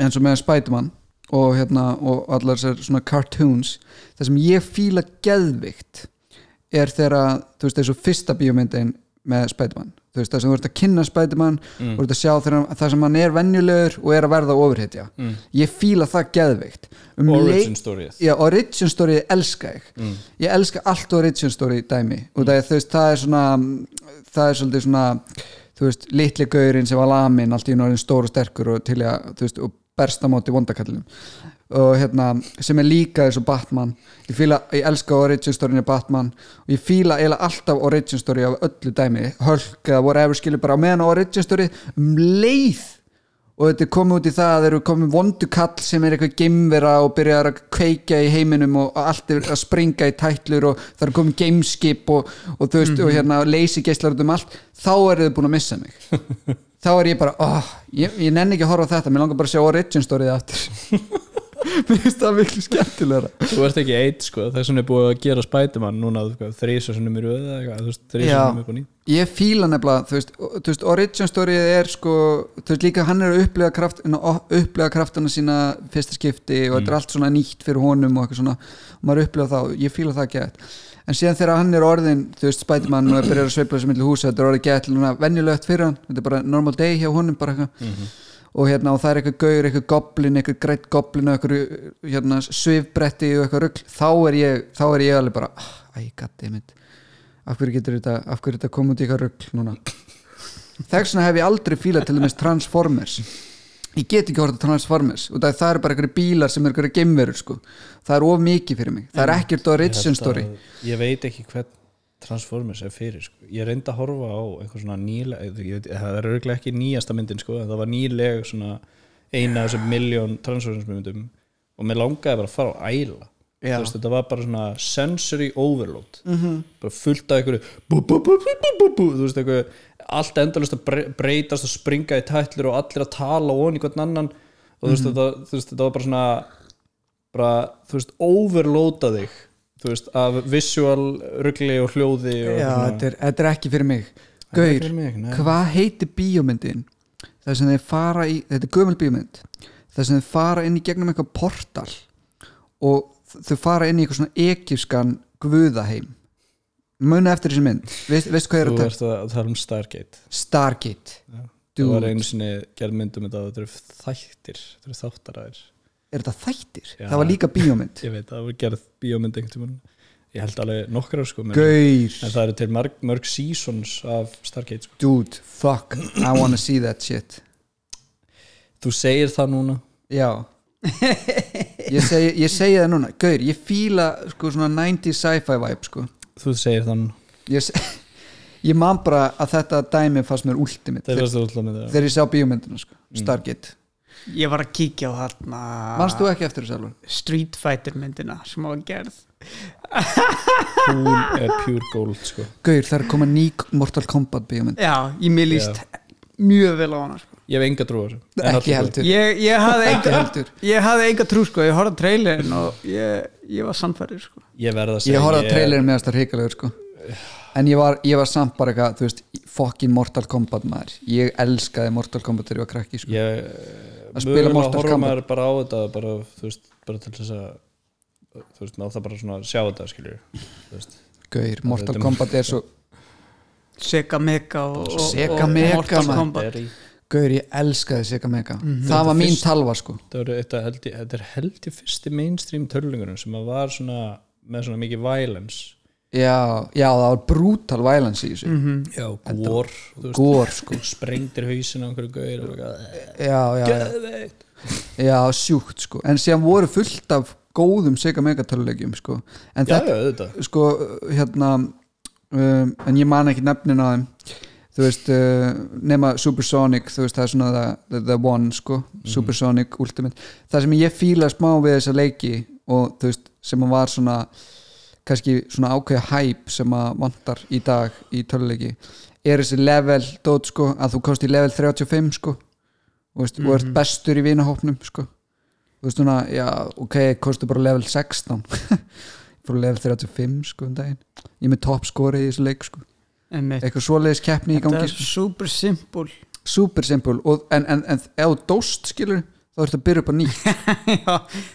Speaker 2: eins og með Spiderman og hérna og allar þessar svona cartoons það sem ég fíla geðvikt er þegar að, þú veist eins og fyrsta bíómyndin með Spiderman þú veist það sem þú ert að kynna Spiderman mm. og ert að sjá þegar hann- það sem hann er venjulegur og er að verða ofurhetja mm. ég fíla það geðvikt um
Speaker 3: Origin
Speaker 2: leið-
Speaker 3: storyið.
Speaker 2: Já, origin story elska ég ég elska allt origin story dæmi og það, þú veist, það er svona það er svolítið svona þú veist, litli gaurinn sem var lamin allt í einu orðin stór og sterkur og til í að þú veist, og berst á móti vondakallinu og hérna, sem er líka eins og Batman ég fíla, ég elska origin storyinu Batman og ég fíla eiginlega alltaf origin story af öllu dæmi, Hulk eða whatever skilur bara á meðan á origin story um leið og þetta er komið út í það að þeir eru komið vondukall sem er eitthvað geimvera og byrjar að kveikja í heiminum og og allt er að springa í tætlur og það eru komið gameskip og, og þú veist og hérna leysi geislar út um allt þá eru þau búin að missa mig þá er ég bara, oh, ég, ég nenni ekki að horfa á þetta mér langar bara að sjá origin storyð aftur mér finnst það miklu skemmtilegra
Speaker 3: Þú ert ekki eitt sko, þess vegna er búið að gera Spiderman núna þrísa sem er röð eða eitthvað, þú veist, þrísa
Speaker 2: Já.
Speaker 3: sem er búin í
Speaker 2: ég fíla nefnilega þú veist, og- þú veist, origin storyið er sko, þú veist líka hann er að upplega, kraft, ná, upplega kraftana sína fyrsta skipti og þetta er allt svona nýtt fyrir honum og eitthvað svona, og maður upplega þá ég fíla það ekki en síðan þegar hann er orðin, þú veist, Spiderman og byrjar að sveifla sem milli húsa, þetta er orðið gett núna venjulegt fyrir hann, þetta er bara normal day hjá honum bara eitthvað og hérna og það er eitthvað gaur, eitthvað goblin, eitthvað greitt goblin og eitthvað hérna, svifbretti og eitthvað rugl, þá er ég, þá er ég alveg bara, "Ah, æ, goddammit af hverju getur þetta, af hverju þetta kom út í eitthvað rugl núna þegar svona hef ég aldrei fílað til dæmis Transformers ég get ekki horfði Transformers og það, það er bara eitthvað bílar sem er eitthvað geimverur sko. það er of mikið fyrir mig, það er ekkert origin story
Speaker 3: Ég veit ekki hvern Transformers er fyrir sko. ég reyndi að horfa á eitthvað svona nýlega ég veit, það er auðvitað ekki nýjasta myndin sko, en það var nýleg svona eina af þessum miljón Transformers myndum og mér langaði bara að fara á æla Þú veist, þetta var bara svona sensory overload -hmm.
Speaker 2: Mhm.
Speaker 3: bara fullt af einhverju bú, bú, bú, bú, bú, bú, bú, þú veist, einhverju allt endalust að bre- breytast og springa í tætlur og allir að tala og í hvern annan og þú
Speaker 2: Mhm.
Speaker 3: veist, þetta, þú veist, þetta var bara svona bara, þú veist, overloada þig þú veist, af visual rugli og hljóði og
Speaker 2: já, þetta er, þetta er ekki fyrir mig
Speaker 3: er
Speaker 2: gaur,
Speaker 3: fyrir mig, nei.
Speaker 2: hvað heitir bíómyndin það sem þeir fara í þetta er gömul bíómynd það sem þeir fara inn í gegnum eitthvað portal og þau fara inn í eitthvað svona ekifskan guðaheim muni eftir þessi mynd Veist- veistu hvað ég er að
Speaker 3: þú
Speaker 2: tala
Speaker 3: ert að tala um Stargate
Speaker 2: Stargate
Speaker 3: það
Speaker 2: Dude,
Speaker 3: var einu sinni gerð myndum þetta þetta eru þættir, þetta eru þáttaræðir
Speaker 2: er þetta þættir?
Speaker 3: Já.
Speaker 2: Það var líka bíómynd
Speaker 3: ég veit, það var gerð bíómynd einhvern tímann ég held alveg nokkrar sko menn-
Speaker 2: Gaur,
Speaker 3: en það eru til marg, mörg seasons af Stargate sko.
Speaker 2: dude, fuck I wanna see that shit
Speaker 3: þú segir það núna
Speaker 2: Já Ég segi, ég segi það núna, gaur, ég fíla sko svona 90 sci-fi vibe sko
Speaker 3: þú segir það núna,
Speaker 2: Ég, se- ég man bara að þetta dæmi fannst mér ultimate
Speaker 3: það er
Speaker 2: þegar,
Speaker 3: það alltaf með það
Speaker 2: þegar ég sá bíómyndina sko,
Speaker 3: Mm.
Speaker 2: Stargate
Speaker 4: ég var að kíkja á þarna
Speaker 2: Manst þú ekki eftir þessu alveg?
Speaker 4: Street Fighter myndina sem var gerð
Speaker 3: hún er pure gold sko
Speaker 2: Gaur, það er að koma ný Mortal Kombat bíómynd
Speaker 4: já, ég mér líst mjög vel á hana sko.
Speaker 3: ég hef enga trú á þessu En allir
Speaker 2: Ekki
Speaker 3: góð.
Speaker 2: heldur
Speaker 4: ég, ég hafði
Speaker 2: Ekki
Speaker 4: enga
Speaker 2: heldur
Speaker 4: ég hafði enga trú sko, ég horfði á trailerin og ég, ég var samfærið sko.
Speaker 3: ég verð að segja
Speaker 2: Ég horfði á
Speaker 3: ég-
Speaker 2: trailerin meðast það hrikalegu sko En ég var, ég var samt bara eitthvað, þú veist, fucking Mortal Kombat maður Ég elskaði Mortal Kombat þegar ég var krakki sko
Speaker 3: ég,
Speaker 2: Að spila
Speaker 3: mögulega
Speaker 2: Mortal
Speaker 3: horfa
Speaker 2: Kombat.
Speaker 3: maður bara á þetta bara, þú veist, bara til þess að þú veist, ná það bara svona að sjá þetta skiljur þú veist,
Speaker 2: Gaur,
Speaker 3: þetta
Speaker 2: Mortal
Speaker 3: er-
Speaker 2: Kombat er svo
Speaker 4: Sega Mega og, og,
Speaker 2: Sega
Speaker 4: og
Speaker 2: Mega,
Speaker 4: Mortal
Speaker 2: maður.
Speaker 4: Kombat
Speaker 3: er í,
Speaker 2: Gaur, ég elskaði Sega Mega Það var mín talva sko
Speaker 3: það eru eitt að held ég, þetta er held ég fyrsti mainstream törlingunum sem að var svona með svona mikið violence
Speaker 2: Já, já, það var brutal violence í þessu
Speaker 3: já, gór, þú veist,
Speaker 2: Gór sko
Speaker 3: sprengdir hausin á einhverju gauðir og eitthvað,
Speaker 2: Já, já, já,
Speaker 3: geðveikt.
Speaker 2: já, sjúkt sko En síðan voru fullt af góðum Sega Mega tölulegjum sko En
Speaker 3: já,
Speaker 2: þetta,
Speaker 3: já, auðvitað
Speaker 2: sko, hérna um, En ég man ekki nefnin á þeim Þú veist, uh, nema Supersonic Þú veist, það er svona the, the, the one sko Supersonic Ultimate Það sem ég fíla smá við þessa leiki Og þú veist, sem hann var svona kannski svona ákveða hæp sem að vantar í dag í töluleiki er þessi level dót sko að þú kosti level 35 sko og veist, og ert bestur í vinahópnum sko þú veist svona, já, ok, kosti bara level 16 frá level 35 sko um daginn ég er með toppskori í þessu leik sko
Speaker 4: einmitt.
Speaker 2: eitthvað svoleiðis keppni í
Speaker 4: þetta
Speaker 2: gangi sko.
Speaker 4: er super simple
Speaker 2: super simple og, en, en, en ef þú dóst skilur þá ertu að byrja upp á nýtt
Speaker 4: já,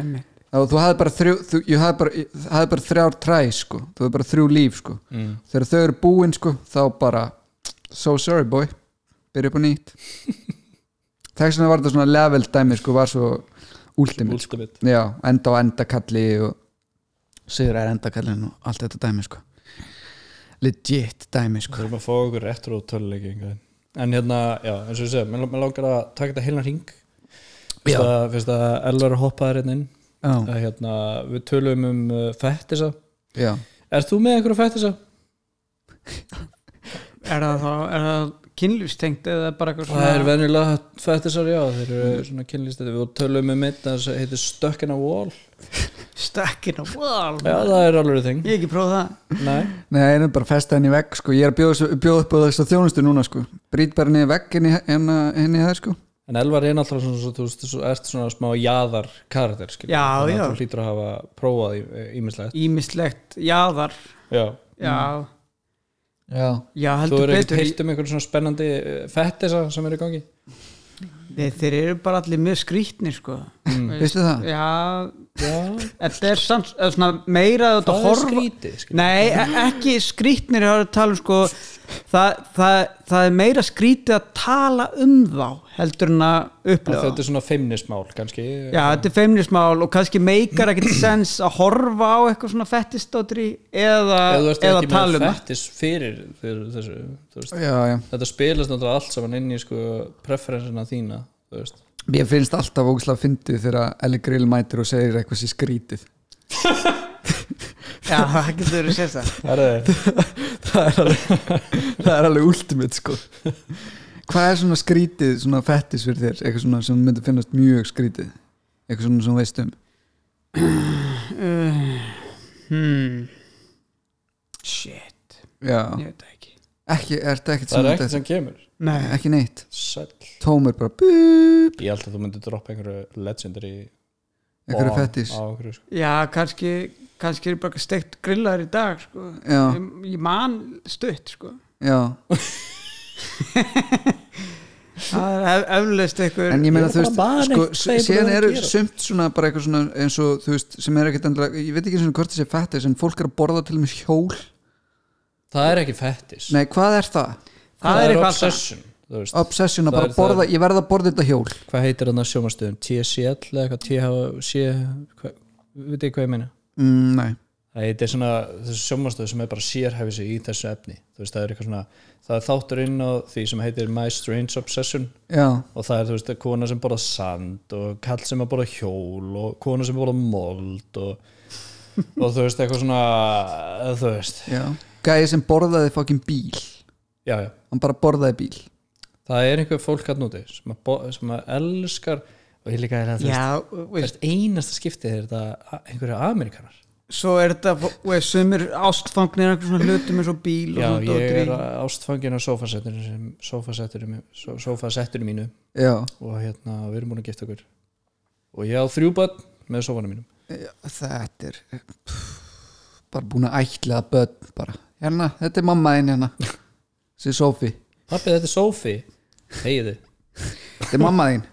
Speaker 4: einmitt.
Speaker 2: og þú hafði bara þrjú þú, ég hafði bara, ég hafði bara þrjár træ sko. þú hafði bara þrjú líf sko.
Speaker 3: Mm,
Speaker 2: þegar þau eru búin sko, þá bara so sorry boy, byrja upp á nýtt þess vegna var þetta svona level dæmi sko, var svo últimit sko.
Speaker 3: Últimate.
Speaker 2: Já, enda á endakalli og sigur er endakallin og allt þetta dæmi sko. legit dæmi
Speaker 3: Við
Speaker 2: sko.
Speaker 3: erum að fá okkur retro töluleiki einhvern veginn. En hérna, já, eins og ég segi, mér langar að taka þetta heilan ring
Speaker 2: Já.
Speaker 3: Fyrst að Elvar hoppaði hérna inn
Speaker 2: já,
Speaker 3: að hérna, við tölum um uh, fettisa
Speaker 2: já.
Speaker 3: Er þú með einhverja fettisa?
Speaker 4: er það þá er það kynlífstengt eða bara eitthvað
Speaker 3: Það er
Speaker 4: svona
Speaker 3: venjulega fettisar, já, þeir eru svona kynlýstæti Við tölum um einn að það heitir Stuck in a Wall
Speaker 4: stakkin á wall
Speaker 3: Já, það er alveg þing
Speaker 4: ég hef ekki prófað það
Speaker 3: Nei,
Speaker 2: Nei, ég er bara að festa henni í vegg sko. ég er að bjóða, þessu- bjóða upp á þess að þjónustu núna sko. brýt bara henni í vegg henni, henni, henni það sko.
Speaker 3: en Elvar er náttúrulega svona, svona, þú veist, þú ert svona smá jaðar karakter, skilur
Speaker 4: Já,
Speaker 3: Þannig
Speaker 4: já.
Speaker 3: að Þú hlýtur að hafa prófað í- ímislegt
Speaker 4: ímislegt jaðar
Speaker 3: Já,
Speaker 4: já,
Speaker 2: já
Speaker 4: já
Speaker 3: Mm. þú
Speaker 4: heldur
Speaker 3: eru ekkert
Speaker 4: betur
Speaker 3: heilt um einhverjum svona spennandi eh, fettisa sem eru í gangi
Speaker 4: Nei, þeir eru bara allir mjög skrýtni sko.
Speaker 3: Mm.
Speaker 2: Veistu það?
Speaker 4: já,
Speaker 3: Já,
Speaker 4: þetta er samt eða svona, meira að þetta
Speaker 3: það er
Speaker 4: horfa
Speaker 3: skrítið, skilur
Speaker 4: Nei, e- ekki skrítnir ég var að tala um sko það, það, það er meira skrítið að tala um þá heldur en að
Speaker 3: Að
Speaker 4: upplifa
Speaker 3: Þetta er svona feimnismál, kannski
Speaker 4: Já, þetta er feimnismál og kannski meikar ekkert sens að horfa á eitthvað svona fettistóttri eða,
Speaker 3: Ef þú ert
Speaker 4: eða
Speaker 3: ekki
Speaker 4: tala
Speaker 3: með
Speaker 4: um það
Speaker 3: fettis fyrir, fyrir þessu, þú veist
Speaker 2: Já, já.
Speaker 3: þetta spilast náttúrulega allt saman inn í sko preferensina þína þú veist
Speaker 2: Mér finnst alltaf ógslag fyndið þegar Ellie Grill mætir og segir eitthvað sér skrítið
Speaker 4: Já, það getur verið sérst það
Speaker 3: Herðu,
Speaker 2: það er alveg það er alveg ultimate sko Hvað er svona skrítið, svona fettis fyrir þér eitthvað svona sem myndi finnast mjög skrítið eitthvað svona sem þú veist um
Speaker 4: uh, hmm. Shit,
Speaker 2: Já,
Speaker 4: ég veit það ekki
Speaker 2: ekki, er þetta ekkert
Speaker 3: það er
Speaker 2: sem
Speaker 3: ekkert sem kemur
Speaker 4: Nei,
Speaker 2: ekki neitt
Speaker 3: Sæll.
Speaker 2: Tómur bara búp,
Speaker 3: ég held að þú myndir droppa einhverju legendary
Speaker 2: eitthvað
Speaker 3: bomb
Speaker 2: fettis
Speaker 3: á okkur, sko.
Speaker 4: já, kannski kannski er bara steikt grillaður í dag sko.
Speaker 2: Já,
Speaker 4: ég, ég man stutt sko
Speaker 2: já,
Speaker 4: Það er ef- eflaust einhver
Speaker 2: en ég meina þú veist
Speaker 3: bara
Speaker 2: sko,
Speaker 3: man
Speaker 2: s-
Speaker 3: eitthvað
Speaker 2: síðan
Speaker 3: ég er
Speaker 2: eru
Speaker 3: búin að gera.
Speaker 2: sumt svona bara eitthvað svona eins og þú veist sem er ekkert endilega, ég veit ekki svona hvort þessi fettis en fólk er að borða til og með hjól
Speaker 3: það er ekki fettis
Speaker 2: Nei, hvað er það?
Speaker 4: Það er eitthvað alltaf
Speaker 3: obsession þú veist.
Speaker 2: Obsession að
Speaker 3: Það
Speaker 2: bara
Speaker 3: er það.
Speaker 2: borða, ég verð að borða þetta hjól
Speaker 3: hvað heitir þannig sjómastöðum TCL eða eitthvað THC hvað- veit ekki hvað ég meina
Speaker 2: mm, Nei,
Speaker 3: það heitir svona þessi sjómastöð sem er bara sérhæfi sig í þessu efni þú veist það er eitthvað svona það er þáttur inn á því sem heitir My Strange Obsession
Speaker 2: já,
Speaker 3: og það er þú veist kona sem borða sand og kall sem að borða hjól og kona sem borða mold og, og þú veist eitthvað svona þú veist
Speaker 2: já Gæði sem borðaði fokkin bíl
Speaker 3: já, já.
Speaker 2: Hann bara borðaði bíl
Speaker 3: það er einhver fólk hann úti sem að, bo- sem að elskar og ég líka er að þú veist,
Speaker 4: Já, þú
Speaker 3: þú
Speaker 4: veist,
Speaker 3: veist einasta skiptið er þetta a- einhverju amerikanar
Speaker 4: svo er þetta þú veist, sumir ástfangnir einhver svona hlutum eins og bíl og
Speaker 3: já
Speaker 4: svona
Speaker 3: ég
Speaker 4: dóttir
Speaker 3: er
Speaker 4: í.
Speaker 3: ástfangin á sofasetturinu sem sofasetturinu sofasetturinu mínu
Speaker 2: Já,
Speaker 3: og hérna við erum búin að gifta okkur og ég á þrjú bann með sofanum mínum
Speaker 2: þetta er pff, bara búin að ætla að börn bara Hérna, þetta er mamma þín hérna Sér Sofi,
Speaker 3: pappi þetta er Sofi hegiði
Speaker 2: þetta er mamma þín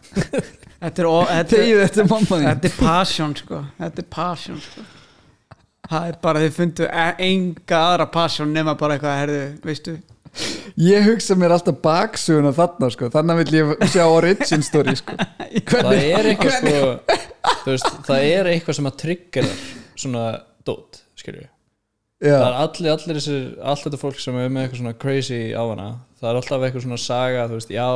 Speaker 4: Þetta er, ó- þetta,
Speaker 2: Þegið, þetta er mamma þín
Speaker 4: þetta er passion sko. Þetta er passion sko. Það er bara þið fundu e- enga aðra passion nema bara eitthvað herðu, veistu
Speaker 2: Ég hugsa mér alltaf baksuguna þarna sko. Þannig vil ég sjá origin story sko.
Speaker 3: það er eitthvað sko þú veist, það er eitthvað sem að triggerar svona dót skilju það
Speaker 2: Já,
Speaker 3: er allir, allir þessir, allt þetta fólk sem er með eitthvað svona crazy á hana það er alltaf eitthvað svona saga þú veist, já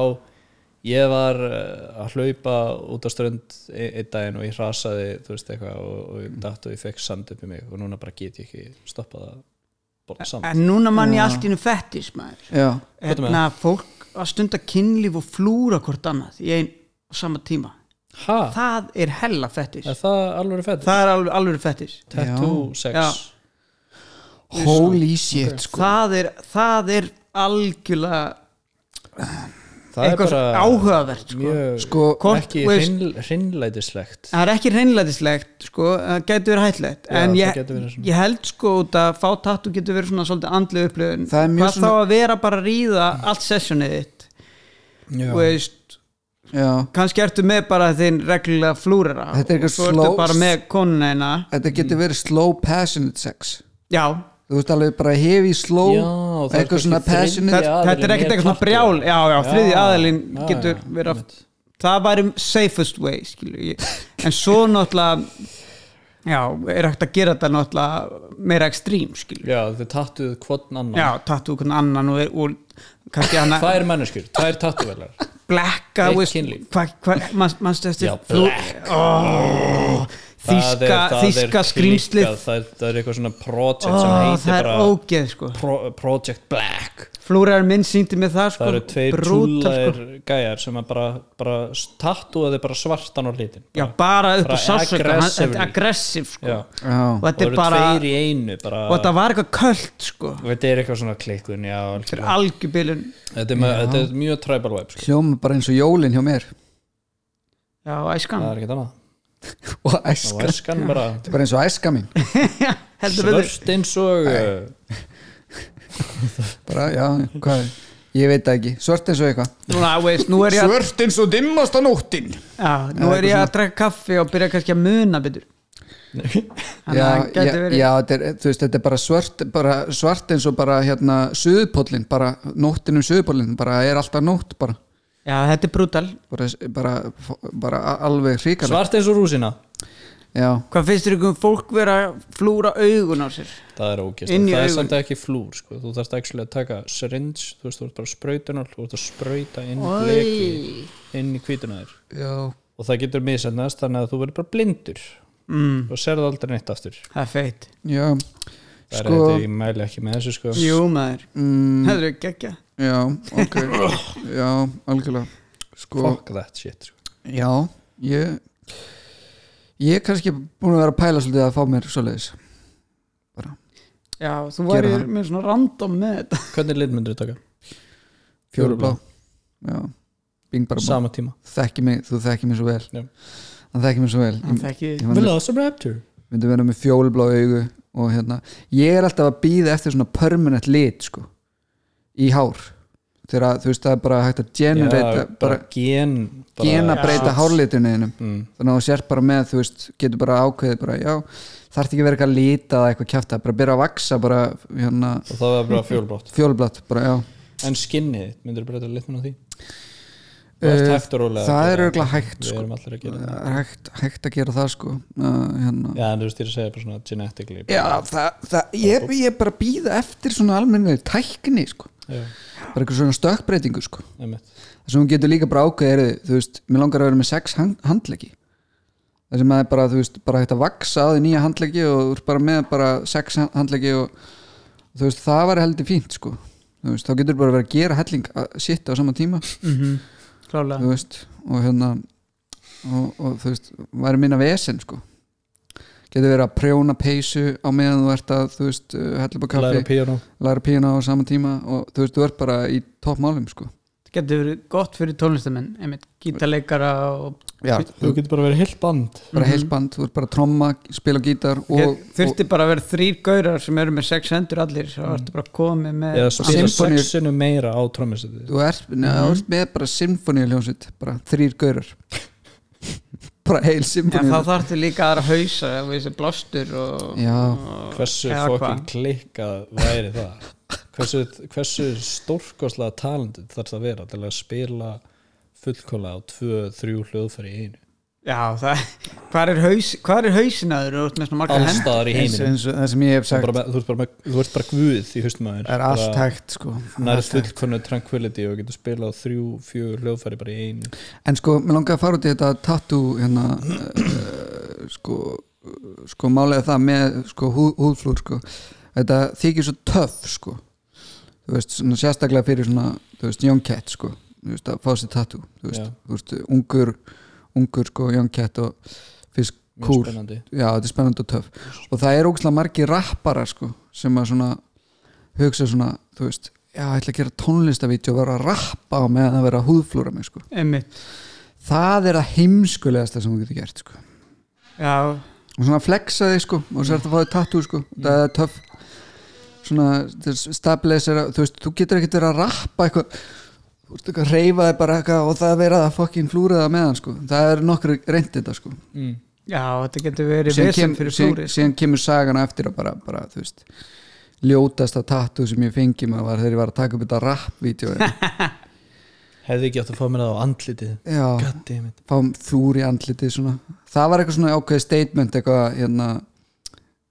Speaker 3: ég var eh, að hlaupa út á strönd e- einn daginn og ég hrasaði þú veist eitthvað og, og ég datt og ég fekk sand upp í mig og núna bara get ég ekki stoppað að borða sand
Speaker 4: En núna mann ég
Speaker 2: Já.
Speaker 4: allt í hennu fettis maður
Speaker 2: já,
Speaker 3: Hvað er með
Speaker 4: Hérna fólk að stunda kynlíf og flúra hvort annað í einn og sama tíma
Speaker 3: ha,
Speaker 4: Það er hella fettis
Speaker 3: Ah. er það alveg fett?
Speaker 4: Það er alveg, alveg fettis
Speaker 3: tattoo sex
Speaker 4: Já.
Speaker 2: holy shit sko.
Speaker 4: það er, það er algjörlega
Speaker 3: það er
Speaker 4: eitthvað
Speaker 3: bara
Speaker 4: áhugavert sko.
Speaker 3: mjög
Speaker 2: Sko,
Speaker 4: Hvort,
Speaker 3: ekki
Speaker 4: þú veist-
Speaker 3: hrinn- hreinlætislegt
Speaker 4: það er ekki reynlætislegt sko, það getur verið hættilegt
Speaker 3: Já,
Speaker 4: en
Speaker 3: það
Speaker 4: ég,
Speaker 3: gæti verið svona.
Speaker 4: ég held sko út að fá tattu getur verið svona svolítið andlið upplöðun
Speaker 2: Það er mjög
Speaker 4: hvað þá
Speaker 2: svona-
Speaker 4: að vera bara að ríða allt sessionið þitt
Speaker 3: Já.
Speaker 4: þú veist,
Speaker 2: já,
Speaker 4: kannski ertu með bara þinn reglulega flúrera
Speaker 2: Þetta er
Speaker 4: og
Speaker 2: eitthvað
Speaker 4: svo ertu
Speaker 2: slow-
Speaker 4: bara með konuna
Speaker 2: þetta getur verið slow passionate sex
Speaker 4: já,
Speaker 2: þú veist alveg bara heavy slow
Speaker 3: Já, það er
Speaker 2: eitthvað svona
Speaker 3: kannski þriðja-
Speaker 2: passionate
Speaker 4: þetta þetta er
Speaker 3: aðilinn er
Speaker 4: ekkert eitthvað svona
Speaker 3: partur.
Speaker 4: brjál já, já, þriði
Speaker 3: Já,
Speaker 4: aðalinn
Speaker 3: já,
Speaker 4: getur
Speaker 3: já,
Speaker 4: verið að
Speaker 3: einmitt.
Speaker 4: það væri um safest way skilur ég en svo náttúrulega já, er hægt að gera þetta náttúrulega meira ekstrím skilur
Speaker 3: já, þau tattuðu hvort annan
Speaker 4: já, tattu hvern annan og, er, og kannski hann að
Speaker 3: tvær manneskjur, tvær tattuvelar
Speaker 4: blekka
Speaker 3: Eitt
Speaker 4: veist,
Speaker 3: kynlíf.
Speaker 4: hva, hva, manst, manstu eftir
Speaker 3: Já,
Speaker 4: flú-
Speaker 3: black.
Speaker 4: Ó,
Speaker 3: Það er-
Speaker 4: þýska,
Speaker 3: það er
Speaker 4: þýska
Speaker 3: klikkað,
Speaker 4: skrýmslið
Speaker 3: það, er- það er eitthvað svona project
Speaker 4: Ó,
Speaker 3: sem heitir
Speaker 4: það er
Speaker 3: bara
Speaker 4: ógeð sko
Speaker 3: pro, Project Black
Speaker 4: flúrar minn síndi með það sko
Speaker 3: það eru tveir
Speaker 4: brútal, sko.
Speaker 3: trúlaðir gæjar sem að bara, bara tattúaði bara svartan á litin
Speaker 4: Já, bara upp á
Speaker 3: bara
Speaker 4: sársöka
Speaker 3: aggressively.
Speaker 4: aggressiv sko.
Speaker 3: Já.
Speaker 2: Já.
Speaker 4: og
Speaker 3: það
Speaker 4: þetta er
Speaker 3: eru
Speaker 4: bara
Speaker 3: tveir í einu bara,
Speaker 4: og þetta var eitthvað köld sko.
Speaker 3: og þetta er eitthvað svona klikkun já,
Speaker 4: þetta er
Speaker 3: algjörlega.
Speaker 4: algjörbilun
Speaker 3: þetta, er með, þetta er mjög tribal vibe sko.
Speaker 2: hljóma bara eins og jólin hjá mér
Speaker 4: já, æskan,
Speaker 3: það er ekkert annað
Speaker 2: og
Speaker 3: og
Speaker 2: æskan,
Speaker 3: æskan bara
Speaker 2: Þetta er bara eins og æska mín
Speaker 4: heldur við
Speaker 3: svörst eins og uh,
Speaker 2: bara, já, hvað er ég veit það ekki, svört eins og eitthvað
Speaker 4: núna, veist, nú er ég, að-
Speaker 2: svört eins og dimmasta nóttin
Speaker 4: já, nú er ég að drakka kaffi og byrja kannski að muna betur þannig
Speaker 2: já,
Speaker 4: að það
Speaker 2: já,
Speaker 4: gæti verið
Speaker 2: já þetta, er, þú veist, þetta er bara svört, bara svört eins og bara hérna söðupóllin, bara nóttin um söðupóllin, bara er alltaf nótt bara,
Speaker 4: já, þetta er brútal
Speaker 2: bara, bara, bara alveg hríkala
Speaker 3: svart eins og rúsina
Speaker 2: já,
Speaker 4: hvað finnst þér ykkur um fólk vera að flúra augun á sér
Speaker 3: það er ógist,
Speaker 4: Inn í
Speaker 3: það er
Speaker 4: augun.
Speaker 3: samt ekki flúr sko. þú þarfst actually að taka syringe þú veist, þú ert bara sprautunál, þú ert að sprauta inn leki, inn í kvítunaðir
Speaker 2: já,
Speaker 3: og það getur misennast þannig að þú verður bara blindur mm. og serðu aldrei neitt aftur
Speaker 4: það er feitt
Speaker 2: já
Speaker 3: það er
Speaker 2: Sko-
Speaker 3: þetta, ég mæli ekki með þessu sko
Speaker 4: jú maður,
Speaker 2: mm,
Speaker 4: það er geggja
Speaker 2: já, ok já, algjörlega sko,
Speaker 3: fuck that shit sko.
Speaker 2: já, ég ég er kannski búin að vera að pæla svolítið að fá mér svoleiðis
Speaker 4: já, þú
Speaker 2: Gera
Speaker 4: væri
Speaker 2: það.
Speaker 4: með svona random með þetta
Speaker 3: hvernig lit myndir þú taka?
Speaker 2: fjórublá já, bing bara bá
Speaker 3: sama tíma
Speaker 2: þekki mig, þú þekki mig svo vel
Speaker 3: Já.
Speaker 2: hann þekki mig svo vel
Speaker 4: það er ekki,
Speaker 2: Mm. Ég var með-
Speaker 3: Velociraptor
Speaker 2: myndi vera með fjólblá augu og hérna, ég er alltaf að býða eftir svona permanent lit sko í hár þegar að, þú veist það er bara hægt að generata
Speaker 3: bara,
Speaker 2: bara,
Speaker 3: gen bara,
Speaker 2: gena breyta hárlitinu einum
Speaker 3: mm.
Speaker 2: þannig að þú sér bara með, þú veist, getur bara ákveðið bara, já, þarf ekki að vera eitthvað að lita eða eitthvað kjafta, bara byrja að vaksa bara hérna,
Speaker 3: og það var bara fjólblátt
Speaker 2: fjólblátt, bara já
Speaker 3: en skinnið, myndir þú breyta litminn á því?
Speaker 2: Eh,
Speaker 3: Uh, hægt og rólega að
Speaker 2: það er
Speaker 3: gera.
Speaker 2: örugglega hægt,
Speaker 3: við
Speaker 2: sko.
Speaker 3: erum allir að gera það
Speaker 2: það er hægt, hægt að gera það sko uh, hérna.
Speaker 3: Já, en þú veist, ég er að segja bara svona genetically
Speaker 2: já, það, það ég, ég er bara að býða eftir svona almennið tækni sko,
Speaker 3: Já,
Speaker 2: bara eitthvað svona stökkbreytingu sko
Speaker 3: einmitt.
Speaker 2: það sem hún getur líka bara ákveðið er þú veist, mér langar að vera með sex hand, handleggi það sem að er bara, þú veist, bara hægt að vaksa á því nýja handleggi og þú ert bara með bara sex hand- handleggi og þú veist, það var heldur fínt sko þú veist, þá getur bara verið að gera helling að sitt á sama tíma,
Speaker 4: klálega
Speaker 2: þú veist og hérna og, og þú veist, væri minna vesen sko getur verið að prjóna peysu á meðan þú ert að, þú veist, uh, hella upp á
Speaker 3: Læra
Speaker 2: kaffi,
Speaker 3: píano
Speaker 2: læra pína á sama tíma og þú veist, þú ert bara í toppmálum sko
Speaker 4: það getur verið gott fyrir tónlistamenn einmitt, gítarleikara og
Speaker 2: Já,
Speaker 3: Þú getur Mhm. bara verið heilt band
Speaker 2: bara heilt band, þú ert bara að tromma spila gítar og,
Speaker 4: og, þurfti bara að vera þrýr gaurar sem eru með sex hendur allir svo
Speaker 2: Mm.
Speaker 4: ertu bara komið með
Speaker 3: Eða spila
Speaker 2: Eh, Symphony-
Speaker 3: sexinu meira á trommisæti
Speaker 2: og þú ert, neða,
Speaker 3: Mhm.
Speaker 2: þú ert með bara symfóníuljónsitt, bara þrýr gaurar bara heil
Speaker 4: Já, þá
Speaker 2: symfóníuljónsitt
Speaker 4: þarftu líka aðra hausa eða þessi blástur og,
Speaker 2: Já.
Speaker 4: og
Speaker 3: Hversu
Speaker 4: eða
Speaker 3: fokkin
Speaker 4: hvað.
Speaker 3: klikkað væri það Hversu, hversu stórkoslega talendið þarf það að vera til að spila fullkóla á tvö, þrjú hljóðfæri í einu
Speaker 4: Já, það hvað er, haus, hvað er hausin að þú ert með svona marga hendur
Speaker 3: Allstaðar í
Speaker 2: eins,
Speaker 3: heiminum
Speaker 2: eins og það sem ég hef
Speaker 3: Þú ert
Speaker 2: sagt
Speaker 3: bara með- þú ert bara með- þú ert bara guð í haustum aðeins
Speaker 2: er allt hægt sko
Speaker 3: Nær
Speaker 2: Allt hægt.
Speaker 3: fullkonu tranquility og getur spilað á þrjú, fjögur hljóðfæri bara í einu
Speaker 2: en sko, mér langaði að fara út í þetta tattoo hérna uh, sko, eh, sko málega það með sko hú, húðflúr sko þetta þykir svo töff sko þú veist, svona, sérstaklega fyrir svona þú veist, young cat sko þú veist, að fá sér tattoo þú veist,
Speaker 3: Já.
Speaker 2: þú veist, ungur ungur sko, young cat og finnst
Speaker 3: Mjög
Speaker 2: cool
Speaker 3: spennandi
Speaker 2: já, þetta er spennandi og töff og það er ógæslega margir rapparar sko, sem að svona hugsa svona, þú veist já, ég ætla að gera tónlistavídeó og vera að rappa á meðan að vera að húðflúra mig sko.
Speaker 4: einmitt
Speaker 2: það er að heimskulegasta sem þú getur gert sko.
Speaker 4: já,
Speaker 2: og svona flexa þig sko og sér þetta að fá þig tattoo sko það er töff svona til að stabilisera þú veist, þú getur ekkert verið að rappa eitthvað þú veist, eitthvað reyfa þig bara eitthvað og það að vera að fokkin flúra það meðan sko það er nokkur reynd þetta sko
Speaker 4: já, þetta getur verið
Speaker 2: síðan,
Speaker 4: vesen
Speaker 2: kem,
Speaker 4: fyrir
Speaker 2: síðan,
Speaker 4: flúri
Speaker 2: síðan kemur sagan á eftir að bara, bara þú veist ljótasta tattoo sem ég fengi maður var þegar ég var að taka upp þetta rap-vídeó
Speaker 3: hefði ekki átt að fá mér það á andlitið
Speaker 2: já,
Speaker 3: goddammit
Speaker 2: fáum þúr í andliti svona. það var eitthvað svona ákveðið statement eitthvað hérna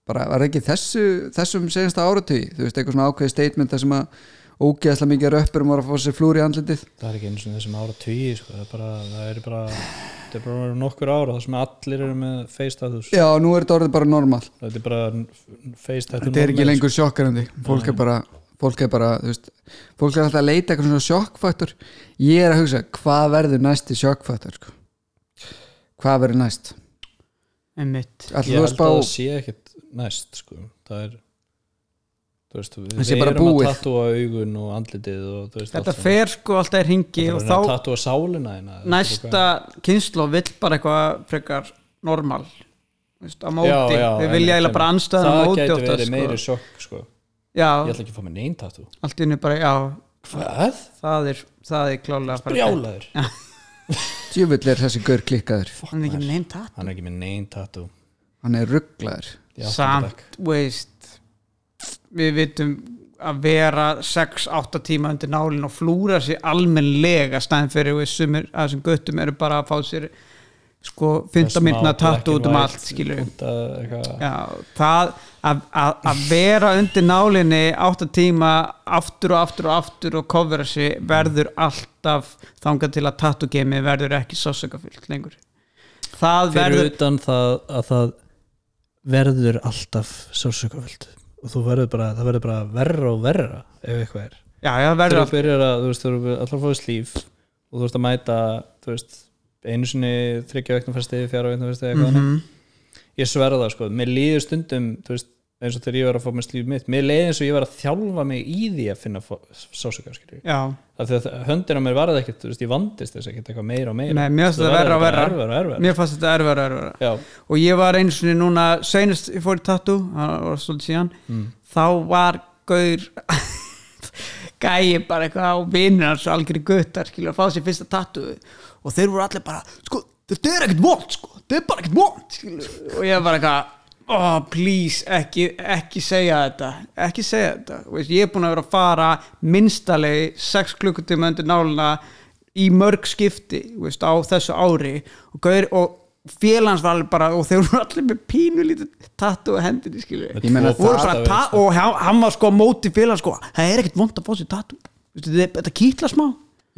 Speaker 2: bara var ekki þessu, þessum segjast áratug þú veist eitthvað svona ákveðið statement þar sem að ógeðslega mikið röppurum var að fá sér flúr í andlitið
Speaker 3: það er ekki eins og þessum ára tugi sko. það er bara, það er bara, það er bara nokkur ára það sem allir eru með face tattoos
Speaker 2: já nú er þetta orðið bara normal
Speaker 3: þetta er bara face tattoo
Speaker 2: þetta er ekki
Speaker 3: normal,
Speaker 2: lengur sjokkarandi fólk er bara fólk er bara þú veist fólk er alltaf að leita eitthvað svona sjokkfaktor ég er að hugsa hvað verður næsti sjokkfaktor sko? hvað verður næst
Speaker 4: einmitt,
Speaker 3: sko.
Speaker 2: alltaf
Speaker 3: ég
Speaker 2: þú að
Speaker 3: held að það
Speaker 2: spá
Speaker 3: sé ekkit næst sko. það er þú veist, við,
Speaker 2: Það sé
Speaker 3: við
Speaker 2: bara
Speaker 3: erum
Speaker 2: búið.
Speaker 3: að tattúa augun og andlitið og, þú veist,
Speaker 4: þetta
Speaker 3: allt saman.
Speaker 4: fer sko alltaf í ringi
Speaker 3: Það
Speaker 4: og
Speaker 3: er að
Speaker 4: þá
Speaker 3: tattúa sálina þína, þú veist,
Speaker 4: næsta kynslo vill bara eitthvað frekar normal Vist, á móti,
Speaker 3: Já, já,
Speaker 4: þau
Speaker 3: einmitt,
Speaker 4: vilja eiginlega bara
Speaker 3: einmitt.
Speaker 4: anstæðan á móti
Speaker 3: það
Speaker 4: oftast,
Speaker 3: gæti verið
Speaker 4: sko.
Speaker 3: meiri sjokk sko. ég
Speaker 4: já,
Speaker 3: ætla ekki að fá mér neyn tattoo
Speaker 4: allt inni bara, já
Speaker 3: hvað?
Speaker 4: það er, það er klálega bara-
Speaker 3: brjálaður
Speaker 2: djúvill er þessi gaur klikkaður
Speaker 4: hann er ekki neint hatt
Speaker 3: hann er ekki með neyn tattoo
Speaker 2: hann er rugglaður
Speaker 3: Ég átti þetta
Speaker 4: samt,
Speaker 3: ekki.
Speaker 4: veist við vitum að vera 6-8 tíma undir nálinn og flúra sér almennlega stæðin fyrir við sumir að þessum göttum eru bara að fá sér sko, fynda
Speaker 3: Smá
Speaker 4: myndna
Speaker 3: black
Speaker 4: tattu
Speaker 3: and
Speaker 4: út um
Speaker 3: white,
Speaker 4: allt skilur við
Speaker 3: punta, eitthvað.
Speaker 4: Já, það að- að að vera undir nálinni átta tíma aftur og aftur og aftur og kofra sig verður alltaf þangað til að tattugemi verður ekki sásökafyllt lengur það
Speaker 3: fyrir
Speaker 4: verður
Speaker 3: utan það að það verður alltaf sársökaföld og þú verður bara, það verður bara verra og verra ef eitthvað er
Speaker 4: já, já, verður
Speaker 3: þegar þú
Speaker 4: alltaf
Speaker 3: byrjar að, þú veist, þú eru alltaf að fá þess líf og þú ert að mæta, þú veist einu sinni þryggja vegna fyrsti, fjara vegna fyrsti eitthvað
Speaker 4: Mhm.
Speaker 3: mm ég sverða það, sko, mér líður stundum þú veist, eins og þegar ég var að fá mér slíf mitt mér leiði eins og ég var að þjálfa mig í því að finna sásöka, skiljum
Speaker 4: já,
Speaker 3: af því að höndin á mér varði ekkert, þú veist, ég vandist þess ekkert eitthvað meira og meira
Speaker 4: Nei, mér fannst
Speaker 3: Þú
Speaker 4: þetta verra
Speaker 3: verður
Speaker 4: og
Speaker 3: bara
Speaker 4: verra
Speaker 3: erfiðara og erfiðara.
Speaker 4: Mér fannst þetta erfara og erfara
Speaker 3: Já,
Speaker 4: Og ég var einu sinni núna, seinast ég fór í tattoo Það var svolítið síðan Þá var gaur Gæi bara eitthvað á vinnir hans og algjörði guttar skilur að fá sér fyrsta tattoo Og þeir voru allir bara Sko, þetta er ekkert vont sko Þetta er bara ekkert vont skilur Og ég var bara eitthvað Oh, please, ekki, ekki segja þetta ekki segja þetta, Þú veist, ég er búin að vera að fara minnstalegi 6 klukkutíma undir náluna í mörg skipti þú veist, á þessu ári og, gaur, og félans var alveg bara og þeir voru allir með pínu lítið tattu á hendinni skilur
Speaker 3: Með
Speaker 4: við.
Speaker 2: Ég meina,
Speaker 3: tvo
Speaker 4: Og voru
Speaker 3: fata
Speaker 4: bara
Speaker 3: við,
Speaker 4: ta-
Speaker 3: sko.
Speaker 4: og hann, hann var sko á móti félans sko það er ekkert vond að fá sér tattu Vistu, þetta- þetta kýtla smá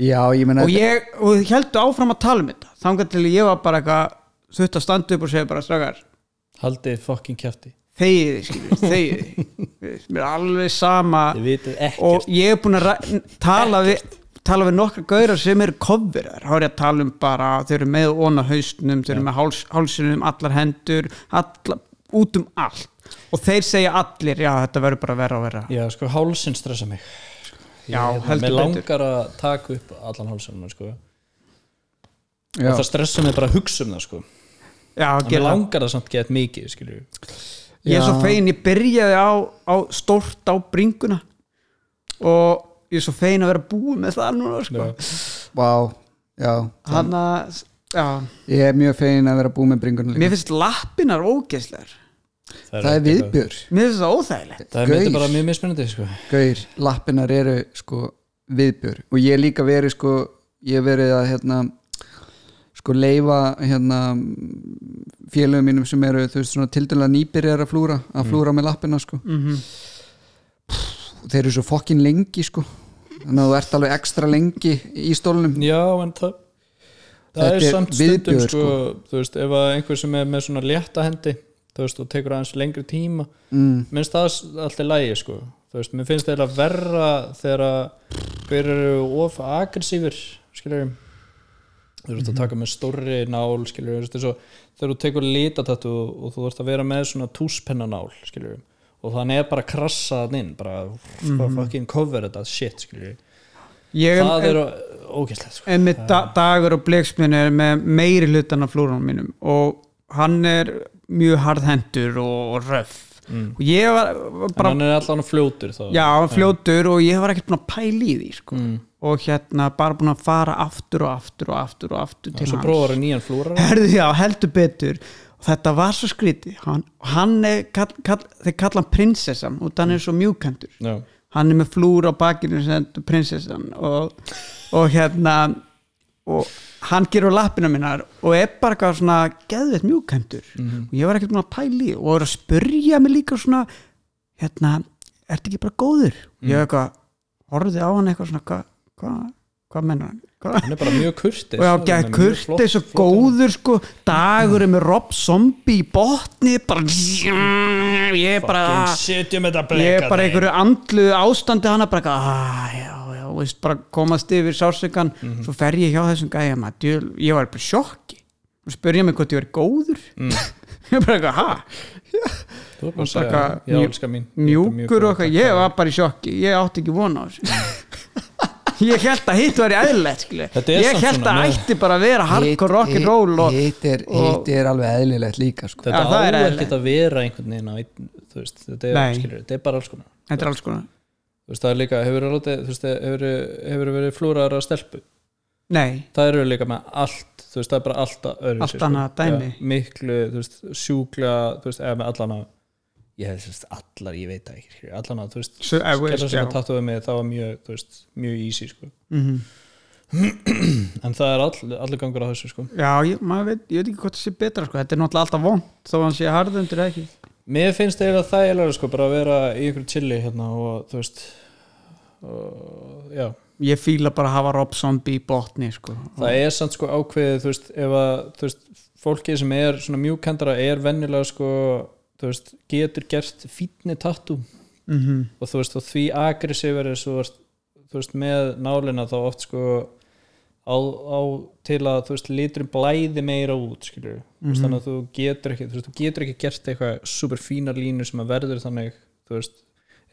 Speaker 2: já ég meina
Speaker 4: og ég og heldur áfram að tala um þetta þangar til ég var bara eitthvað þutt að standa upp og segja bara strákar
Speaker 3: haldið fucking kjæfti
Speaker 4: þegiði skilur, þegiði mér er alveg sama
Speaker 3: Þið vitið ekkert.
Speaker 4: og ég er búin að ræ- tala við tala við nokkra gaurar sem eru kofverar, þá er ég að tala um bara þau eru með óna hausnum, þau eru með háls, hálsinum, um allar hendur alla, út um allt og þeir segja allir, já þetta verður bara verra og verra
Speaker 3: Já, sko, hálsinn stressa mig Ég-
Speaker 4: Já, heldur
Speaker 3: Mér
Speaker 4: betur.
Speaker 3: langar að taka upp allan hálsinn sko. og
Speaker 2: já,
Speaker 3: það stressa mig bara að hugsa um það sko.
Speaker 4: já,
Speaker 3: En mér
Speaker 4: gera það.
Speaker 3: langar það samt gett mikið skilju.
Speaker 2: Sko,
Speaker 4: ég er svo
Speaker 2: Já.
Speaker 4: fegin, ég byrjaði á, á stórt á bringuna og ég er svo fegin að vera búið með það núna sko.
Speaker 2: vá, já
Speaker 4: hann að, já
Speaker 2: ég er mjög fegin að vera búið með bringunum
Speaker 4: Mér
Speaker 2: líka
Speaker 4: finnst lappinar ógeðslegar
Speaker 2: það er viðbjör,
Speaker 4: Mér finnst það óþægilegt
Speaker 3: Það er myndið
Speaker 2: Gaur.
Speaker 3: bara mjög mismunandi sko.
Speaker 2: gaur, lappinar eru sko viðbjör og ég hef líka verið sko, ég hef verið að hérna sko leifa hérna félögum mínum sem eru þú veist svona tildulega nýbyrjar að flúra
Speaker 4: Mm.
Speaker 2: að flúra með lappina sko
Speaker 4: Mhm.
Speaker 2: Pff, þeir eru svo fokkin lengi sko þannig að þú ert alveg ekstra lengi í stólnum
Speaker 3: Já, en það
Speaker 2: Þetta
Speaker 3: það er
Speaker 2: er
Speaker 3: samt stundum
Speaker 2: viðbjóður,
Speaker 3: sko, þú veist, ef að einhver sem er með svona létta hendi þú veist, og tekur aðeins lengri tíma
Speaker 2: mm,
Speaker 3: minnst það s- allt í lægi sko. þú veist, mér finnst það verra þegar að hver eru of aggressífur skiljum þú veist
Speaker 4: Mhm.
Speaker 3: að taka með stórri nál skiljum, þú veist, eins og þegar þú tekur litatattu og þú veist að vera með svona túspenna nál skiljum og þannig er bara að krassa þann inn bara
Speaker 4: Mhm.
Speaker 3: fucking cover þetta shit skilju
Speaker 4: ég
Speaker 3: það
Speaker 4: er
Speaker 3: er ógæslega sko.
Speaker 4: en með da, dagur og bleksminn er með meiri hlutan af flúrunum mínum og hann er mjög harðhendur og, og röf og ég var var
Speaker 3: Mm. en
Speaker 4: bara
Speaker 3: hann er Mm. allan fljótur þá
Speaker 4: já, hann var fljótur og ég var ekkert búin að pæla í því sko. og hérna bara búin að fara aftur og aftur og aftur og aftur til
Speaker 3: svo
Speaker 4: hans
Speaker 3: prófar hann nýjan flúrar
Speaker 4: Herðu, já, heldur betur og þetta var svo skrítið hann, hann er, kall, kall, þeir kalla hann prinsessan og hann er svo mjúkendur
Speaker 3: já,
Speaker 4: hann er með flúr á bakinu sem stendur prinsessan og, og hérna og hann gerur lappina minnar og er bara eitthvað svona geðveitt mjúkendur
Speaker 3: Mhm.
Speaker 4: og ég var ekkert búin að pæli og er að spyrja mig líka svona hérna, ertu ekki bara góður
Speaker 3: Mhm.
Speaker 4: ég er eitthvað, horfði á hann eitthvað svona hvað, hvað, hvað menna hann hvað?
Speaker 3: hann er bara mjög kurtis
Speaker 4: og já, gæði kurtis og góður sko, dagur er með Rob Zombie í botni bara ég er bara
Speaker 3: setjum þetta
Speaker 4: ég er
Speaker 3: bleka
Speaker 4: bara í einhverju andlu ástandi hana bara eitthvað, ah, já, já, veist, bara komast yfir sársugan,
Speaker 3: Mhm.
Speaker 4: svo fer ég hjá þessum gæja maður, djöl- ég var bara í sjokki og spurja mig hvort ég var góður
Speaker 3: Mm.
Speaker 4: ég er bara eitthvað, ha
Speaker 3: þú er bara að
Speaker 4: Bara
Speaker 3: segja
Speaker 4: eitthvað
Speaker 3: já,
Speaker 4: mjú-
Speaker 3: elskar mín Ég er bara mjög
Speaker 4: mjúkur
Speaker 3: góður.
Speaker 4: og eitthvað, ég var bara í sjokki ég átti ekki vona á þessu ég held að hitt var í eðlilegt skilur.
Speaker 3: Mm. Þetta er
Speaker 4: ég
Speaker 3: samt
Speaker 4: held
Speaker 3: svona
Speaker 4: að
Speaker 3: með-
Speaker 4: ætti bara að vera hardcore rock'n'roll og
Speaker 2: hitt er,
Speaker 4: og-
Speaker 2: hitt er alveg eðlilegt líka sko.
Speaker 3: þetta
Speaker 4: Já, það er
Speaker 3: á
Speaker 4: eðlilegt.
Speaker 3: ekkert að vera einhvern veginn á einn, þú veist, þetta er,
Speaker 4: Nei.
Speaker 3: skilur, þetta er bara alls konar
Speaker 4: þetta er alls konar
Speaker 3: þú veist, það er líka, hefur látið, þú veist, hefur, hefur verið flúrar að stelpu
Speaker 4: nei,
Speaker 3: það eru líka með allt, þú veist, það er bara alltaf öðru
Speaker 4: Allt annað dæmi.
Speaker 3: ja, miklu, þú veist, sjúkla þú veist, eða með allan að ég hef, þú veist, allar, ég veit það ekki skilur, allan að, þú veist,
Speaker 4: Svo- eh, veist,
Speaker 3: gerðar sem
Speaker 4: já.
Speaker 3: að tattu við mig, það var mjög, þú veist, mjög easy, sko
Speaker 4: Mhm.
Speaker 3: en það er all, allir gangur á þessu, sko
Speaker 4: já, ég, maður veit, ég veit ekki hvort það sé betra sko. þetta er náttúrulega alltaf vond, þó hann sé harðundur eða ekki
Speaker 3: Mér finnst eiginlega þægilega sko bara að vera í einhverju chilli hérna og þú veist og, já,
Speaker 4: ég fíla bara að hafa Rob Zombie í botni sko.
Speaker 3: það er samt sko ákveðið þú veist, ef að þú veist, fólkið sem er svona mjúkendara er venjulega sko þú veist, getur gert fínni tattoo
Speaker 4: mm -hmm.
Speaker 3: og þú veist, og því agressíver er svo þú veist, með nálina þá oft sko á, á til að þú veist, liturinn blæði meira út, skilur mm
Speaker 2: Mhm.
Speaker 3: -hmm. þannig að þú getur ekki, þú veist, þú getur ekki gert eitthvað super fína línu sem að verður þannig, þú veist,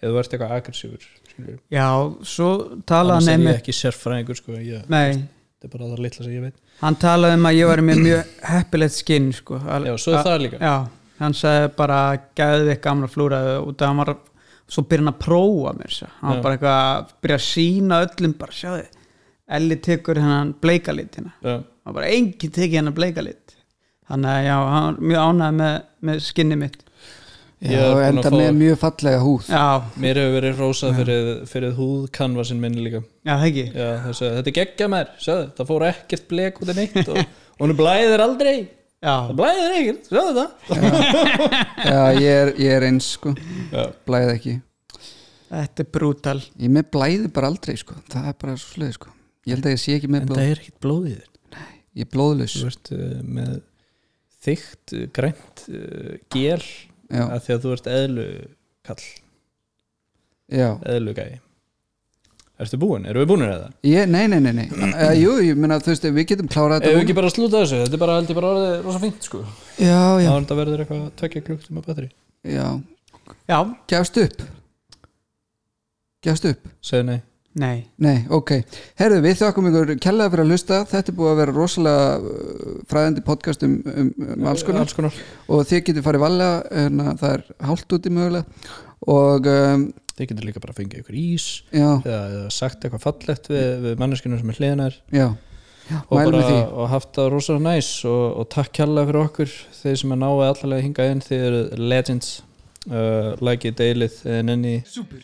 Speaker 3: eða þú ert eitthvað agressíver, skilur
Speaker 4: já, svo talaði
Speaker 3: annars
Speaker 4: hann
Speaker 3: er ég
Speaker 4: einmitt
Speaker 3: ekki sérfræðingur, sko ég,
Speaker 2: Mm.
Speaker 4: nei,
Speaker 3: þetta er bara það litla sem ég veit
Speaker 4: hann talaði um að ég var með mjög heppilegt skinn sko. Al-
Speaker 3: Já, svo er
Speaker 4: a-
Speaker 3: það líka.
Speaker 4: já, hann sagði bara gæðið ekki gamla flúraðu út að hann var svo byrjan að prófa mér þess að. hann
Speaker 3: Já.
Speaker 4: var bara eitthvað að byrja að sína öllum bara sjáðu, Elli tekur hennan bleikalit hérna,
Speaker 3: já,
Speaker 4: hann bara engin tekið hennan bleikalit þannig að já, hann var mjög ánægði með, með skinni mitt
Speaker 3: Ég
Speaker 2: Já,
Speaker 3: er
Speaker 2: og
Speaker 3: búin að
Speaker 2: enda
Speaker 3: fá-
Speaker 2: með mjög fallega húð
Speaker 4: já,
Speaker 3: mér hefur verið rósað fyrir, fyrir húðkanvasin minni líka
Speaker 4: já það ekki
Speaker 3: já, þessi, þetta er geggja mér, sjáðu, það fór ekkert blek út en eitt og, og hún blæðir aldrei
Speaker 4: já,
Speaker 3: blæðir ekkert, sjáðu það
Speaker 2: Já, ég er, ég er eins sko
Speaker 3: Já.
Speaker 2: Blæði ekki
Speaker 4: þetta er brútal
Speaker 2: Ég með blæði bara aldrei sko Það er bara svo sko Ég held að ég sé ekki með
Speaker 3: en
Speaker 2: blóð
Speaker 3: það er ekkert blóðið þér
Speaker 2: Ég er blóðlaus
Speaker 3: þú ert uh, með þygt, uh, grænt uh, gel
Speaker 2: Já,
Speaker 3: að því að þú ert eðlu kall,
Speaker 2: já
Speaker 3: eðlu gæi Ertu búin? Erum við búinir eða?
Speaker 2: ég, Nei, nei, nei, nei uh, Jú, ég meina þú veist Við getum klárað
Speaker 3: Ef við
Speaker 2: þetta
Speaker 3: ekki bara slúta þessu, þetta er bara held ég bara orðið rosa fínt sko
Speaker 2: núna.
Speaker 3: Það
Speaker 2: Já, já,
Speaker 3: er þetta verður eitthvað tvekja klukktum að betri
Speaker 2: já
Speaker 4: já,
Speaker 2: Gjafst upp Gjafst upp
Speaker 3: Segðu nei
Speaker 4: nei
Speaker 2: Nei, ok. Herðu, við þökkum ykkur kærlega fyrir að hlusta. Þetta er búið að vera rosalega uh, fræðandi podcast um, um, um alls konar
Speaker 3: Alls konar
Speaker 2: og þið getið farið valega, en það er hálft úti mögulega og um,
Speaker 3: Þið getur líka bara að fengja ykkur ís
Speaker 2: já,
Speaker 3: eða, eða sagt eitthvað fallegt við, við manneskinu sem er hliðinar
Speaker 2: já, já
Speaker 3: og
Speaker 2: mælum við
Speaker 3: bara
Speaker 2: því.
Speaker 3: og haft það rosa næs og, og takk kjærlega fyrir okkur þeir sem er náið allalega hingað inn þeir eru legends uh, like it, deilið, nenni
Speaker 1: Súper